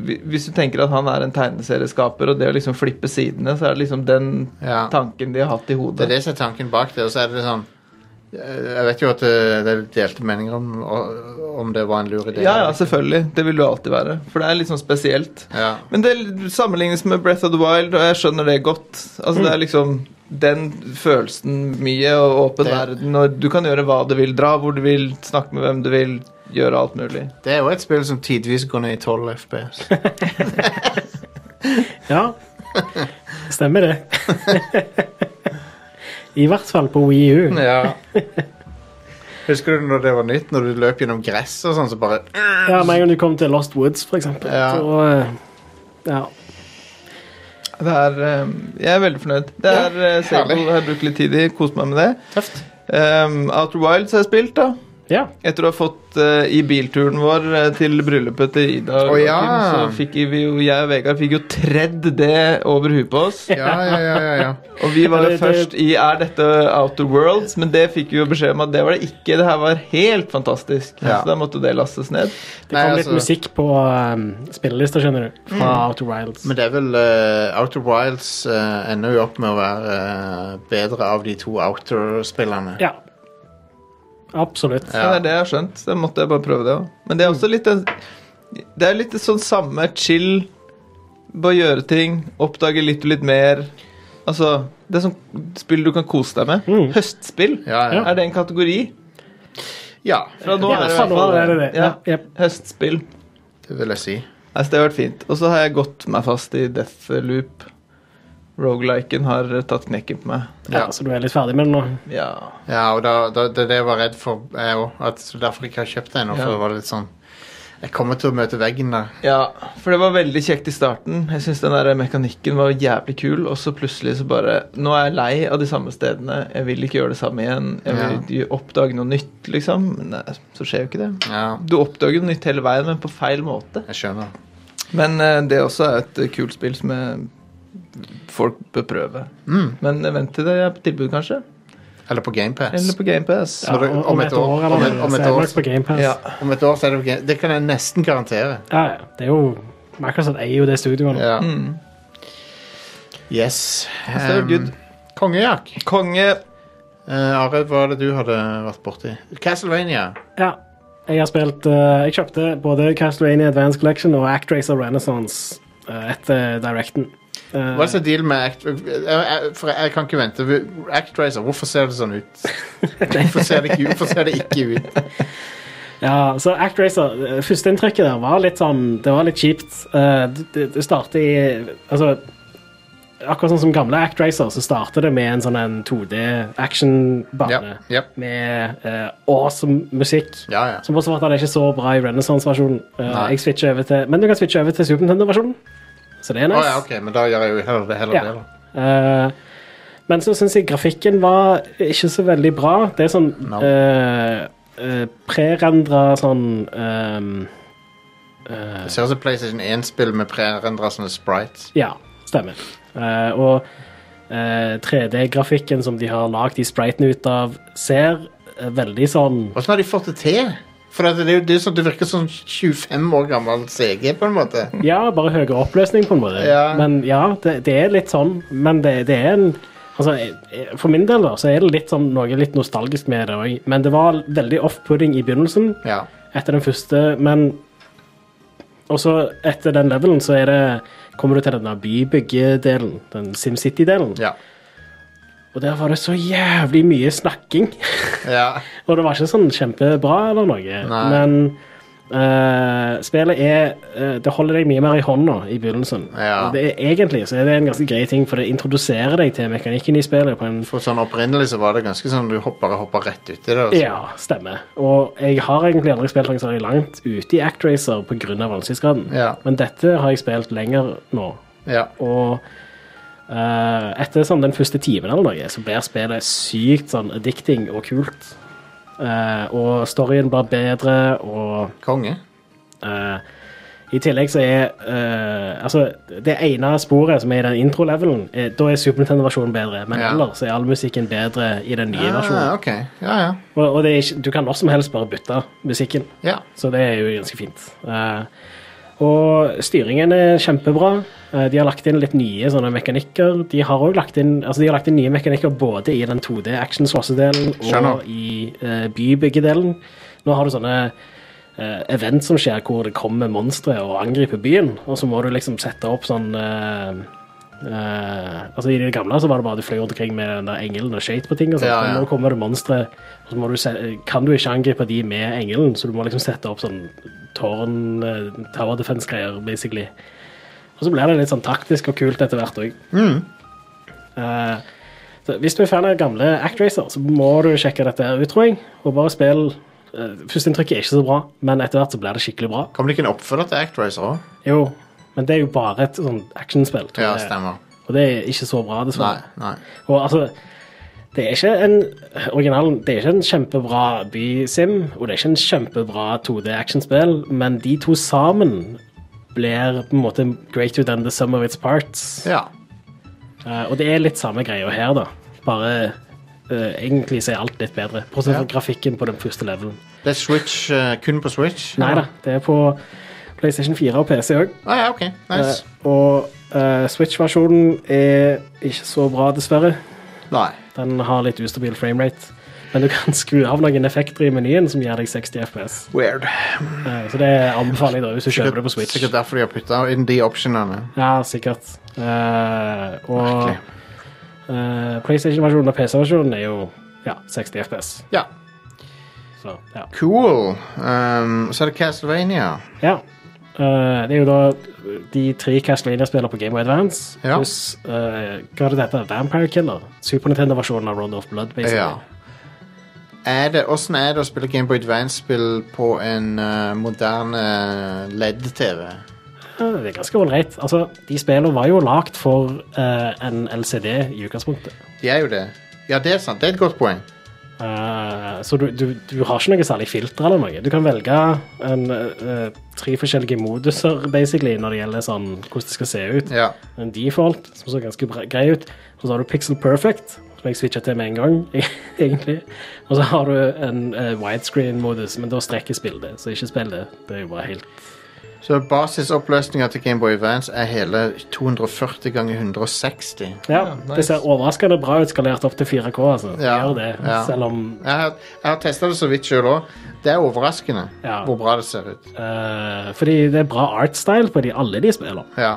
Speaker 4: hvi- Hvis du tenker at han er en tegneserieskaper, og det å liksom flippe sidene, så er det liksom den
Speaker 2: Ja.
Speaker 4: tanken de har hatt i
Speaker 2: Det
Speaker 4: hodet.
Speaker 2: er det som er tanken bak det. Og så er det sånn eh, Jeg vet jo at eh, det er delte meninger om om det var en lur idé.
Speaker 4: ja, ja, selvfølgelig. Det vil det jo alltid være. For det er litt sånn spesielt.
Speaker 2: Ja.
Speaker 4: Men det sammenlignes med Breath of the Wild, og jeg skjønner det godt. Altså, det er liksom den følelsen mye, og åpen
Speaker 2: Det-
Speaker 4: verden, og du kan gjøre hva du vil, dra hvor du vil, snakke med hvem du vil, gjøre alt mulig.
Speaker 2: Det er jo et spill som tidvis går ned i 12 FPS.
Speaker 3: Ja, stemmer det. I hvert fall på Wii U.
Speaker 2: Ja. Husker du når det var nytt, når du løp gjennom gress og sånn, så bare
Speaker 3: Ja, Med en gang du kom til Lost Woods, for eksempel.
Speaker 2: Ja.
Speaker 3: Og, eh, ja.
Speaker 4: Det er, eh, jeg er veldig fornøyd. Det er eh, Sable
Speaker 2: herlig.
Speaker 4: jeg har brukt litt tid i, kost meg med det.
Speaker 3: Tøft.
Speaker 4: Um, Outer Wilds har jeg spilt, da.
Speaker 3: Ja.
Speaker 4: Etter å ha fått eh, i bilturen vår eh, til bryllupet til Ida og
Speaker 2: Å,
Speaker 4: Joakim,
Speaker 2: ja.
Speaker 4: så fikk vi jo, jeg og Vegard fikk jo tredd det over huet på oss.
Speaker 2: Ja, ja, ja. ja, ja.
Speaker 4: Og vi var
Speaker 3: Ja,
Speaker 4: jo
Speaker 3: det- det-
Speaker 4: først i 'Er dette Outer Worlds?', men det fikk vi jo beskjed om at det var det ikke. Det her var helt fantastisk.
Speaker 2: Ja.
Speaker 4: Så da måtte det lastes ned.
Speaker 3: Det kom
Speaker 2: altså-
Speaker 3: litt musikk på um, spillelista, skjønner du. Fra
Speaker 2: Mm.
Speaker 3: Outer Wilds.
Speaker 2: Men det er vel eh, Outer Wilds eh, ender jo opp med å være eh, bedre av de to Outer-spillerne.
Speaker 3: Ja. Absolutt.
Speaker 4: Så det er det jeg har skjønt. Så da måtte jeg bare prøve det også. Men det er også litt en, Det er litt sånn samme chill Bare gjøre ting, oppdage litt og litt mer. Altså Det er sånn spill du kan kose deg med.
Speaker 3: Mm.
Speaker 4: Høstspill.
Speaker 2: Ja, ja.
Speaker 4: Er det en kategori?
Speaker 2: ja,
Speaker 4: Fra nå
Speaker 3: Ja,
Speaker 4: er det
Speaker 3: fra
Speaker 4: i hvert fall
Speaker 3: nå er det det.
Speaker 4: Ja,
Speaker 3: Ja, jep.
Speaker 4: Høstspill.
Speaker 2: det vil jeg si.
Speaker 4: Nei, så det har vært fint. Og så har jeg gått meg fast i Deathloop. Rogeliken har eh, tatt knekken på meg.
Speaker 3: Ja, så du er litt ferdig med det Altså, nå?
Speaker 4: Ja.
Speaker 2: Ja, og da, da, det er det jeg var redd for, jeg òg. At derfor ikke har kjøpt det ennå. For
Speaker 4: Ja.
Speaker 2: det var litt sånn Jeg kommer til å møte veggen der.
Speaker 4: Ja, for det var veldig kjekt i starten. Jeg synes den der mekanikken var jævlig kul, og så plutselig så bare Nå er jeg lei av de samme stedene. Jeg vil ikke gjøre det samme igjen. Jeg vil gjø- oppdage noe nytt, liksom. Men nei, så skjer jo ikke det.
Speaker 2: Ja,
Speaker 4: Du oppdager noe nytt hele veien, men på feil måte.
Speaker 2: jeg skjønner.
Speaker 4: Men eh, det også er et eh, kult spill som jeg folk bør prøve.
Speaker 2: Mm.
Speaker 4: Men eh, vent til det er på tilbud, kanskje.
Speaker 2: Eller på GamePass.
Speaker 4: Eller på GamePass.
Speaker 3: Ja,
Speaker 2: det-
Speaker 3: om, om et år,
Speaker 2: om
Speaker 3: eller
Speaker 2: et- om
Speaker 3: så
Speaker 2: et
Speaker 3: er det
Speaker 2: år.
Speaker 3: nok på GamePass.
Speaker 4: Ja.
Speaker 2: Om et år så er det på Game... Det kan jeg nesten garantere.
Speaker 3: Ja, ja. Det er jo Microsoft eier jo det studioet nå.
Speaker 2: Ja.
Speaker 4: Mm.
Speaker 2: Yes.
Speaker 4: Så good.
Speaker 2: Kongejakk.
Speaker 4: Konge.
Speaker 2: Eh, Are, hva er det du hadde vært borti? Castlevania.
Speaker 3: Ja. Jeg har spilt eh, Jeg kjøpte både Castlevania Advance Collection og Actracer Renaissance eh, etter Directen. Eh,
Speaker 2: Hva er det som er deal med Act... jeg- jeg- For jeg kan ikke vente. Actracer, hvorfor ser det sånn ut? Hvorfor ser det ikke, hvorfor ser det ikke ut?
Speaker 3: Ja, så ActRacer, eh, førsteinntrykket der var litt sånn Det var litt kjipt. Eh, Det, det- det starter i Altså Akkurat sånn som gamle ActRacer, så starter det med en sånn en 2D-actionbane.
Speaker 2: Ja, ja.
Speaker 3: Med eh, awesome musikk.
Speaker 2: Ja, ja.
Speaker 3: Som også var at den er ikke så bra i Renaissance-versjonen. Eh,
Speaker 2: Nei.
Speaker 3: jeg switcher over til Men du kan switche over til Super Nintendo-versjonen. Så det er
Speaker 2: Å
Speaker 3: nice.
Speaker 2: ja, ok, men da gjør jeg jo heller, heller
Speaker 3: Ja.
Speaker 2: det, da.
Speaker 3: Eh, men så syns jeg grafikken var ikke så veldig bra. Det er sånn
Speaker 2: No.
Speaker 3: eh, eh, prerendra sånn ehm, eh,
Speaker 2: Det ser ut som PlayStation 1-spill med prerendra sånne sprites.
Speaker 3: Ja, stemmer. Eh, og eh, 3D-grafikken som de har lagd de spritene ut av, ser eh, veldig sånn
Speaker 2: Åssen har de fått det til? For at det, er jo- det, er jo sånn, det virker som 25 år gammel CG, på en måte.
Speaker 3: Ja, bare høyere oppløsning, på en måte.
Speaker 2: Ja.
Speaker 3: Men ja, det, det er litt sånn. Men det, det er en Altså, eh, eh, For min del da, så er det litt sånn, noe litt nostalgisk med det òg, men det var veldig off-pudding i begynnelsen.
Speaker 2: Ja.
Speaker 3: etter den første, men også etter den levelen så er det kommer du til denne bybyggedelen, den SimCity-delen.
Speaker 2: Ja.
Speaker 3: Og der var det så jævlig mye snakking.
Speaker 2: ja.
Speaker 3: og det var ikke sånn kjempebra eller noe.
Speaker 2: Nei.
Speaker 3: Men eh, spillet er eh, Det holder deg mye mer i hånda i begynnelsen.
Speaker 2: Ja.
Speaker 3: Og det er, egentlig så er det en ganske grei ting, for det introduserer deg til mekanikken i spillet på en
Speaker 2: For sånn Opprinnelig så var det ganske sånn du hopper, bare hopper rett uti det. altså. og så-
Speaker 3: Ja, stemmer. Og jeg har egentlig aldri spilt noe særlig langt ute i ActRacer pga. vanskelighetsgraden,
Speaker 2: Ja.
Speaker 3: men dette har jeg spilt lenger nå.
Speaker 2: Ja.
Speaker 3: Og eh, etter sånn den første timen eller noe, så blir spillet sykt sånn addicting og kult. Eh, og storyen blir bedre, og
Speaker 2: Konge.
Speaker 3: eh, i tillegg så er eh, Altså, det ene sporet som er i den intro-levelen, eh, da er Super Nintendo-versjonen bedre, men
Speaker 2: Ja.
Speaker 3: ellers er all musikken bedre i den nye versjonen.
Speaker 2: Ah, ok. Ja, ja.
Speaker 3: Og, og det er ikke, du kan når som helst bare bytte musikken,
Speaker 2: Ja.
Speaker 3: så det er jo ganske fint. Eh, og styringen er kjempebra. Eh, de har lagt inn litt nye sånne mekanikker. De har også lagt inn, altså de har lagt inn nye mekanikker både i den 2D action delen og
Speaker 2: Skjønner.
Speaker 3: i uh, bybyggedelen. Nå har du sånne eh, event som skjer hvor det kommer monstre og angriper byen, og så må du liksom sette opp sånn eh, eh, altså I det gamle så var det bare du fløy rundt omkring med den der engelen og skøyt på ting. og sånt.
Speaker 2: Ja, ja.
Speaker 3: Men Nå kommer det monstre, og så må du se, kan du ikke angripe de med engelen, så du må liksom sette opp sånn tårn, eh, tower defense-greier, basically. Og så blir det litt sånn taktisk og kult etter hvert Eh, òg.
Speaker 2: Mm.
Speaker 3: Så hvis du er fan av gamle ActRacer, så må du sjekke dette her ut, tror jeg. Og bare spill. eh, Førsteinntrykket er ikke så bra, men etter hvert så blir det skikkelig bra.
Speaker 2: Kom det ikke en oppfølger til ActRacer òg?
Speaker 3: Jo, men det er jo bare et sånn actionspill. tror
Speaker 2: Ja,
Speaker 3: jeg.
Speaker 2: stemmer.
Speaker 3: Og det er ikke så bra,
Speaker 2: Nei.
Speaker 3: dessverre.
Speaker 2: nei.
Speaker 3: Og altså, det er ikke en originalen, det er ikke en kjempebra bysim, og det er ikke en kjempebra 2D-actionspill, men de to sammen blir på en måte greater than the sum of its parts.
Speaker 2: Ja.
Speaker 3: Eh, og det er litt samme greia her, da. Bare eh, egentlig så er alt litt bedre. Bortsett fra
Speaker 2: Ja.
Speaker 3: grafikken på den første levelen.
Speaker 2: Det er Switch, eh, kun på Switch?
Speaker 3: Nei da, det er på PlayStation 4 og PC òg.
Speaker 2: Ah, ja, ok. Nice.
Speaker 3: Eh, og eh, Switch-versjonen er ikke så bra, dessverre.
Speaker 2: Nei.
Speaker 3: Den har litt ustabil framerate. Men du kan skru av noen effekter i menyen som gir deg 60 FPS.
Speaker 2: Weird.
Speaker 3: Eh, så det anbefaler jeg da, hvis du kjøper det på Switch.
Speaker 2: Sikkert derfor de har putta inn de optionene.
Speaker 3: Ja, sikkert. Eh, og
Speaker 2: Merkelig.
Speaker 3: eh, PlayStation-versjonen og PC-versjonen er jo ja, 60 FPS.
Speaker 2: Ja.
Speaker 3: Så, ja.
Speaker 2: Cool. Um, så er det Castlevania.
Speaker 3: ja. Eh, det er jo da de tre Castlevania-spillene på Game Boy Advance
Speaker 2: Ja.
Speaker 3: pluss eh, hva er det dette? Vampire Killer. Super Nintendo-versjonen av Road of Blood. basically.
Speaker 2: Ja. Er det, hvordan er det å spille Game Boy Advance-spill på en eh, moderne LED-TV?
Speaker 3: Eh, Det er ganske ålreit. Altså, de spillene var jo lagd for eh, en LCD i utgangspunktet.
Speaker 2: De er jo det. Ja, det er sant. Det er et godt poeng.
Speaker 3: Eh, så du, du, du har ikke noe særlig filter eller noe. Du kan velge en, eh, eh, tre forskjellige moduser basically, når det gjelder sånn, hvordan det skal se ut.
Speaker 2: Ja.
Speaker 3: En default, som så ganske bre- grei ut. Og så har du Pixel Perfect, som jeg switcha til med en gang. egentlig. Og så har du en eh, widescreen-modus, men da strekkes bildet, så ikke spill det. Det er jo bare helt
Speaker 2: Så basisoppløsninga til Game Boy Advance er hele 240 ganger 160.
Speaker 3: Ja, Det ser overraskende bra ut skalert opp til 4K. altså. Det
Speaker 2: Ja,
Speaker 3: Gjør det,
Speaker 2: ja.
Speaker 3: Selv om
Speaker 2: Jeg har, jeg har testa det så vidt sjøl òg. Det er overraskende
Speaker 3: Ja.
Speaker 2: hvor bra det ser ut.
Speaker 3: eh, Fordi det er bra artstyle på de alle de spiller.
Speaker 2: Ja.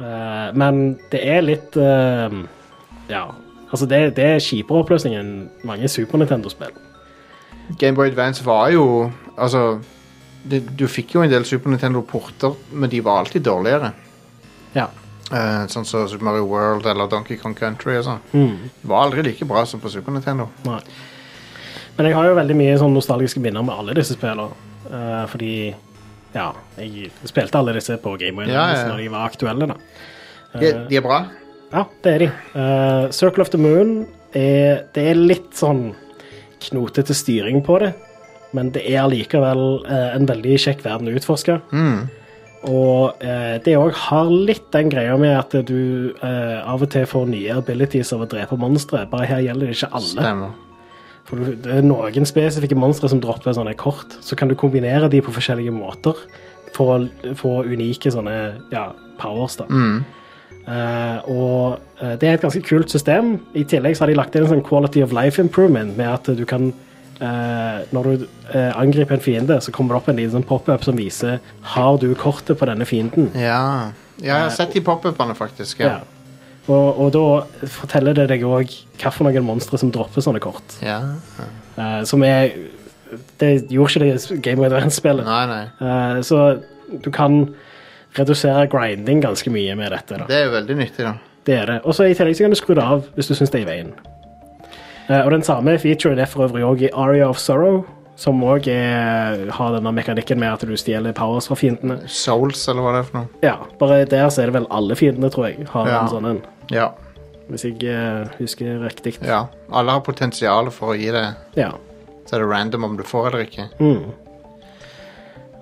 Speaker 3: Eh, men det er litt eh, Ja. Altså, det, det er kjipere oppløsning enn mange Super Nintendo-spill.
Speaker 2: Game Boy Advance var jo Altså det, Du fikk jo en del Super Nintendo-porter, men de var alltid dårligere.
Speaker 3: Ja.
Speaker 2: Eh, sånn som Super Mario World eller Donkey Kong Country og sånn.
Speaker 3: Mm.
Speaker 2: Det var aldri like bra som på Super Nintendo.
Speaker 3: Nei. Men jeg har jo veldig mye sånn nostalgiske minner med alle disse spillene. eh, fordi ja, jeg spilte alle disse på Gameboy
Speaker 2: Ja, ja, ja.
Speaker 3: når de var aktuelle. da. Eh.
Speaker 2: De, de er bra.
Speaker 3: Ja, det er de. Eh, Circle of the Moon er, det er litt sånn knotete styring på det, men det er allikevel eh, en veldig kjekk verden å utforske.
Speaker 2: Mm,
Speaker 3: Og eh, det òg har litt den greia med at du eh, av og til får nye abilities av å drepe monstre. Bare her gjelder det ikke alle.
Speaker 2: Stemmer.
Speaker 3: For du- det er noen spesifikke monstre som dropper sånne kort, så kan du kombinere de på forskjellige måter for å få unike sånne ja, powers. da. Eh, og eh, det er et ganske kult system. I tillegg så har de lagt inn en sånn quality of life improvement med at du kan eh, Når du eh, angriper en fiende, så kommer det opp en liten sånn pop-up som viser har du kortet på denne fienden.
Speaker 2: Ja. ja jeg
Speaker 3: Eh,
Speaker 2: har sett de pop-upene, faktisk. Ja.
Speaker 3: Og, og da forteller det deg òg hvilke monstre som dropper sånne kort.
Speaker 2: ja.
Speaker 3: Eh, som er Det gjorde ikke det Game of Advance-spillet.
Speaker 2: Nei, nei.
Speaker 3: Eh, så du kan redusere grinding ganske mye med dette. da.
Speaker 2: Det er jo veldig nyttig, da.
Speaker 3: Det er det. Og så i tillegg så kan du skru det av hvis du syns det er i veien. Eh, og den samme featuren er for øvrig òg i Aria of Sorrow, som òg har denne mekanikken med at du stjeler powers fra fiendene.
Speaker 2: Souls, eller hva det er for noe.
Speaker 3: Ja, bare der så er det vel alle fiendene, tror jeg, har
Speaker 2: Ja.
Speaker 3: en sånn en.
Speaker 2: Ja.
Speaker 3: Hvis jeg eh, husker riktig.
Speaker 2: ja. Alle har potensial for å gi det.
Speaker 3: Ja.
Speaker 2: Så er det random om du får eller ikke.
Speaker 3: Mm.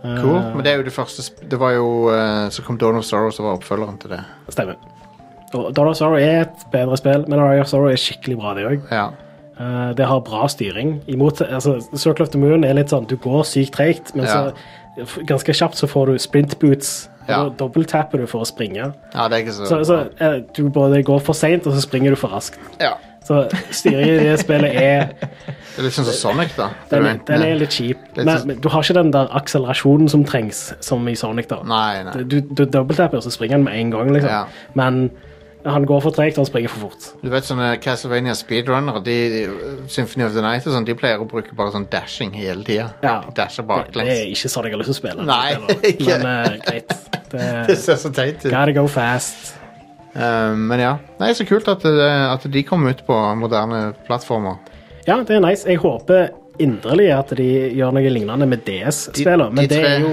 Speaker 3: Eh.
Speaker 2: Cool. Men det er jo det første sp Det var jo eh, Så kom Dawn of Sorrow, som var oppfølgeren til det.
Speaker 3: Stemmer. Og Dawn of Sorrow er et bedre spill, men Aria of Sorrow er skikkelig bra, det òg.
Speaker 2: Ja.
Speaker 3: Eh, det har bra styring. Imot, altså, Circle of the Moon er litt sånn du går sykt treigt, men så f- ganske kjapt så får du sprint boots.
Speaker 2: Ja.
Speaker 3: Ja. Dobbelttapper du for å springe.
Speaker 2: ja, det er ikke så,
Speaker 3: Så, så eh, du både går for seint, og så springer du for raskt.
Speaker 2: Ja.
Speaker 3: Så styringen i det spillet er
Speaker 2: Det er litt sånn som Sonic, da.
Speaker 3: Den,
Speaker 2: Det
Speaker 3: den er litt kjip.
Speaker 2: Litt
Speaker 3: Men,
Speaker 2: sånn-
Speaker 3: men du har ikke den der akselerasjonen som trengs, som i Sonic, da.
Speaker 2: Nei, nei.
Speaker 3: Du, du dobbelttapper, så springer han med en gang, liksom.
Speaker 2: Ja.
Speaker 3: Men han går for treigt, og han springer for fort.
Speaker 2: Du vet sånne Castlevania speedrunnere, de, de- Symphony of the Night og sånn, de pleier å bruke bare sånn dashing hele tida.
Speaker 3: Ja.
Speaker 2: De Dasher
Speaker 3: Det er
Speaker 2: baklengs.
Speaker 3: ikke sånn jeg har lyst til å spille.
Speaker 2: Nei,
Speaker 3: det
Speaker 2: ikke.
Speaker 3: spillet. Men eh, greit.
Speaker 2: Det
Speaker 3: Det,
Speaker 2: ser så teit ut.
Speaker 3: gotta go fast.
Speaker 2: Eh, men ja. Nei, så kult at, det- at de kom ut på moderne plattformer.
Speaker 3: Ja, det er nice. Jeg håper inderlig at de gjør noe lignende med DS-spiller,
Speaker 2: de
Speaker 3: men det
Speaker 2: tre-
Speaker 3: er jo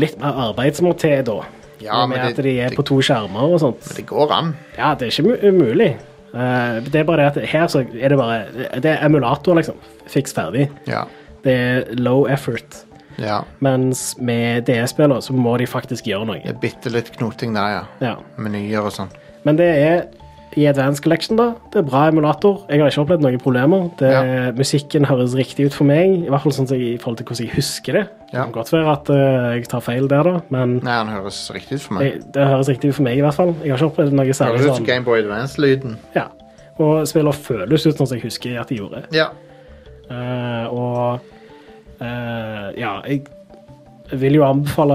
Speaker 3: litt mer arbeid som må til da.
Speaker 2: Ja,
Speaker 3: med
Speaker 2: men det-
Speaker 3: at de er
Speaker 2: det-
Speaker 3: på to skjermer og sånt.
Speaker 2: Det går an.
Speaker 3: Ja, det er ikke mu- umulig. Eh, det er bare det at her så er det bare Det er emulator, liksom. Fiks ferdig.
Speaker 2: Ja.
Speaker 3: Det er low effort.
Speaker 2: ja.
Speaker 3: Mens med DS-spiller så må de faktisk gjøre
Speaker 2: Det
Speaker 3: noe.
Speaker 2: er bitte litt knoting der, ja.
Speaker 3: Ja.
Speaker 2: Menyer og sånn.
Speaker 3: Men det er i Advance Collection, da. Det er bra emulator. Jeg har ikke opplevd noen problemer. Det,
Speaker 2: Ja.
Speaker 3: Musikken høres riktig ut for meg, i hvert fall sånn som jeg, i forhold til hvordan jeg husker det. Det
Speaker 2: Ja.
Speaker 3: kan godt være at eh, jeg tar feil der, da, men
Speaker 2: Nei, han høres riktig ut for meg.
Speaker 3: det, det høres riktig ut for meg, i hvert fall. Jeg har ikke opplevd noe særlig
Speaker 2: Høres ut som
Speaker 3: sånn.
Speaker 2: Gameboy Advance-lyden.
Speaker 3: Ja. Og spiller føles ut sånn som jeg husker at de gjorde.
Speaker 2: Ja.
Speaker 3: Eh, og eh, ja, jeg vil jo anbefale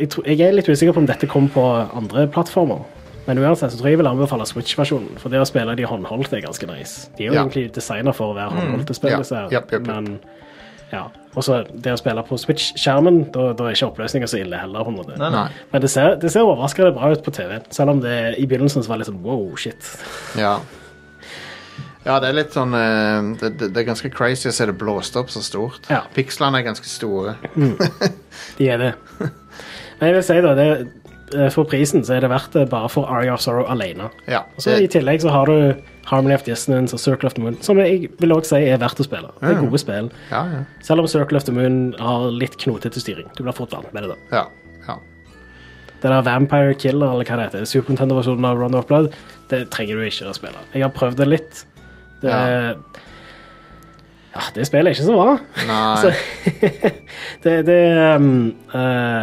Speaker 3: jeg, tror, jeg er litt usikker på om dette kom på andre plattformer. Men uansett så tror jeg jeg vil anbefale Switch-versjonen. For det å spille de håndholdt er ganske nice. De er jo
Speaker 2: Ja. Mm.
Speaker 3: egentlig designa for å være håndholdte
Speaker 2: Ja.
Speaker 3: spill, disse her.
Speaker 2: Japp, japp, japp.
Speaker 3: Men ja. Og så det å spille på Switch-skjermen, da, da er ikke oppløsninga så ille heller. på en måte.
Speaker 4: Nei,
Speaker 2: Nei.
Speaker 3: Men det ser, det ser overraskende bra ut på TV, selv om det i begynnelsen så var det litt sånn wow, shit.
Speaker 2: Ja. Ja, det er litt sånn eh, det, det, det er ganske crazy å se det blåst opp så stort.
Speaker 3: Ja.
Speaker 2: Pikslene er ganske store.
Speaker 3: De er det. Men jeg vil si da, det, eh, for prisen så er det verdt det bare for Aria of Sorrow alene.
Speaker 2: Ja.
Speaker 3: Og så I
Speaker 2: Det,
Speaker 3: tillegg så har du Harmony of Dissonance og Circle of the Moon, som jeg vil også si er verdt å spille. Det er gode spill.
Speaker 2: ja, ja.
Speaker 3: Selv om Circle of the Moon har litt knotete styring. Du blir fort vant med det. da.
Speaker 2: ja, ja.
Speaker 3: Det der Vampire Killer, eller hva det heter, Super Nintendo-versjonen av Run of Blood, det trenger du ikke å spille. Jeg har prøvd det litt. Det,
Speaker 2: Ja.
Speaker 3: ja, det spillet er ikke så bra.
Speaker 2: Nei.
Speaker 3: Så, det det um,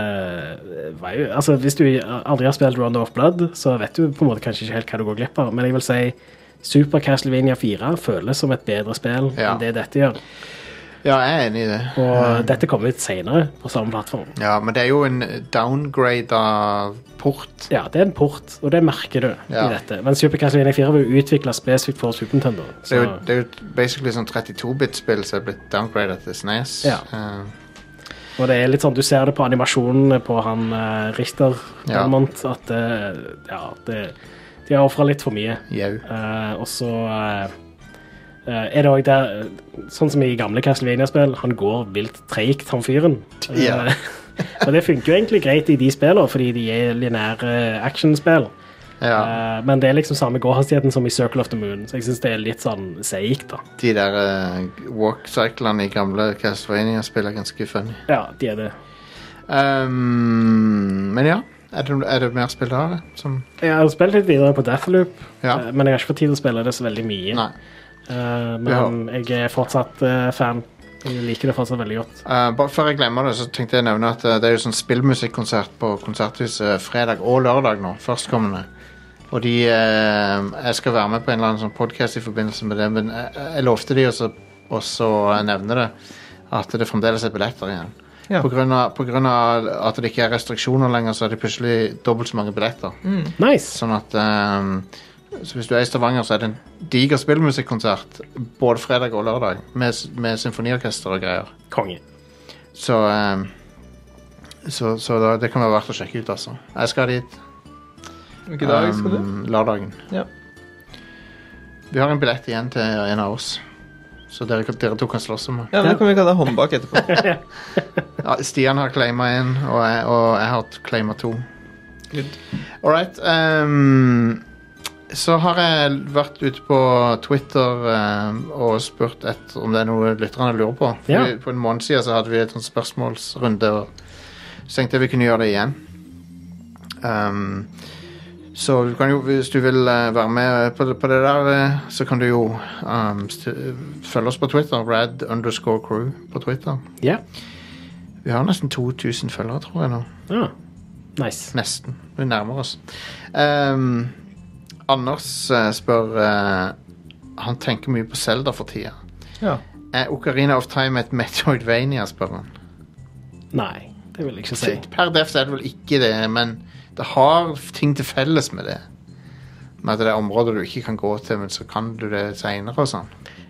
Speaker 3: eh, var jo, altså, Hvis du aldri har spilt Round of Blood, så vet du på en måte kanskje ikke helt hva du går glipp av, men jeg vil si Super Castlevania 4 føles som et bedre spill
Speaker 2: Ja. Mm.
Speaker 3: enn det dette gjør.
Speaker 2: Ja, eh, jeg er enig i det.
Speaker 3: Og dette kommer ut senere på samme plattform.
Speaker 2: Ja, men det er jo en downgrade av port.
Speaker 3: Ja, Det er en port, og det merker du
Speaker 2: Ja.
Speaker 3: i dette. Men Super Castlevania 4 var jo utvikla spesifikt for Super Nintendo.
Speaker 2: Det er jo,
Speaker 3: Så,
Speaker 2: det er jo basically sånn 32-bit-spill som er blitt downgraded til SNES.
Speaker 3: Ja.
Speaker 2: Eh,
Speaker 3: Og det er litt sånn, Du ser det på animasjonene på han eh, Richter
Speaker 2: Ja.
Speaker 3: Belmont, at det, ja, det, de har ofra litt for mye.
Speaker 2: Jau.
Speaker 3: Eh, og så eh, eh, er det òg der Sånn som i gamle Castlevania-spill, han går vilt treigt, han fyren. Eh,
Speaker 2: Ja.
Speaker 3: og det funker jo egentlig greit i de spillene, fordi de er lineære actionspill.
Speaker 2: Ja.
Speaker 3: Eh, men det er liksom samme gåhastigheten som i Circle of the Moon, så jeg syns det er litt sånn seigt, da.
Speaker 2: De der eh, walk-cyclene i gamle Castlevania-spill er ganske funny.
Speaker 3: Ja, de er det.
Speaker 2: Ehm, men ja. Er det, er det mer spill du har? Som,
Speaker 3: Jeg har spilt litt videre på Deathloop,
Speaker 2: Ja.
Speaker 3: eh, men jeg har ikke fått tid til å spille det så veldig mye.
Speaker 2: nei.
Speaker 3: Eh, men jeg er fortsatt eh, fan. Jeg liker det fortsatt veldig godt.
Speaker 2: Eh, bare før jeg glemmer det, så tenkte jeg å nevne at eh, det er jo sånn spillmusikkonsert på Konserthuset eh, fredag og lørdag nå. Førstkommende. Og de eh, Jeg skal være med på en eller annen sånn podkast i forbindelse med det, men jeg, jeg lovte de også, også å nevne det. At det fremdeles er billetter igjen.
Speaker 4: Ja.
Speaker 2: På, grunn av, på grunn av at det ikke er restriksjoner lenger, så er det plutselig dobbelt så mange billetter.
Speaker 3: Nice!
Speaker 2: Sånn at ehm, så Hvis du er i Stavanger, så er det en diger spillmusikkonsert både fredag og lørdag med, s- med symfoniorkester og greier.
Speaker 3: Konge.
Speaker 2: Så ehm, Så, så da, det kan være verdt å sjekke ut, altså. Jeg skal dit
Speaker 3: Um,
Speaker 4: Hvilken dag skal du?
Speaker 2: ehm, lørdagen.
Speaker 4: Ja.
Speaker 2: Vi har en billett igjen til en av oss, så dere, kan- dere to kan slåss om det.
Speaker 4: Ja, men Da kan vi kalle deg håndbak etterpå.
Speaker 2: Ja, Stian har claima én, og, jeg- og jeg har claima to.
Speaker 4: Good.
Speaker 2: All right. ehm, så har jeg vært ute på Twitter ehm, og spurt etter om det er noe lytterne lurer på. For
Speaker 3: Ja.
Speaker 2: vi- På en måned siden så hadde vi et sånt spørsmålsrunde, og så tenkte jeg vi kunne gjøre det igjen. Ehm, så du kan jo, hvis du vil eh, være med på, det- på det der, eh, så kan du jo ehm, st- følge oss på Twitter. Rad underscore crew på Twitter.
Speaker 3: Ja.
Speaker 2: Vi har nesten 2000 følgere, tror jeg nå.
Speaker 3: ja. Ah, Nice.
Speaker 2: Nesten. Vi nærmer oss. Ehm, Anders eh, spør eh, Han tenker mye på Zelda for tida.
Speaker 4: Ja.
Speaker 2: Er Ocarina of Time et Metroidvania, spør han.
Speaker 3: Nei, det vil jeg ikke si.
Speaker 2: Så Per def så er det vel ikke det, men det har ting til felles med det. Med at det er områder du ikke kan gå til, men så kan du det seinere og sånn.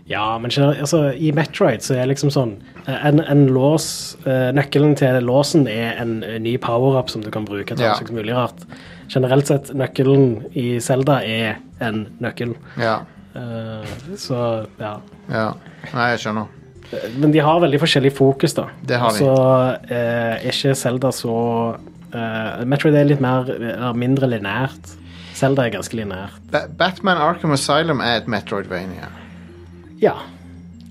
Speaker 3: Ja, men skjønner- altså, i Metroid så er liksom sånn eh, en, en lås, eh, Nøkkelen til låsen er en eh, ny power-up som du kan bruke til
Speaker 2: Ja.
Speaker 3: ja. slags mulig rart. Generelt sett, nøkkelen i Zelda er en nøkkel.
Speaker 2: Ja.
Speaker 3: Eh, så, ja.
Speaker 2: ja. Nei, jeg skjønner.
Speaker 3: Men de har veldig forskjellig fokus, da.
Speaker 2: Det har de.
Speaker 3: Så eh, er ikke Zelda så eh, Metroid er litt mer, eller mindre lineært. Zelda er ganske lineært.
Speaker 2: Ba Batman Arkham Asylum er et Metroidvania.
Speaker 3: Ja,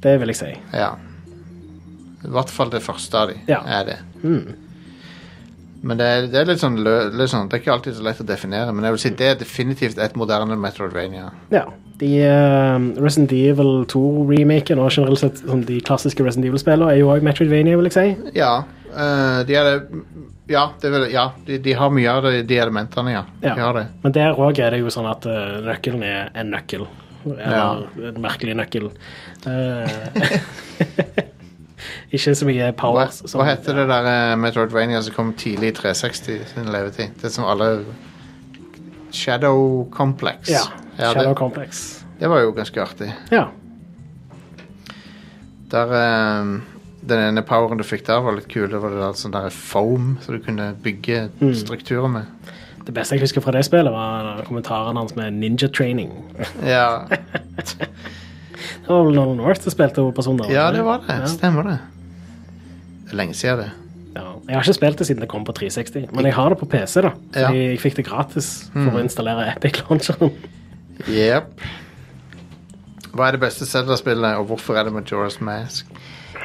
Speaker 3: det vil jeg si.
Speaker 2: Ja. I hvert fall det første av de
Speaker 3: Ja.
Speaker 2: er det. Men det er, det er litt, sånn lø, litt sånn Det er ikke alltid så lett å definere, men jeg vil si det er definitivt et moderne Metroidvania.
Speaker 3: Ja. De eh, Resident Evil 2-remaken og generelt sett sånn, de klassiske Resident Evil-spillene er jo òg Metroidvania, vil jeg si.
Speaker 2: Ja, eh, de er det Ja, det vil, ja de, de har mye av de, de elementene, ja.
Speaker 3: Ja.
Speaker 2: De har det.
Speaker 3: Men der òg er det jo sånn at eh, nøkkelen er en nøkkel. Eller en merkelig nøkkel. Eh, ikke så mye
Speaker 2: Hva,
Speaker 3: powers. som-
Speaker 2: hva heter det der eh, Metroidvania som kom tidlig i 360 sin levetid? Det som alle Shadow Complex.
Speaker 3: Ja.
Speaker 2: Ja,
Speaker 3: Shadow
Speaker 2: det,
Speaker 3: Complex.
Speaker 2: det var jo ganske artig.
Speaker 3: Ja.
Speaker 2: Der ehm, Den ene poweren du fikk der, var litt kul. Det var det der, sånn der foam som du kunne bygge
Speaker 3: Mm.
Speaker 2: strukturer med.
Speaker 3: Det beste jeg husker fra det spillet, var kommentaren hans med ninja training.
Speaker 2: Ja,
Speaker 3: Det var vel Nolan North som spilte hovedpersonen.
Speaker 2: ja det var det.
Speaker 3: Ja.
Speaker 2: Stemmer det. Det er lenge siden, det.
Speaker 3: Ja. Jeg har ikke spilt det siden det kom på 360, men jeg har det på PC, da.
Speaker 2: Ja.
Speaker 3: Fordi jeg fikk det gratis for å installere Epic Launcheren.
Speaker 2: Jepp. Hva er det beste Zelda-spillet, og hvorfor er det Majora's Mask?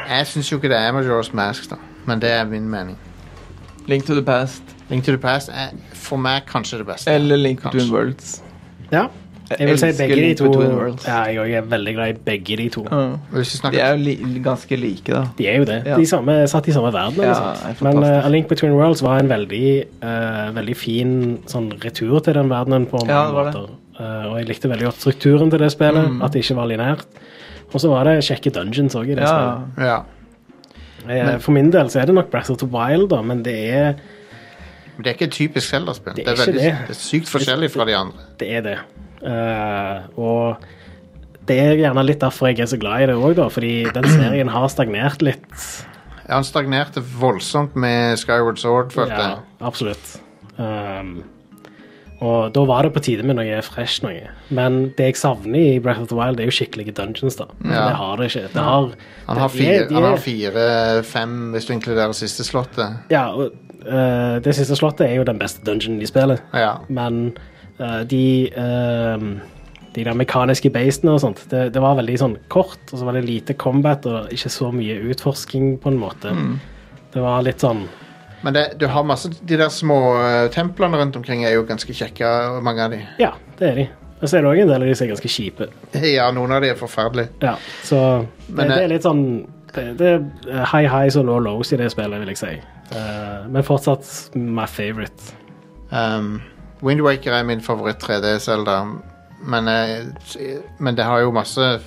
Speaker 2: Jeg syns jo ikke det er Majora's Mask, da, men det er min mening.
Speaker 4: Link to the past
Speaker 2: Link to the Past er for meg kanskje det beste.
Speaker 4: eller Link to
Speaker 2: Kanskje.
Speaker 4: Twin Worlds.
Speaker 3: Ja. Jeg vil si
Speaker 4: elsker
Speaker 3: begge de
Speaker 4: Link
Speaker 3: to.
Speaker 4: Between Worlds.
Speaker 3: Ja, jeg også er veldig glad i begge de to.
Speaker 4: Ja.
Speaker 2: Hvis vi
Speaker 4: De
Speaker 2: snakker
Speaker 4: er jo li ganske like, da.
Speaker 3: De er jo det.
Speaker 4: Ja.
Speaker 3: De samme, satt i samme verden. eller
Speaker 4: Ja,
Speaker 3: sant?
Speaker 4: det er
Speaker 3: Men
Speaker 4: fantastisk.
Speaker 3: eh, A Link Between Worlds var en veldig, eh, veldig fin sånn, retur til den verdenen på mange
Speaker 4: Ja, det var det.
Speaker 3: måter. Eh, og jeg likte veldig godt strukturen til det spillet, at det ikke var lineært. Og så var det kjekke dungeons òg i det
Speaker 4: Ja.
Speaker 3: spillet.
Speaker 2: Ja.
Speaker 3: Eh, For min del så er det nok Breath of the Wild, da, men det er
Speaker 2: Men det er ikke et typisk Zelda-spill.
Speaker 3: Det
Speaker 2: Det,
Speaker 3: er
Speaker 2: er
Speaker 3: ikke
Speaker 2: veldig-
Speaker 3: det.
Speaker 2: det er sykt forskjellig fra de andre.
Speaker 3: det. Er det. Eh, og det er gjerne litt derfor jeg er så glad i det òg, da, fordi den serien har stagnert litt.
Speaker 2: Han stagnerte voldsomt med Skyward Sword, følte jeg.
Speaker 3: Ja, absolutt. Ehm, og da var det på tide med noe fresh noe. Men det jeg savner i Breath of the Wild, det er jo skikkelige dungeons, da.
Speaker 2: Ja.
Speaker 3: Det har det ikke. Det har,
Speaker 2: Han har
Speaker 3: det er-
Speaker 2: fire,
Speaker 3: de
Speaker 2: han
Speaker 3: er-
Speaker 2: har fire fem, hvis du inkluderer siste slottet.
Speaker 3: Ja, og, eh, det siste slottet er jo den beste dungeonen i spillet.
Speaker 2: Ja.
Speaker 3: Men eh, de ehm, De der mekaniske basene og sånt, det, det var veldig sånn kort, og så var det lite combat og ikke så mye utforsking, på en måte.
Speaker 2: Mm.
Speaker 3: Det var litt sånn
Speaker 2: Men det, du har masse De der små eh, templene rundt omkring er jo ganske kjekke, og mange av de.
Speaker 3: Ja, det er de. Og så er det òg en del av de som er ganske kjipe.
Speaker 2: Ja, noen av de er forferdelige.
Speaker 3: Ja, så det,
Speaker 2: Men,
Speaker 3: det
Speaker 2: eh,
Speaker 3: er litt sånn Det, det er high highs og low lows i det spillet, vil jeg si. Eh, men fortsatt my favorite.
Speaker 2: Um, Windwaker er min favoritt 3D-Selda, men, eh, s- men det har jo masse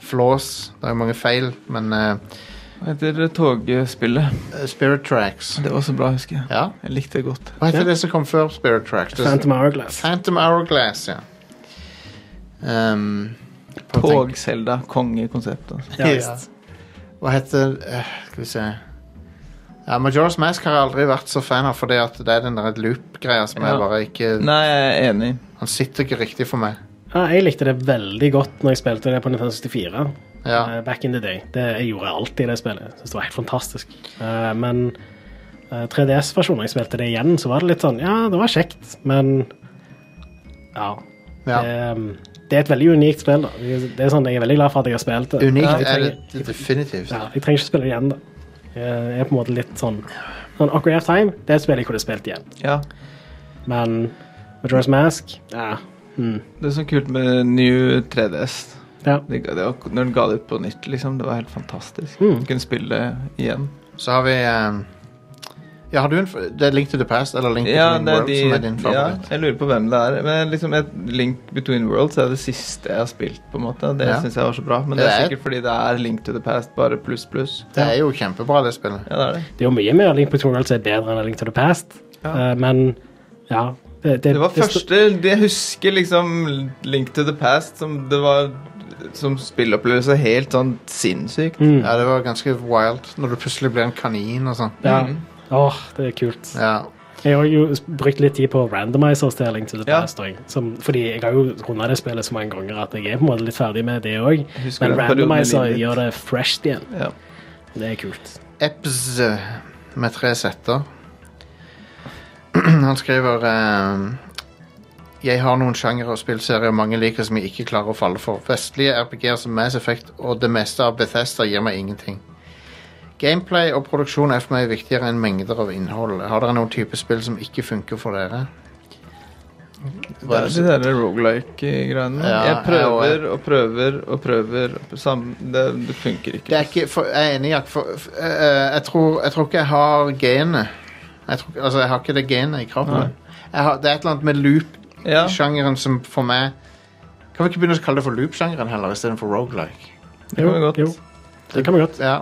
Speaker 2: flaws. Det er jo mange feil, men eh,
Speaker 4: Hva heter togspillet?
Speaker 2: Spirit Tracks
Speaker 4: Det var så bra, husker jeg.
Speaker 2: Ja.
Speaker 4: Jeg likte det godt.
Speaker 2: Hva heter det som kom før Spirit Tracks? Det-
Speaker 3: Phantom Hourglass.
Speaker 2: Phantom Hourglass, ja. Um, på tenk-
Speaker 4: Tog-Selda. Kongekonsept. Altså.
Speaker 3: Ja, visst.
Speaker 2: Hva heter eh, Skal vi se ja, Majora's Mask har jeg aldri vært så fan av, fordi at det er den der loop-greia som jeg
Speaker 4: Ja.
Speaker 2: bare ikke
Speaker 4: Nei, jeg er enig.
Speaker 2: Han sitter ikke riktig for meg.
Speaker 3: Ja, jeg likte det veldig godt når jeg spilte det på 1964.
Speaker 2: Ja.
Speaker 3: eh, back in the day. Det, jeg gjorde alltid det spillet. Synes det var helt fantastisk. Eh, men eh, 3DS-versjonen, jeg spilte det igjen, så var det litt sånn Ja, det var kjekt, men Ja.
Speaker 2: Ja.
Speaker 3: Det, um, det er et veldig unikt spill. da. Det det er sånn, Jeg er veldig glad for at jeg har spilt det.
Speaker 2: Unikt
Speaker 3: jeg
Speaker 2: er
Speaker 3: trenger,
Speaker 2: det definitivt.
Speaker 3: ja, jeg trenger ikke spille det igjen, da. Jeg er på en måte litt sånn sånn Ocarina of Time det er et spill jeg kunne spilt igjen.
Speaker 4: Ja.
Speaker 3: Men Majora's Mask ja. Mm.
Speaker 4: Det er så kult med New 3DS.
Speaker 3: ja.
Speaker 4: Det, ga- det var, når den ga det ut på nytt, liksom. Det var helt fantastisk.
Speaker 3: Mm.
Speaker 4: Du kunne spille det igjen.
Speaker 2: Så har vi um, Ja, har du en f- Det er Link to the Past eller Link to
Speaker 4: Ja,
Speaker 2: the
Speaker 4: det er
Speaker 2: World
Speaker 4: de,
Speaker 2: som er din
Speaker 4: ja,
Speaker 2: favoritt?
Speaker 4: jeg lurer på hvem det er. Men liksom et Link Between Worlds er det siste jeg har spilt. på en måte Det
Speaker 2: Ja.
Speaker 4: synes jeg var så bra. Men det
Speaker 2: Det
Speaker 4: er
Speaker 2: er-
Speaker 4: sikkert fordi det er Link to the Past, bare pluss, pluss.
Speaker 2: Det er jo kjempebra, det spillet.
Speaker 4: Ja, det er det.
Speaker 3: Det er jo mye mer Link Between Worlds er bedre enn Link to the Past,
Speaker 4: Ja.
Speaker 3: Eh, men ja Det, det-
Speaker 4: Det var
Speaker 3: det sto-
Speaker 4: første det Jeg husker liksom Link to the Past som det var som spillopplevelse helt sånn sinnssykt.
Speaker 3: Mm.
Speaker 2: Ja, det var ganske wild når du plutselig blir en kanin og sånn.
Speaker 3: Ja.
Speaker 4: Mm.
Speaker 3: Åh, det er kult.
Speaker 2: Ja.
Speaker 3: Jeg har jo s- brukt litt tid på randomizers til Link to the
Speaker 4: Ja.
Speaker 3: Past. også, Som, fordi jeg har jo runda det spillet så mange ganger at jeg er på en måte litt ferdig med det òg.
Speaker 4: Jeg husker
Speaker 3: Men
Speaker 4: den perioden i
Speaker 3: randomizer
Speaker 4: livet mitt.
Speaker 3: gjør det fresh igjen.
Speaker 4: Ja.
Speaker 3: Det er kult.
Speaker 2: Ebs med tre setter. Han skriver ehm, Jeg har noen sjangere og spillserier mange liker som jeg ikke klarer å falle for. Vestlige RPG-er som Mass Effect og det meste av Bethesda gir meg ingenting. Gameplay og produksjon er for meg viktigere enn mengder av innhold. Har dere noen type spill som ikke funker for dere?
Speaker 4: Det er de der rogelike-greiene.
Speaker 2: Ja,
Speaker 4: jeg
Speaker 2: jeg
Speaker 4: prøver og prøver og prøver. og sam- Det, det funker ikke.
Speaker 2: Det er ikke, for, jeg er enig i at for, for, eh, jeg, tror, jeg tror ikke jeg har genet. Jeg tror, ikke- altså, jeg har ikke det genet i kroppen. Jeg har, det er et eller annet med
Speaker 4: Ja.
Speaker 2: loop-sjangeren som for meg Kan vi ikke begynne å kalle det for loop-sjangeren heller, istedenfor rogelike?
Speaker 4: kan vi godt.
Speaker 3: Det kan vi godt.
Speaker 2: Ja.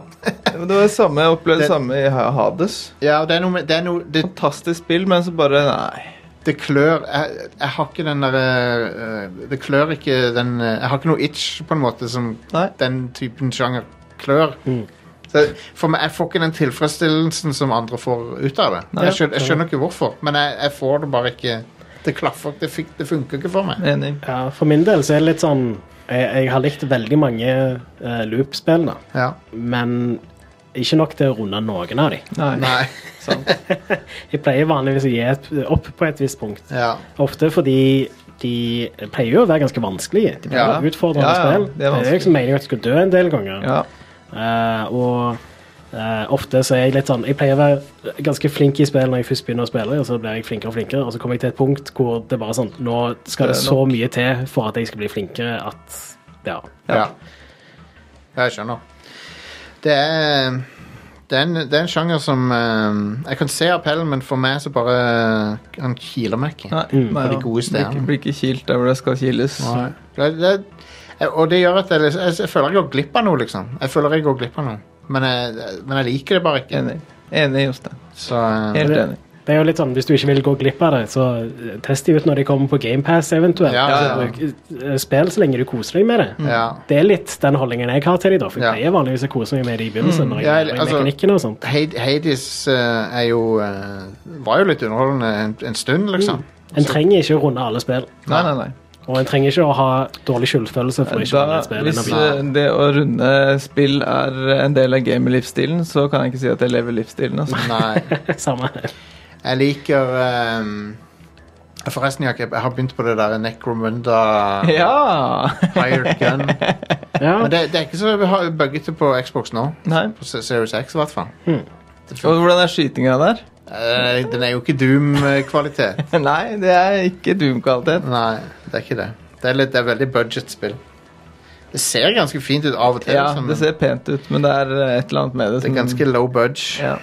Speaker 4: Men Det var det samme jeg opplevde
Speaker 2: Det-
Speaker 4: det samme i Ha- Hades.
Speaker 2: ja, det er noe med Det, er noe, det,
Speaker 4: Fantastisk spill, men så bare Nei.
Speaker 2: det klør jeg, jeg har ikke den derre eh, Det klør ikke den eh, Jeg har ikke noe itch, på en måte, som
Speaker 4: Nei.
Speaker 2: den typen sjanger klør.
Speaker 3: Mm.
Speaker 2: Så for meg, Jeg får ikke den tilfredsstillelsen som andre får ut av det.
Speaker 4: Nei.
Speaker 2: Jeg, skjønner, jeg skjønner ikke hvorfor, men jeg, jeg får det bare ikke Det klaffer ikke, det, fik, det funker ikke for meg.
Speaker 4: Enig.
Speaker 3: Ja, for min del så er det litt sånn Jeg, jeg har likt veldig mange eh, loop-spill, da.
Speaker 2: Ja.
Speaker 3: Men ikke nok til å runde noen av dem.
Speaker 4: Nei.
Speaker 2: Nei.
Speaker 3: Jeg pleier vanligvis å gi et, opp på et visst punkt.
Speaker 2: Ja.
Speaker 3: Ofte fordi de pleier jo å være ganske vanskelige. De pleier
Speaker 4: Ja.
Speaker 3: å være utfordrende
Speaker 4: Ja, ja,
Speaker 3: spill.
Speaker 4: det er
Speaker 3: Det er
Speaker 4: vanskelig.
Speaker 3: liksom meningen at du skal dø en
Speaker 2: Mm.
Speaker 3: del ganger.
Speaker 4: Ja.
Speaker 3: Eh, og eh, ofte så er jeg litt sånn Jeg pleier å være ganske flink i spill når jeg først begynner å spille, og så blir jeg flinkere og flinkere, og så kommer jeg til et punkt hvor det bare er sånn Nå skal
Speaker 4: Det er
Speaker 3: det, så mye til for at jeg skal bli flinkere at Ja.
Speaker 2: ja. Jeg skjønner. Det er det er, en, det er en sjanger som eh, Jeg kan se appellen, men for meg så bare Han kiler meg ikke.
Speaker 4: Nei.
Speaker 3: Mm.
Speaker 4: nei,
Speaker 2: På de
Speaker 4: ja.
Speaker 2: gode
Speaker 4: Blir ikke-
Speaker 2: stedene.
Speaker 4: Blir ikke kilt der hvor det skal kiles.
Speaker 2: Nei. Det, det, og det gjør at jeg, liksom- jeg, jeg føler jeg går glipp av noe, liksom. Jeg føler jeg går glipp av noe. Men jeg, men jeg liker det bare ikke.
Speaker 4: Enig. Enig, Jostein.
Speaker 2: Så eh,
Speaker 4: Helt enig.
Speaker 3: Det er jo litt sånn, Hvis du ikke vil gå glipp av det, så eh, test de ut når de kommer på GamePass eventuelt.
Speaker 2: Ja,
Speaker 3: Altså,
Speaker 4: ja, ja.
Speaker 3: bruk, eh, Spill så lenge du koser deg med det.
Speaker 2: Ja.
Speaker 3: Det er litt den holdningen jeg har til de da. For jeg
Speaker 2: Ja.
Speaker 3: pleier vanligvis å kose meg med de i begynnelsen. når jeg
Speaker 2: ja,
Speaker 3: lærer meg
Speaker 2: altså-
Speaker 3: mekanikken og sånt.
Speaker 2: Had- Hades eh, er jo eh, Var jo litt underholdende en, en stund, liksom.
Speaker 3: En trenger ikke å runde alle spill.
Speaker 4: Nei, nei, nei.
Speaker 3: Og en trenger ikke å ha dårlig skyldfølelse for ikke å runde
Speaker 4: Da,
Speaker 3: et spill.
Speaker 4: hvis
Speaker 3: innan byen.
Speaker 4: eh, det å runde spill er en del av gamer-livsstilen, så kan jeg ikke si at jeg lever livsstilen. Altså.
Speaker 2: Nei.
Speaker 3: Samme.
Speaker 2: Jeg liker ehm, Forresten, Jakob, jeg har begynt på det der Necromunda
Speaker 4: Ja!
Speaker 2: Hired Gun.
Speaker 3: Ja,
Speaker 2: Men det, det er ikke så beha- buggete på Xbox nå.
Speaker 4: Nei.
Speaker 2: På Se- Series X, i hvert fall.
Speaker 4: Og hvordan er skytinga der?
Speaker 2: Eh, den er jo ikke Doom-kvalitet.
Speaker 4: Nei, det er ikke Doom-kvalitet.
Speaker 2: Nei, det er ikke det. Det er, litt, det er veldig budget-spill. Det ser ganske fint ut av og til,
Speaker 4: Ja,
Speaker 2: liksom,
Speaker 4: det ser pent ut, men det er eh, et eller annet med det
Speaker 2: det er ganske low budge.
Speaker 4: ja.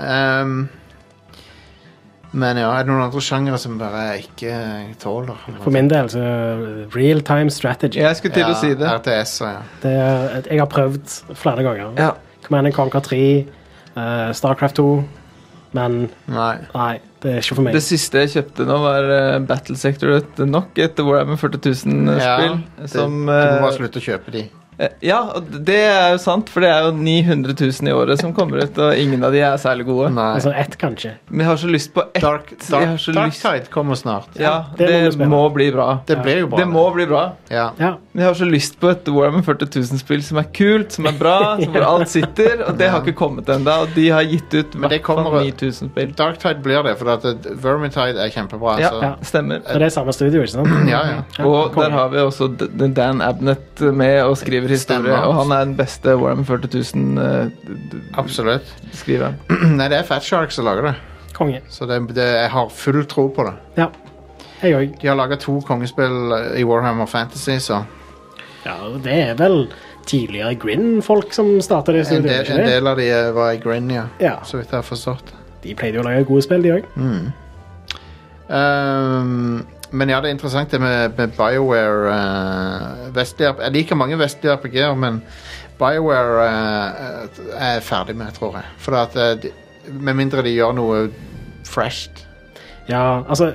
Speaker 2: Ehm, men ja, er det noen andre sjangere som bare jeg ikke tåler?
Speaker 3: for min del så Real time strategy.
Speaker 4: Jeg skulle til å si det.
Speaker 2: Ja, RTS, ja.
Speaker 3: Det er, jeg har prøvd flere ganger.
Speaker 4: Ja.
Speaker 3: Command and Conquer 3, eh, Starcraft 2, men
Speaker 2: Nei.
Speaker 3: nei, det er ikke for meg.
Speaker 4: Det siste jeg kjøpte nå, var eh, Battle Sector nok etter Warhammer 40
Speaker 2: Ja,
Speaker 4: 000-spill.
Speaker 2: det-
Speaker 4: som
Speaker 2: Du må
Speaker 4: eh,
Speaker 2: bare slutte å kjøpe de.
Speaker 4: eh, Ja, og det er jo sant, for det er jo 900 000 i året som kommer ut, og ingen av de er særlig gode.
Speaker 2: Nei.
Speaker 3: Altså ett, kanskje.
Speaker 4: Men jeg har så lyst på ett.
Speaker 2: Dark,
Speaker 4: jeg har
Speaker 2: Dark,
Speaker 4: så lyst-
Speaker 2: Darktide kommer snart.
Speaker 4: Ja,
Speaker 3: det må du
Speaker 4: det
Speaker 3: spille.
Speaker 4: må bli bra.
Speaker 2: Det blir jo bra.
Speaker 4: Det må bli bra.
Speaker 2: Ja.
Speaker 3: Ja.
Speaker 4: Men jeg har så lyst på et Warhammer 40 000-spill som er kult, som er bra, som hvor alt sitter, og det har ikke kommet ennå. Og de har gitt ut i
Speaker 2: Men det
Speaker 4: hvert fall
Speaker 2: kommer-
Speaker 4: 9000 spill.
Speaker 2: Darktide blir det, for at eh, Vermintide er kjempebra.
Speaker 4: Ja,
Speaker 2: så.
Speaker 3: ja.
Speaker 4: stemmer.
Speaker 3: Så det er samme studio, ikke sant?
Speaker 2: ja, ja.
Speaker 4: Og
Speaker 3: konge.
Speaker 4: der har vi også D- D- Dan Abnett med og skriver historie,
Speaker 2: Stemmer.
Speaker 4: og han er den beste Warhammer eh, 40
Speaker 2: Absolutt.
Speaker 4: 000-skriveren.
Speaker 2: Nei, det er Fatshark som lager det,
Speaker 3: Konge.
Speaker 2: så det, det, jeg har full tro på det.
Speaker 3: Ja. Jeg òg.
Speaker 2: De har laga to kongespill eh, i Warhammer Fantasy, så
Speaker 3: Ja, og det er vel tidligere Grin-folk som starta det
Speaker 2: en
Speaker 3: studioet,
Speaker 2: del,
Speaker 3: ikke
Speaker 2: en
Speaker 3: det?
Speaker 2: del av de eh, var i Grinia,
Speaker 3: Ja.
Speaker 2: så vidt jeg har forstått.
Speaker 3: De pleide jo å lage gode spill, de òg.
Speaker 2: Ehm, men ja, det er interessant det med, med BioWare. eh, vestlige, jeg liker mange vestlige RPG-er, men BioWare eh, er jeg ferdig med, tror jeg. For at, eh, de, med mindre de gjør noe fresht.
Speaker 3: Ja, altså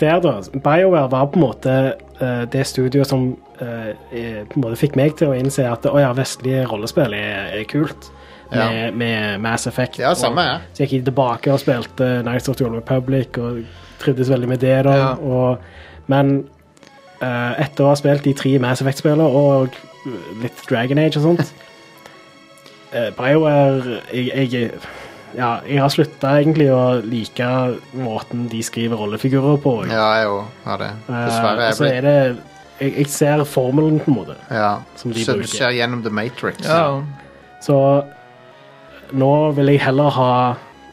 Speaker 3: Der, da. BioWare var på en måte eh, det studioet som eh, eh, på en måte fikk meg til å innse at å ja, vestlige rollespill er, er kult.
Speaker 2: Ja.
Speaker 3: Med, med Mass Effect.
Speaker 2: Ja, samme
Speaker 3: og-
Speaker 2: her.
Speaker 3: Så jeg gikk tilbake og spilte Nights of the Old Republic og trivdes veldig med det. da.
Speaker 4: Ja.
Speaker 3: Og, men eh, etter å ha spilt de tre Mass Effect-spillene og litt Dragon Age og sånt eh, BioWare jeg, jeg, ja, jeg har slutta egentlig å like måten de skriver rollefigurer på. og,
Speaker 2: Ja, jeg òg har det.
Speaker 3: eh,
Speaker 2: Dessverre.
Speaker 3: og
Speaker 2: Jeg
Speaker 3: så er
Speaker 2: blir,
Speaker 3: det jeg, jeg ser formelen, på en måte.
Speaker 2: ja.
Speaker 3: som de
Speaker 2: så du
Speaker 3: bruker.
Speaker 2: ser gjennom The Matrix.
Speaker 4: Ja.
Speaker 3: Så nå vil jeg heller ha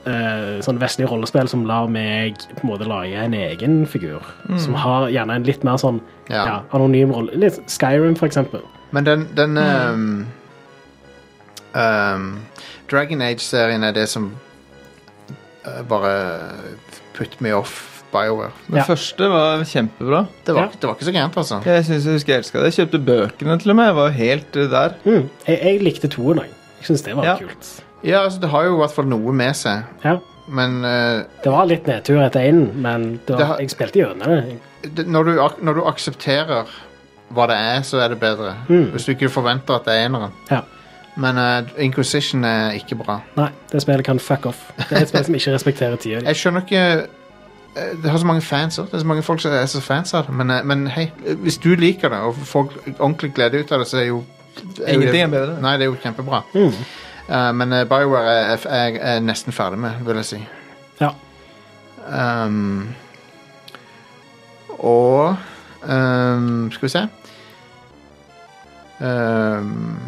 Speaker 3: eh, sånn vestlig rollespill som lar meg på en måte lage en egen figur. Som har gjerne en litt mer sånn ja.
Speaker 2: Ja.
Speaker 3: anonym rolle. Litt Skyrim, for eksempel.
Speaker 2: Men den, den
Speaker 3: Mm.
Speaker 2: ehm, ehm, Dragon Age-serien er det som eh, bare put me off BioWare.
Speaker 4: Den
Speaker 3: Ja.
Speaker 4: første var kjempebra.
Speaker 2: Det var,
Speaker 3: Ja.
Speaker 2: det var ikke så gærent, altså.
Speaker 4: Jeg synes jeg husker jeg elska det. Jeg kjøpte bøkene til og med. Jeg var jo helt eh, der.
Speaker 3: Mm. Jeg, jeg likte toen òg. Jeg syns det var
Speaker 4: Ja.
Speaker 3: kult.
Speaker 2: Ja, altså, det har jo i hvert fall noe med seg,
Speaker 3: Ja.
Speaker 2: men eh,
Speaker 3: Det var litt nedtur etter én, men det var,
Speaker 2: Det har-
Speaker 3: jeg spilte gjennom det.
Speaker 2: det, når, du, ak- når du aksepterer hva det er, så er det bedre.
Speaker 3: Mm.
Speaker 2: Hvis du ikke forventer at det er eneren.
Speaker 3: Ja.
Speaker 2: Men eh, Inquisition er ikke bra.
Speaker 3: Nei, det spillet kan fuck off. Det er et spill som ikke respekterer tida di.
Speaker 2: Jeg skjønner ikke eh, Det har så mange fans også. Det er så mange folk som er så fans av det. Men, eh, men hei, eh, hvis du liker det, og folk ordentlig gleder ut av det, så er jo er jo det-
Speaker 4: Ingenting er bedre.
Speaker 2: Nei, det er jo kjempebra.
Speaker 3: Mm.
Speaker 2: Eh, men eh, BioWare er jeg er, er nesten ferdig med, vil jeg si.
Speaker 3: Ja.
Speaker 2: Um, og um, Skal vi se um,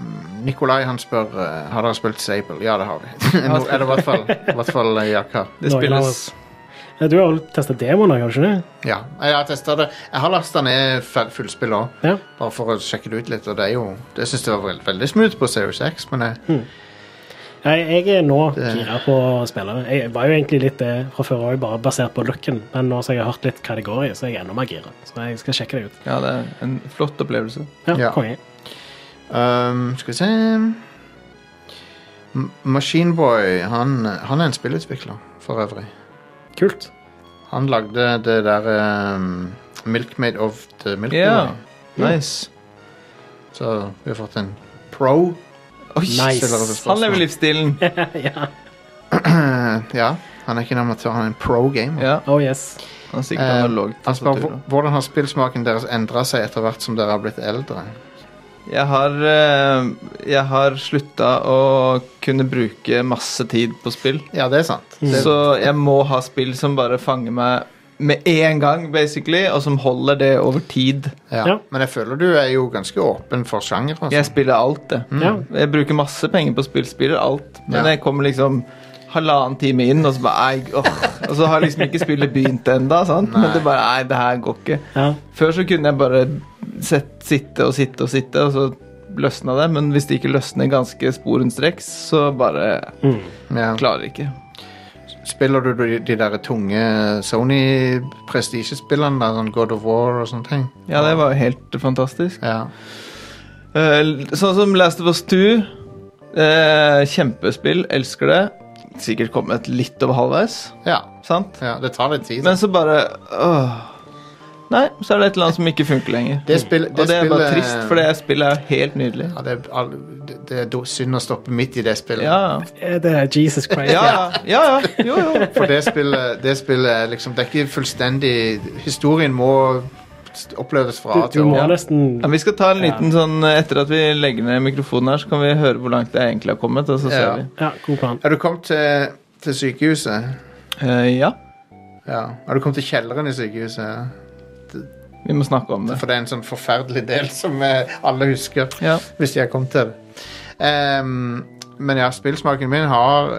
Speaker 2: Nikolai han spør eh, Har dere spilt Sable. Ja, det har vi. Nå er det i hvert fall, i hvert fall eh, Jack har.
Speaker 4: Det
Speaker 3: Nå,
Speaker 4: spilles
Speaker 3: Ja, Du har vel testa demoen òg, har du ikke det?
Speaker 2: Ja, jeg har testet det. Jeg har lasta ned fe- fullspill òg,
Speaker 3: Ja.
Speaker 2: bare for å sjekke det ut litt. Og det er jo Det syns jeg var veld, veldig smooth på Series X, men jeg,
Speaker 3: Jeg, jeg er nå gira på å spille det. Jeg var jo egentlig litt det fra før òg, bare basert på looken. Men nå som jeg har hørt litt kategorier, så er jeg enda mer gira. Så jeg skal sjekke det ut.
Speaker 4: Ja, det er en flott opplevelse.
Speaker 3: Ja,
Speaker 2: Ja.
Speaker 3: konge.
Speaker 2: um, Skal vi se M- Machine Boy, han, han er en spillutvikler for øvrig.
Speaker 3: Kult.
Speaker 2: Han lagde det der um, Milkmaid of the Milky Way.
Speaker 4: Ja. Nice.
Speaker 2: Så vi har fått en pro.
Speaker 4: Oi,
Speaker 3: Nice.
Speaker 2: stiller dere spørsmål?
Speaker 4: Han lever livsstilen.
Speaker 3: ja.
Speaker 2: ja, han er ikke en amatør, han er en pro-gamer.
Speaker 4: Ja,
Speaker 3: Oh yes.
Speaker 4: han er sikkert
Speaker 2: Eh,
Speaker 4: analog
Speaker 2: han spør
Speaker 4: tastatur, da.
Speaker 2: "Hvor- hvordan har spillsmaken deres endra seg etter hvert som dere har blitt eldre.
Speaker 4: Jeg har, eh, jeg har slutta å kunne bruke masse tid på spill.
Speaker 2: Ja, det er sant.
Speaker 3: Mm.
Speaker 2: Det,
Speaker 4: Så jeg må ha spill som bare fanger meg med en gang, basically, og som holder det over tid.
Speaker 2: ja.
Speaker 3: Ja.
Speaker 2: Men jeg føler du er jo ganske åpen for altså. sjanger. og
Speaker 4: Jeg
Speaker 2: sånt.
Speaker 4: spiller alt, jeg.
Speaker 3: Ja.
Speaker 4: Jeg bruker masse penger på spill, spiller alt. Men
Speaker 2: Ja.
Speaker 4: jeg kommer liksom halvannen time inn, og så bare ei, åh. Og så har liksom ikke spillet begynt ennå, sant? Men det bare Nei, det her går ikke.
Speaker 3: Ja.
Speaker 4: Før så kunne jeg bare sett, sitte og sitte og sitte, og så løsna det. Men hvis det ikke løsner ganske sporenstreks, så bare
Speaker 2: Ja.
Speaker 4: klarer jeg ikke.
Speaker 2: Spiller du de, de der tunge Sony-prestisjespillene, da, sånn God of War og sånne ting?
Speaker 4: Ja, det var jo helt fantastisk.
Speaker 2: Ja.
Speaker 4: Eh, sånn som Last of Us 2. eh, kjempespill, elsker det. Sikkert kommet litt over halvveis,
Speaker 2: ja.
Speaker 4: sant?
Speaker 2: ja. Det tar litt tid. da.
Speaker 4: Men så bare åh. Nei, så er det et eller annet som ikke funker lenger.
Speaker 2: det spill, det
Speaker 4: Og det er bare
Speaker 2: spillet-
Speaker 4: trist, for det spillet er helt nydelig.
Speaker 2: ja, det, er, all- det- det er do- synd å stoppe midt i det spillet.
Speaker 4: Ja,
Speaker 3: Eh, Det er Jesus
Speaker 4: ja,
Speaker 3: Christ.
Speaker 4: ja. ja, ja. Jo, jo.
Speaker 2: For det spillet, det spillet er liksom Det er ikke fullstendig Historien må st- oppleves fra A
Speaker 3: Du,
Speaker 2: til
Speaker 3: du må
Speaker 2: Å.
Speaker 3: nesten
Speaker 4: Ja, vi skal ta en liten sånn eh, Etter at vi legger ned mikrofonen her, så kan vi høre hvor langt det egentlig har kommet. Og så ser
Speaker 2: Ja.
Speaker 4: vi.
Speaker 3: Ja, god plan.
Speaker 2: Er du kommet til, til sykehuset?
Speaker 4: Eh, ja,
Speaker 2: Ja. Er du kommet til kjelleren i sykehuset? Ja.
Speaker 4: vi må snakke om det.
Speaker 2: For det er en sånn forferdelig del som eh, alle husker.
Speaker 4: Ja.
Speaker 2: Hvis de har kommet til det. Ehm, men ja, spillsmaken min har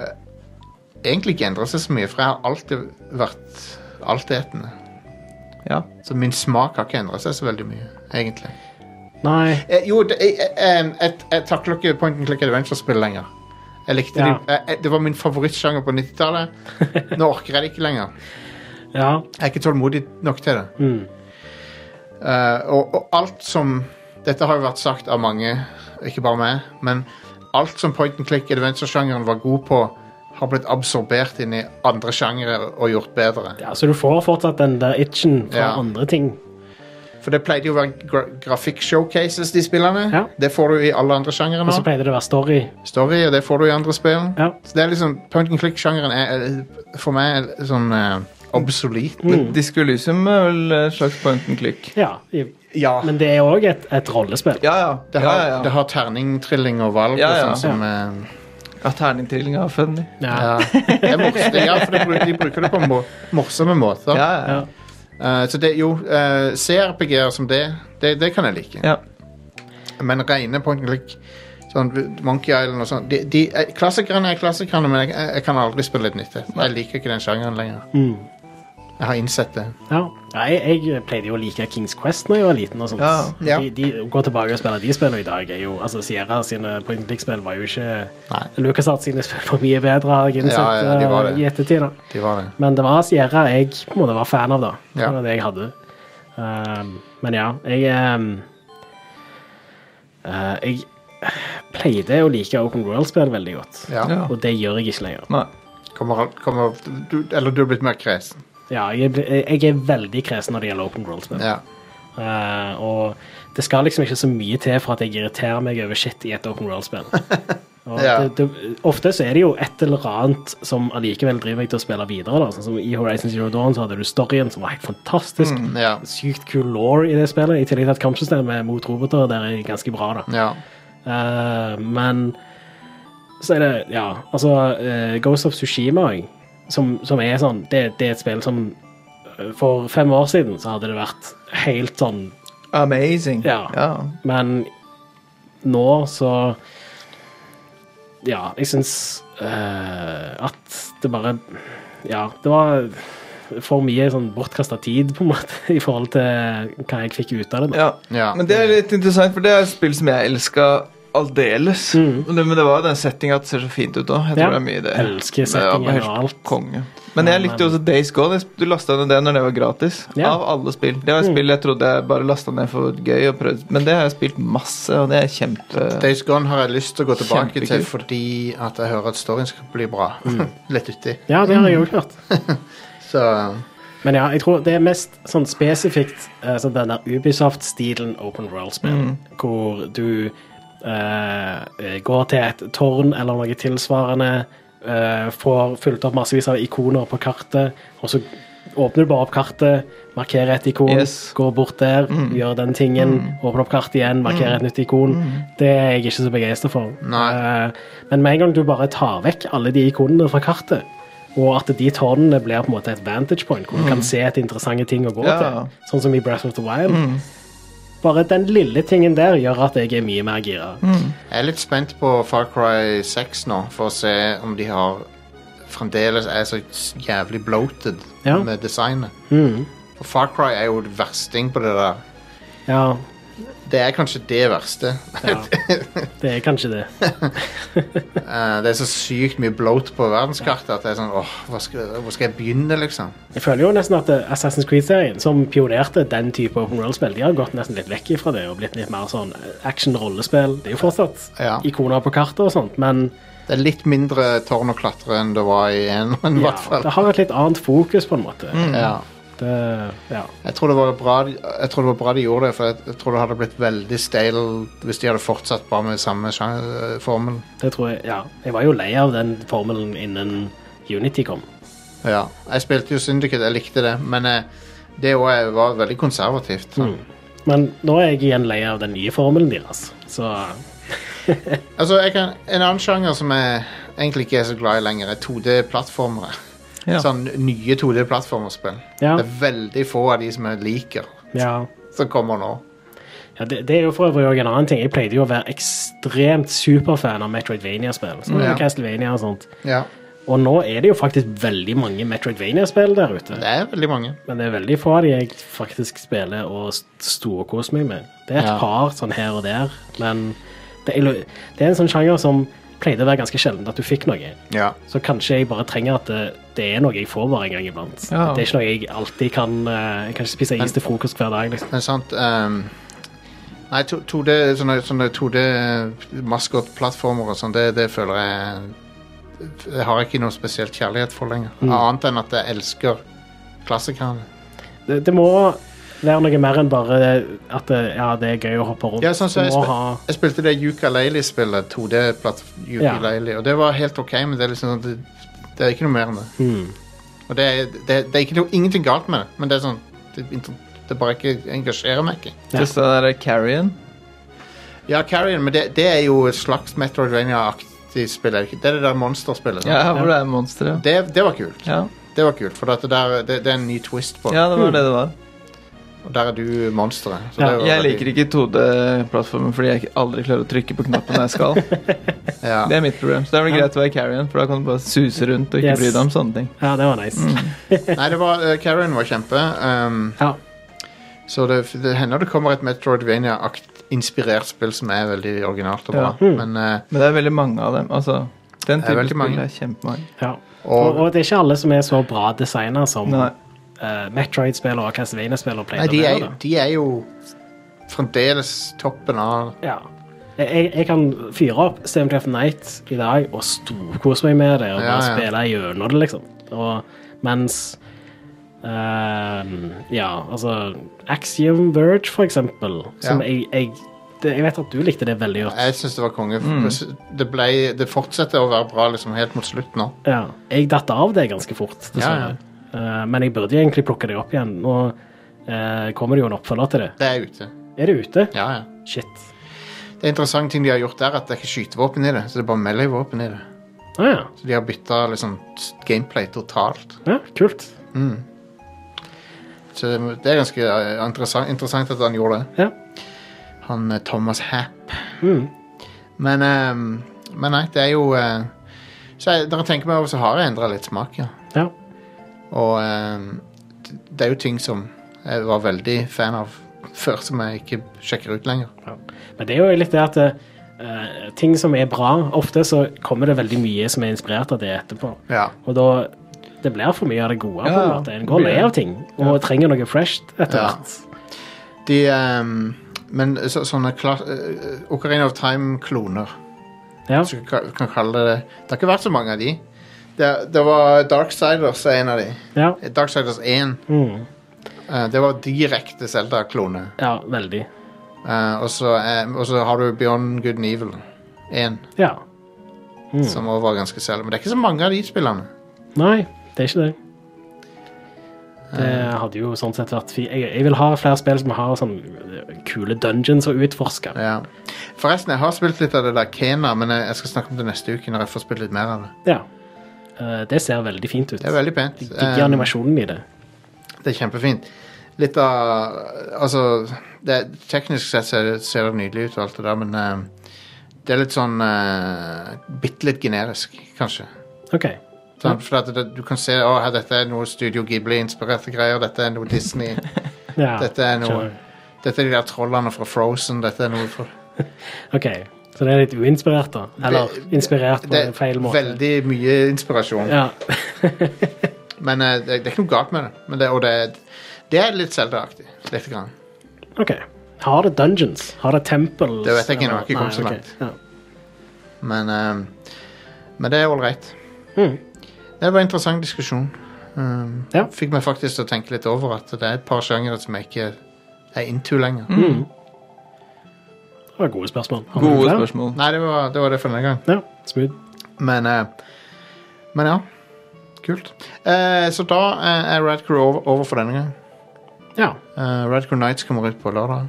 Speaker 2: egentlig ikke endra seg så mye, for jeg har alltid vært altetende.
Speaker 4: Ja.
Speaker 2: Så min smak har ikke endra seg så veldig mye, egentlig.
Speaker 3: Nei.
Speaker 2: Eh, jo, det, jeg, jeg, em, jeg, jeg takler ikke Point and Click Adventure-spill lenger. Jeg likte
Speaker 3: Ja.
Speaker 2: de, jeg, jeg- Det var min favorittsjanger på 90-tallet. Nå orker jeg det ikke lenger.
Speaker 3: Ja.
Speaker 2: Jeg er ikke tålmodig nok til det.
Speaker 3: Mm.
Speaker 2: Eh, og, og alt som Dette har jo vært sagt av mange, ikke bare meg, men alt som point and click adventure-sjangeren var god på, har blitt absorbert inn i andre sjangere og gjort bedre.
Speaker 3: ja. Så du får fortsatt den der itchen fra
Speaker 2: Ja.
Speaker 3: andre ting.
Speaker 2: For det pleide jo å være gra grafikk-showcases, de spillene.
Speaker 3: Ja.
Speaker 2: Det får du i alle andre sjangere
Speaker 3: Og
Speaker 2: nå.
Speaker 3: så pleide det å være story.
Speaker 2: Story, og det får du i andre spill.
Speaker 3: Ja.
Speaker 2: Så det er liksom, Point and click-sjangeren er eh, for meg er sånn eh, obsolet.
Speaker 3: Mm.
Speaker 4: Men Disco Elysium er vel et slags point and click.
Speaker 3: ja. i-
Speaker 2: Ja.
Speaker 3: Men det er òg et, et rollespill.
Speaker 4: Ja, ja.
Speaker 2: Det
Speaker 4: ja,
Speaker 2: har,
Speaker 4: ja,
Speaker 2: det
Speaker 4: ja.
Speaker 2: har terningtrilling og valg
Speaker 4: Ja, ja.
Speaker 2: og sånn som eh,
Speaker 4: ja Terningtrilling er funny.
Speaker 2: Ja,
Speaker 3: Ja.
Speaker 2: det er mors- det- ja for de bruker, de bruker det på mo- morsomme måter.
Speaker 4: Ja, ja.
Speaker 3: Ja.
Speaker 2: Eh, så det, jo, uh, CRPG-er som det, det, det kan jeg like.
Speaker 4: ja.
Speaker 2: Men rene point and click, sånn Monkey Island og sånn de, de, eh, Klassikerne er klassikerne, men jeg, jeg kan aldri spille et nytt et. Jeg liker ikke den sjangeren lenger.
Speaker 3: Mm.
Speaker 2: Jeg har innsett det.
Speaker 3: ja. Nei, jeg pleide jo å like Kings Quest da jeg var liten. og sånt.
Speaker 4: Ja,
Speaker 2: ja.
Speaker 3: De, de å gå tilbake og spille de spillene i dag. er jo, altså Sierra sine point and click-spill var jo ikke
Speaker 2: Nei,
Speaker 3: LucasArts sine spill var mye bedre, har jeg innsett
Speaker 2: Ja, ja, de var
Speaker 3: eh,
Speaker 2: det.
Speaker 3: i ettertid. da.
Speaker 2: de var det.
Speaker 3: Men det var Sierra jeg på en måte var fan av, da.
Speaker 2: Ja.
Speaker 3: Det var det jeg hadde. Um, men ja, jeg um, eh, Jeg pleide å like Open World-spill veldig godt,
Speaker 2: Ja.
Speaker 4: Ja.
Speaker 3: og det gjør jeg ikke lenger.
Speaker 4: Nei.
Speaker 2: Kommer, al- kommer, du, eller du er blitt mer kresen.
Speaker 3: Ja, jeg, er bli- jeg er veldig kresen når det gjelder Open World-spill.
Speaker 2: Ja.
Speaker 3: Eh, og det skal liksom ikke så mye til for at jeg irriterer meg over shit i et Open World-spill. Og
Speaker 2: Ja.
Speaker 3: det, det, ofte så er det jo et eller annet som allikevel driver meg til å spille videre. Da. Sånn som I Horizon Zero Dawn så hadde du storyen, som var helt fantastisk.
Speaker 2: Mm, Ja.
Speaker 3: sykt kul law i det spillet, i tillegg til at kampsystemet mot roboter der er ganske bra, da.
Speaker 2: ja.
Speaker 3: Eh, men så er det Ja, altså eh, Ghost of Sushima òg, som, som er sånn det, det er et spill som eh, for fem år siden så hadde det vært helt sånn
Speaker 4: Amazing.
Speaker 3: Ja. Men nå så Ja, jeg syns eh, at det bare Ja, det var for mye sånn bortkasta tid, på en måte, i forhold til hva jeg fikk ut av det. da.
Speaker 4: Ja.
Speaker 2: Ja.
Speaker 4: Men det er litt interessant, for det er et spill som jeg elska aldeles. Og det- Men det var jo den settinga at det ser så fint ut òg. Jeg tror
Speaker 3: Ja.
Speaker 4: det er mye i det.
Speaker 3: Elsker
Speaker 4: Det var
Speaker 3: settingen
Speaker 4: helt
Speaker 3: og alt.
Speaker 4: Konge. Men jeg likte jo også Days Gone. Du lasta ned det når det var gratis.
Speaker 3: Ja.
Speaker 4: Av alle spill. Det var et spill jeg trodde jeg bare lasta ned for gøy og prøvd. Men det har jeg spilt masse, og det er kjempe...
Speaker 2: Days Gone har jeg lyst til å gå tilbake til
Speaker 4: Kjempekult. Mm.
Speaker 2: fordi at jeg hører at storyen skal bli bra. Litt uti.
Speaker 3: Ja, det har jeg òg hørt.
Speaker 2: Så
Speaker 3: Men ja, jeg tror det er mest sånn spesifikt eh, sånn den der Ubisoft-stilen open world-spill, hvor du eh, går til et tårn eller noe tilsvarende, eh, får fulgt opp massevis av ikoner på kartet, og så åpner du bare opp kartet, markerer et ikon,
Speaker 4: Yes.
Speaker 3: går bort der, gjør den tingen, åpner opp kartet igjen, markerer et nytt ikon. Det er jeg ikke så begeistra for.
Speaker 2: Nei.
Speaker 3: Eh, Men med en gang du bare tar vekk alle de ikonene fra kartet, og at de tårnene blir på en måte et vantage point, hvor du kan se etter interessante ting å gå
Speaker 4: Ja.
Speaker 3: til, sånn som i Breath of the Wild Bare den lille tingen der gjør at jeg er mye mer gira.
Speaker 2: jeg er litt spent på Far Cry 6 nå, for å se om de har fremdeles er så jævlig bloated
Speaker 3: Ja. Mm.
Speaker 2: med designet. For Far Cry er jo versting på det der.
Speaker 3: Ja,
Speaker 2: Det er kanskje det verste.
Speaker 3: det er kanskje det.
Speaker 2: Eh, det er så sykt mye bloat på verdenskartet at det er sånn åh, hvor skal, hvor skal jeg begynne, liksom?
Speaker 3: Jeg føler jo nesten at eh, Assassin's Creed-serien, som pionerte den type open world-spill, de har gått nesten litt vekk ifra det og blitt litt mer sånn eh, action-rollespill. Det er jo fortsatt
Speaker 2: Ja.
Speaker 3: ikoner på kartet og sånt, men
Speaker 2: Det er litt mindre tårn å klatre enn det var i en, i
Speaker 3: ja,
Speaker 2: hvert fall. Mm.
Speaker 3: det har et litt annet fokus, på en måte.
Speaker 2: Ja.
Speaker 3: Det, ja.
Speaker 2: Jeg tror, det var bra, jeg tror det var bra de gjorde det, for jeg, jeg tror det hadde blitt veldig stale hvis de hadde fortsatt bare med samme sjan- eh, formel.
Speaker 3: Det tror jeg, ja. Jeg var jo lei av den formelen innen Unity kom.
Speaker 2: Ja. Jeg spilte jo Syndicate, jeg likte det, men eh, det også er- var veldig konservativt. sånn.
Speaker 3: Men nå er jeg igjen lei av den nye formelen deres. Så
Speaker 2: Altså, jeg kan, En annen sjanger som jeg egentlig ikke er så glad i lenger, er 2D-plattformere.
Speaker 4: Ja.
Speaker 2: Sånn nye 2D-plattformerspill.
Speaker 3: ja.
Speaker 2: Det er veldig få av de som jeg liker,
Speaker 3: ja.
Speaker 2: som kommer nå.
Speaker 3: ja det, det er jo for øvrig også en annen ting. Jeg pleide jo å være ekstremt superfan av Metroidvania-spill. Som
Speaker 2: Mm, Ja.
Speaker 3: Castlevania og sånt.
Speaker 2: Ja,
Speaker 3: Og nå er det jo faktisk veldig mange Metroidvania-spill der ute.
Speaker 2: Det er veldig mange.
Speaker 3: Men det er veldig få av de jeg faktisk spiller og st- storkoser meg med. Det er et
Speaker 2: Ja.
Speaker 3: par sånn her og der, men det er, det er en sånn sjanger som pleide å være ganske sjelden at du fikk noe.
Speaker 2: Ja.
Speaker 3: Så kanskje jeg bare trenger at det, det er noe jeg får bare en gang iblant.
Speaker 4: Ja.
Speaker 3: Det er ikke noe jeg alltid kan eh, Jeg kan ikke spise is til frokost hver dag. Liksom.
Speaker 2: Men sant ehm, Nei, to- 2D, sånne, sånne 2D-maskot-plattformer og sånn, det, det føler jeg Jeg har ikke noe spesielt kjærlighet for lenger. Annet enn at jeg elsker klassikerne.
Speaker 3: Det, det må være noe mer enn bare at det, ja, det er gøy å hoppe rundt.
Speaker 2: Ja, sånn som
Speaker 3: du
Speaker 2: jeg,
Speaker 3: må
Speaker 2: spil
Speaker 3: ha
Speaker 2: jeg spilte det ukulele-spillet, 2D-ukulele, og det var helt OK, men det er liksom sånn det, det er ikke noe mer enn det.
Speaker 3: Mm.
Speaker 2: Og det er, det, det er ikke noe, ingenting galt med det, men det er sånn Det, det bare ikke engasjerer meg ikke.
Speaker 3: Ja.
Speaker 4: Just den der carrion.
Speaker 2: Ja, Carrion, men det, det er jo et slags Metroidvania-aktig spill. er det ikke? Det er det der monsterspillet. sant?
Speaker 4: Ja, hvor det er monstre.
Speaker 2: Det, det var kult.
Speaker 4: Ja.
Speaker 2: Det var kult, for at det, der, det, det er en ny twist på det.
Speaker 4: ja, det var det det var.
Speaker 2: Og der er du monsteret. så
Speaker 3: Ja,
Speaker 2: det var
Speaker 4: Jeg
Speaker 2: veldig-
Speaker 4: liker ikke 2D-plattformen fordi jeg ikke- aldri klarer å trykke på knappen når jeg skal.
Speaker 2: Ja.
Speaker 4: Det er mitt problem. Så det er vel
Speaker 3: Ja.
Speaker 4: greit å være carrion, for da kan du bare suse rundt og ikke
Speaker 3: Yes.
Speaker 4: bry deg om sånne ting.
Speaker 3: Ja, det var nice.
Speaker 2: Mm. Nei, det var, eh, Carrion var kjempe. ehm,
Speaker 3: Ja.
Speaker 2: så det, det hender det kommer et Metroidvania-inspirert spill som er veldig originalt og bra.
Speaker 4: Ja. Hmm.
Speaker 2: Men, eh,
Speaker 4: Men det er veldig mange av dem. Altså,
Speaker 2: Det er
Speaker 4: den typen
Speaker 2: veldig mange.
Speaker 4: spill er kjempemange.
Speaker 3: ja. Og,
Speaker 2: og,
Speaker 3: og det er ikke alle som er så bra designa som
Speaker 4: Nei.
Speaker 3: eh, Metroid-spillere og Castlevania-spillere
Speaker 2: nei,
Speaker 3: pleier
Speaker 2: de
Speaker 3: å
Speaker 2: er,
Speaker 3: være.
Speaker 2: jo-
Speaker 3: da.
Speaker 2: de er jo fremdeles toppen av
Speaker 3: Ja. Jeg, jeg, jeg kan fyre opp CMTF Night i dag og storkose meg med det og bare
Speaker 2: Ja, ja.
Speaker 3: spille gjennom det, liksom. Og, mens ehm, Ja, altså Axiom Verge, for eksempel, som
Speaker 2: Ja.
Speaker 3: jeg, jeg det, Jeg vet at du likte det veldig godt.
Speaker 2: Jeg syns det var konge.
Speaker 4: Hmm.
Speaker 2: Det, ble, det fortsetter å være bra liksom, helt mot slutt nå.
Speaker 3: Ja. Jeg datt av det ganske fort, dessverre. Eh, men jeg burde egentlig plukke det opp igjen. Nå eh, kommer det jo en oppfølger til det.
Speaker 2: Det er ute.
Speaker 3: Er det ute?
Speaker 2: Ja, ja.
Speaker 3: Shit.
Speaker 2: Det interessante ting de har gjort der, at det er ikke skytevåpen i det. Så det er bare melee-våpen i det.
Speaker 3: Å Ah, ja.
Speaker 2: Så de har bytta liksom, s- gameplay totalt.
Speaker 3: ja. Kult.
Speaker 2: Så det det er ganske eh, interessant, interessant at han gjorde det.
Speaker 3: Ja.
Speaker 2: Han eh, Thomas Happ.
Speaker 3: Mm.
Speaker 2: Men, ehm, men nei, det er jo eh, Så jeg, Dere tenker meg over, så har jeg endra litt smak, ja.
Speaker 3: Ja.
Speaker 2: Og ehm, d- det er jo ting som jeg var veldig fan av før, som jeg ikke sjekker ut lenger.
Speaker 3: Ja. Men det er jo litt det at eh, ting som er bra, ofte så kommer det veldig mye som er inspirert av det etterpå.
Speaker 2: Ja.
Speaker 3: Og da det blir for mye av det gode. på en
Speaker 4: Ja,
Speaker 3: måte. En går lei
Speaker 4: mye.
Speaker 3: av ting og trenger noe fresh etter
Speaker 2: Ja.
Speaker 3: hvert.
Speaker 2: De ehm, Men så, sånne kla eh, Ocarina of Time-kloner
Speaker 3: Ja.
Speaker 2: Så vi kan, kan kalle det det. Det har ikke vært så mange av de. Det Det, det var Darksiders er en av de.
Speaker 3: Ja,
Speaker 2: Darksiders 1. Eh, det var direkte Zelda-klone.
Speaker 3: ja veldig.
Speaker 2: Eh, og så eh, og så har du Beyond Good and Evil 1,
Speaker 3: Ja.
Speaker 2: som også var ganske Zelda. Men det er ikke så mange av de spillene.
Speaker 3: Nei, det er ikke det. Det
Speaker 2: Eh.
Speaker 3: hadde jo sånn sett vært fint. Jeg, jeg vil ha flere spill som har sånn kule dungeons å utforske.
Speaker 2: Ja. Forresten, jeg har spilt litt av det der Kena, men jeg, jeg skal snakke om det neste uke når jeg får spilt litt mer av det.
Speaker 3: Ja. Eh, Det ser veldig fint ut.
Speaker 2: Det er veldig pent.
Speaker 3: Digger
Speaker 2: Eh,
Speaker 3: animasjonen i det.
Speaker 2: Det er kjempefint. Litt av Altså, det, teknisk sett ser, det- ser det nydelig ut og alt det der, men eh, det er litt sånn uh, Bitte litt generisk, kanskje.
Speaker 3: OK.
Speaker 2: Sånn, for at det, du kan se å, her, dette er noe Studio Ghibli-inspirerte greier, dette er noe Disney,
Speaker 3: Ja,
Speaker 2: dette er noe
Speaker 3: skjønner.
Speaker 2: Dette er de der trollene fra Frozen, dette er noe fra
Speaker 3: OK. Så det er litt uinspirert, da? Eller
Speaker 2: Det-
Speaker 3: inspirert på
Speaker 2: Det
Speaker 3: en
Speaker 2: er
Speaker 3: feil måte?
Speaker 2: veldig mye inspirasjon,
Speaker 3: Ja.
Speaker 2: men eh, det, det er ikke noe galt med det. Men det og det, er- det er litt Zelda-aktig. Lite grann.
Speaker 3: OK. Har det dungeons? Har det temples?
Speaker 2: Det vet jeg ikke,
Speaker 3: eller-
Speaker 2: jeg har ikke kommet så
Speaker 3: Nei, ok.
Speaker 2: langt.
Speaker 3: Ja.
Speaker 2: Men, ehm, men det er ålreit.
Speaker 3: Mhm.
Speaker 2: Det var en interessant diskusjon. Ehm,
Speaker 3: Ja.
Speaker 2: Fikk meg faktisk til å tenke litt over at det er et par sjangere som jeg ikke er into lenger.
Speaker 3: Det var gode spørsmål. Har vi
Speaker 4: Gode
Speaker 3: flere?
Speaker 4: spørsmål.
Speaker 2: Nei, det var, det var det for denne gang.
Speaker 3: Ja, smooth.
Speaker 2: Men, eh, men ja. Kult. Eh, så da eh, er Radcrew over, over for denne gang.
Speaker 3: Ja.
Speaker 2: Uh, Radcrew Nights kommer ut på lørdag.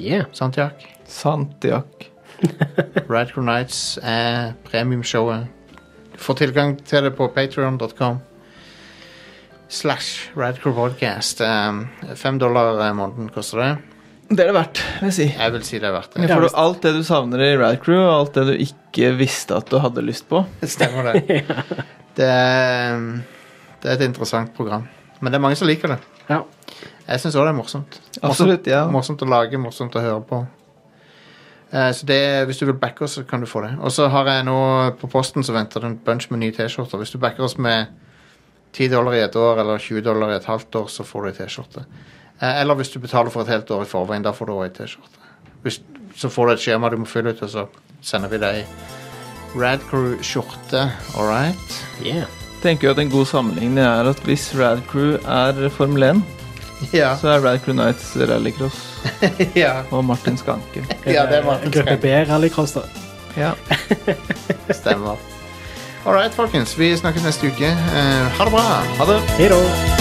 Speaker 3: Yeah.
Speaker 2: Sant, Jack?
Speaker 4: Santiak.
Speaker 2: Radcrew Nights er premiumshowet. Du får tilgang til det på patreon.com slash Radcrew Podcast. Um, Fem dollar eh, måneden koster det.
Speaker 4: Det er det verdt, vil jeg si.
Speaker 2: Jeg vil si det er verdt
Speaker 4: Her
Speaker 2: det.
Speaker 4: får du alt det du savner i Rad Crew, og alt det du ikke visste at du hadde lyst på.
Speaker 2: Stemmer det. Det er, um, det er et interessant program. Men det er mange som liker det.
Speaker 3: Ja.
Speaker 2: Jeg syns òg det er morsomt.
Speaker 4: Absolutt, ja.
Speaker 2: Morsomt å lage, morsomt å høre på. Eh, Så det, Hvis du vil backe oss, så kan du få det. Og så har jeg nå på posten så venter det en bunch med nye T-skjorter. Hvis du backer oss med 10 dollar i et år eller 20 dollar i et halvt år, så får du ei T-skjorte. Eh, Eller hvis du betaler for et helt år i forveien, da får du òg ei T-skjorte. Hvis- Så får du et skjema du må fylle ut, og så sender vi deg ei Radcrew-skjorte. All right?
Speaker 3: Yeah.
Speaker 4: Tenker jo at En god sammenligning er at hvis Rad Crew er Formel 1,
Speaker 2: Ja.
Speaker 4: så er Rad Crew Nights rallycross
Speaker 2: ja.
Speaker 4: og Martin Skanke.
Speaker 2: ja det var
Speaker 3: Gruppe B rallycross, da.
Speaker 4: Ja.
Speaker 2: Stemmer. All right, folkens. Vi snakkes neste uke. Eh, ha det bra.
Speaker 4: Ha det!
Speaker 3: Hei da.